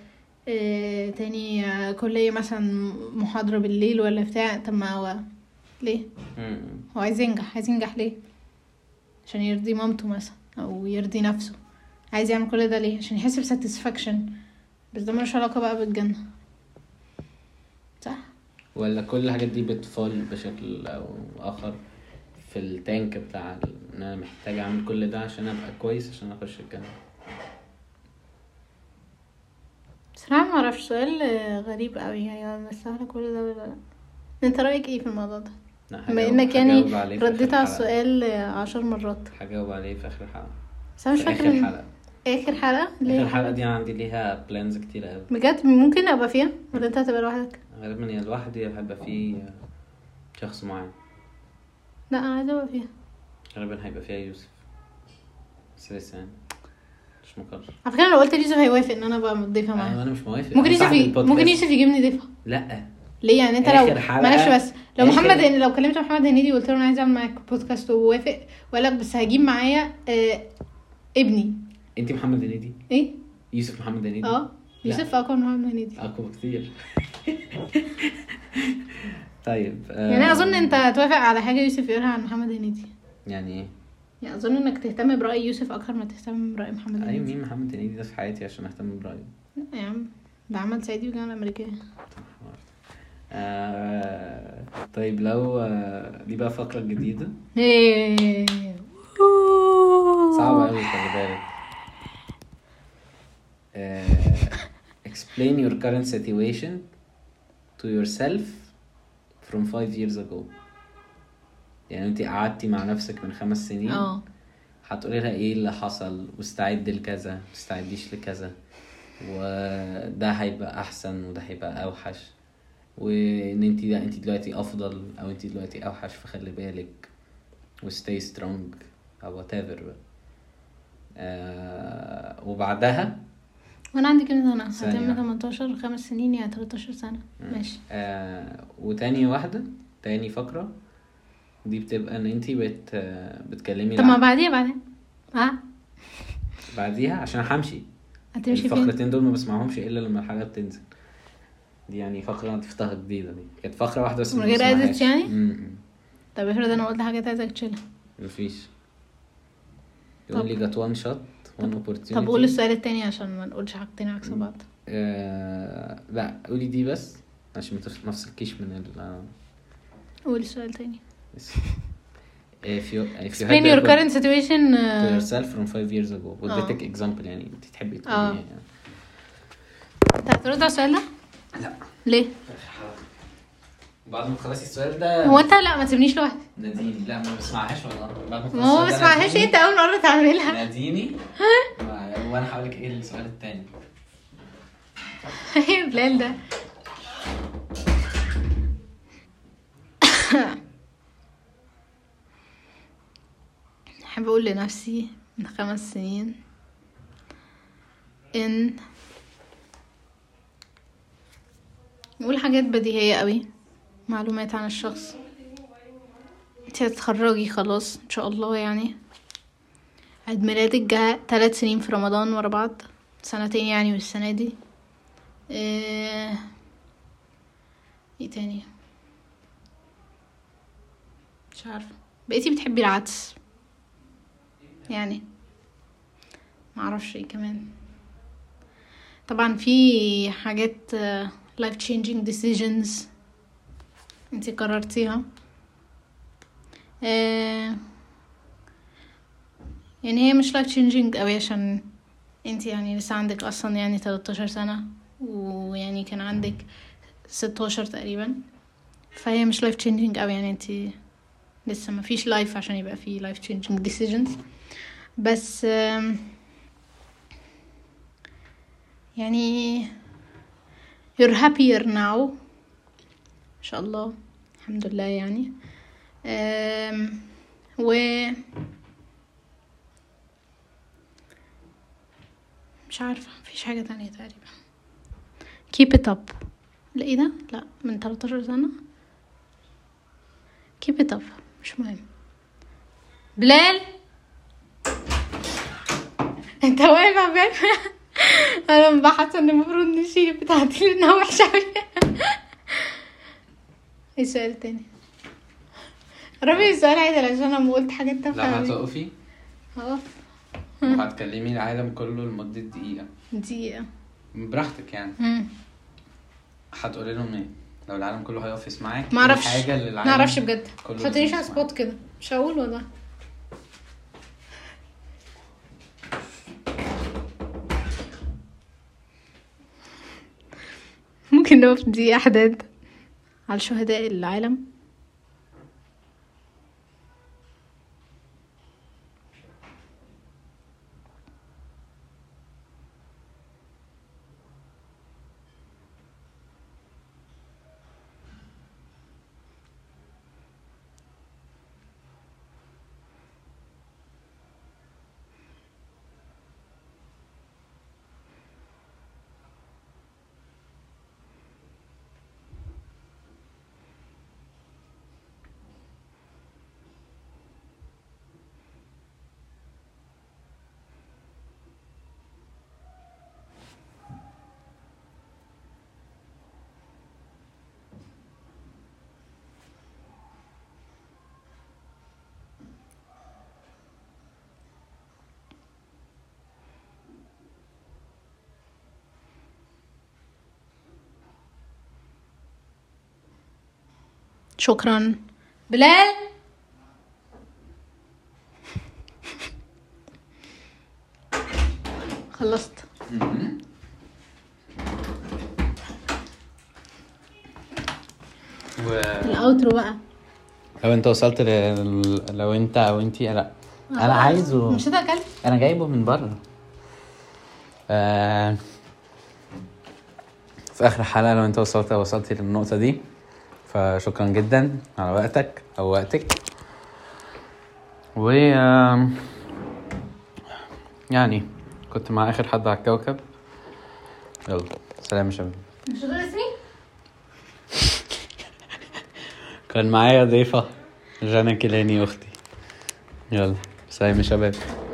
S3: آه، تاني آه، كلية مثلا محاضرة بالليل ولا بتاع طب ما هو ليه
S2: مم.
S3: هو عايز ينجح عايز ينجح ليه عشان يرضي مامته مثلا او يرضي نفسه عايز يعمل كل ده ليه عشان يحس بساتسفاكشن بس ده ملوش علاقه بقى بالجنه صح
S2: ولا كل الحاجات دي بتفول بشكل او اخر في التانك بتاع ال- ان انا محتاج اعمل كل ده عشان ابقى كويس عشان اخش الجامعه
S3: بصراحه ما اعرفش سؤال آه، غريب قوي يعني مستاهله كل ده ولا لا انت رايك ايه في الموضوع ده
S2: لا، هجاوب-
S3: بما انك
S2: هجاوب
S3: يعني
S2: عليه في آخر
S3: رديت
S2: الحلقة.
S3: على السؤال آه، عشر مرات
S2: هجاوب عليه في اخر حلقه
S3: بس انا مش
S2: في
S3: فاكره
S2: اخر
S3: من-
S2: حلقه
S3: اخر حلقه
S2: اخر
S3: ليه
S2: الحلقه دي انا عندي ليها بلانز كتير قوي
S3: بجد ممكن ابقى فيها ولا انت هتبقى لوحدك
S2: غالبا يا لوحدي يا هيبقى فيه شخص معين
S3: لا انا عايزه ابقى فيها
S2: غالبا هيبقى فيها يوسف بس لسه يعني مش مقرر
S3: على فكره لو قلت ليوسف هيوافق ان انا ابقى مضيفه معاه
S2: انا أنا مش موافق
S3: ممكن
S2: أنا
S3: يوسف
S2: صاحب
S3: ي-
S2: البودكاست.
S3: ممكن يوسف يجيبني ضيفه
S2: لا
S3: ليه يعني انت
S2: آخر
S3: لو
S2: حلقة-
S3: معلش بس لو
S2: آخر-
S3: محمد هن- لو كلمت محمد هنيدي وقلت له انا عايز اعمل معاك بودكاست ووافق وقال لك بس هجيب معايا آه ابني
S2: انت محمد هنيدي
S3: ايه
S2: يوسف محمد هنيدي
S3: اه يوسف اقوى من محمد هنيدي
S2: اقوى كتير طيب آه،
S3: يعني انا اظن انت هتوافق على حاجه يوسف يقولها عن محمد هنيدي
S2: يعني ايه
S3: يعني اظن انك تهتم براي يوسف اكتر ما تهتم براي محمد
S2: اي
S3: هنيدي
S2: مين محمد هنيدي ده في حياتي عشان اهتم برايه
S3: لا يا عم ده عمل صعيدي والجامعه الامريكيه
S2: آه، طيب لو آه، دي بقى فقرة جديدة
S3: ايه
S2: صعبة أوي خلي بالك آه، explain your current situation to yourself from five years ago يعني انت قعدتي مع نفسك من خمس سنين
S3: اه
S2: هتقولي لها ايه اللي حصل واستعد لكذا ما تستعديش لكذا وده هيبقى احسن وده هيبقى اوحش وان انت لا انت دلوقتي افضل او انت دلوقتي اوحش فخلي بالك وستي سترونج او وات ايفر بقى آه وبعدها
S3: وانا عندي كام سنه
S2: ثانية
S3: هتم
S2: واحدة.
S3: 18 خمس سنين يعني 13 سنه ماشي
S2: آه وتاني واحدة تاني فقرة دي بتبقى ان انت بت آه، بتكلمي
S3: طب ما
S2: الع-
S3: بعديها بعدين ها
S2: بعديها عشان همشي
S3: هتمشي فين
S2: الفقرتين دول ما بسمعهمش الا لما الحلقه بتنزل دي يعني فقره ضفتها جديدة دي كانت فقره واحده بس
S3: من
S2: ما
S3: غير edits
S2: بسمعهاش.
S3: يعني؟
S2: امم.
S3: طب افرض انا قلت حاجات عايزك تشيلها
S2: مفيش يقول لي جت وان شوت وان اوبورتيونيتي
S3: طب قول السؤال التاني عشان ما نقولش حاجتين عكس بعض
S2: آه... لا قولي دي بس عشان ما تف- ما تفصلكيش من ال آه،
S3: قول السؤال التاني
S2: if you if you
S3: explain
S2: had
S3: your
S2: a-
S3: current situation
S2: to
S3: uh,
S2: yourself from five years ago would they
S3: اه.
S2: take example يعني انت تحبي تقولي
S3: اه.
S2: ايه يعني
S3: انت هترد على السؤال ده؟
S2: لا.
S3: ليه؟
S2: بعد ما تخلصي السؤال ده
S3: هو انت لا ما تسيبنيش لوحدي
S2: ناديني لا ما بسمعهاش والله بعد ما
S3: ما هو ما بسمعهاش إيه انت اول مره تعملها
S2: ناديني وانا هقول لك ايه السؤال التاني
S3: ايه بلال ده احب اقول لنفسي من خمس سنين ان نقول حاجات بديهية قوي معلومات عن الشخص انت هتتخرجي خلاص ان شاء الله يعني عيد ميلادك جه ثلاث سنين في رمضان ورا بعض سنتين يعني والسنة دي آه، ايه تاني مش عارفة بقيتي بتحبي العدس يعني معرفش ايه كمان طبعا في حاجات آه، life changing decisions انتي قررتيها آه، يعني هي مش life changing قوي عشان انتي يعني لسه عندك اصلا يعني 13 سنة ويعني كان عندك 16 تقريبا فهي مش life changing قوي يعني انتي لسه ما فيش لايف عشان يبقى فيه لايف changing decisions بس آم، يعني you're happier now ان شاء الله الحمد لله يعني آم، و مش عارفة مفيش حاجة تانية تقريبا keep it up لا ايه ده لا من 13 سنة keep it up مش مهم بلال انت واقف إيه؟ على بالي انا بحس ان المفروض نشيل بتاعتي لانها وحشه أوي. ايه السؤال التاني رامي السؤال عادل عشان انا ما قلت حاجه انت
S2: لما
S3: فاهمها.
S2: هتقفي
S3: اه
S2: وهتكلمي العالم كله لمدة دقيقة
S3: دقيقه
S2: براحتك يعني
S3: مم.
S2: هتقولي لهم ايه؟ لو العالم كله هيقف يسمعك
S3: ما اعرفش
S2: إيه الحاجة اللي العالم
S3: ما اعرفش بجد
S2: كله
S3: حطنيش على
S2: بيسمعها؟
S3: سبوت كده مش هقول والله ممكن نقف دي احداد على شهداء العالم شكرا بلال خلصت
S2: مهم. و...
S3: الاوترو بقى
S2: لو انت وصلت ل... لو انت او انت لا انا
S3: آه.
S2: عايزه
S3: مش ده اكلت
S2: انا جايبه من بره آه... في اخر حلقه لو انت وصلت او وصلتي للنقطه دي فشكرا جدا على وقتك او وقتك و آم، يعني كنت مع اخر حد على الكوكب يلا سلام يا شباب
S3: مش ده اسمي
S2: كان معايا ضيفه جانا كيلاني اختي يلا سلام يا شباب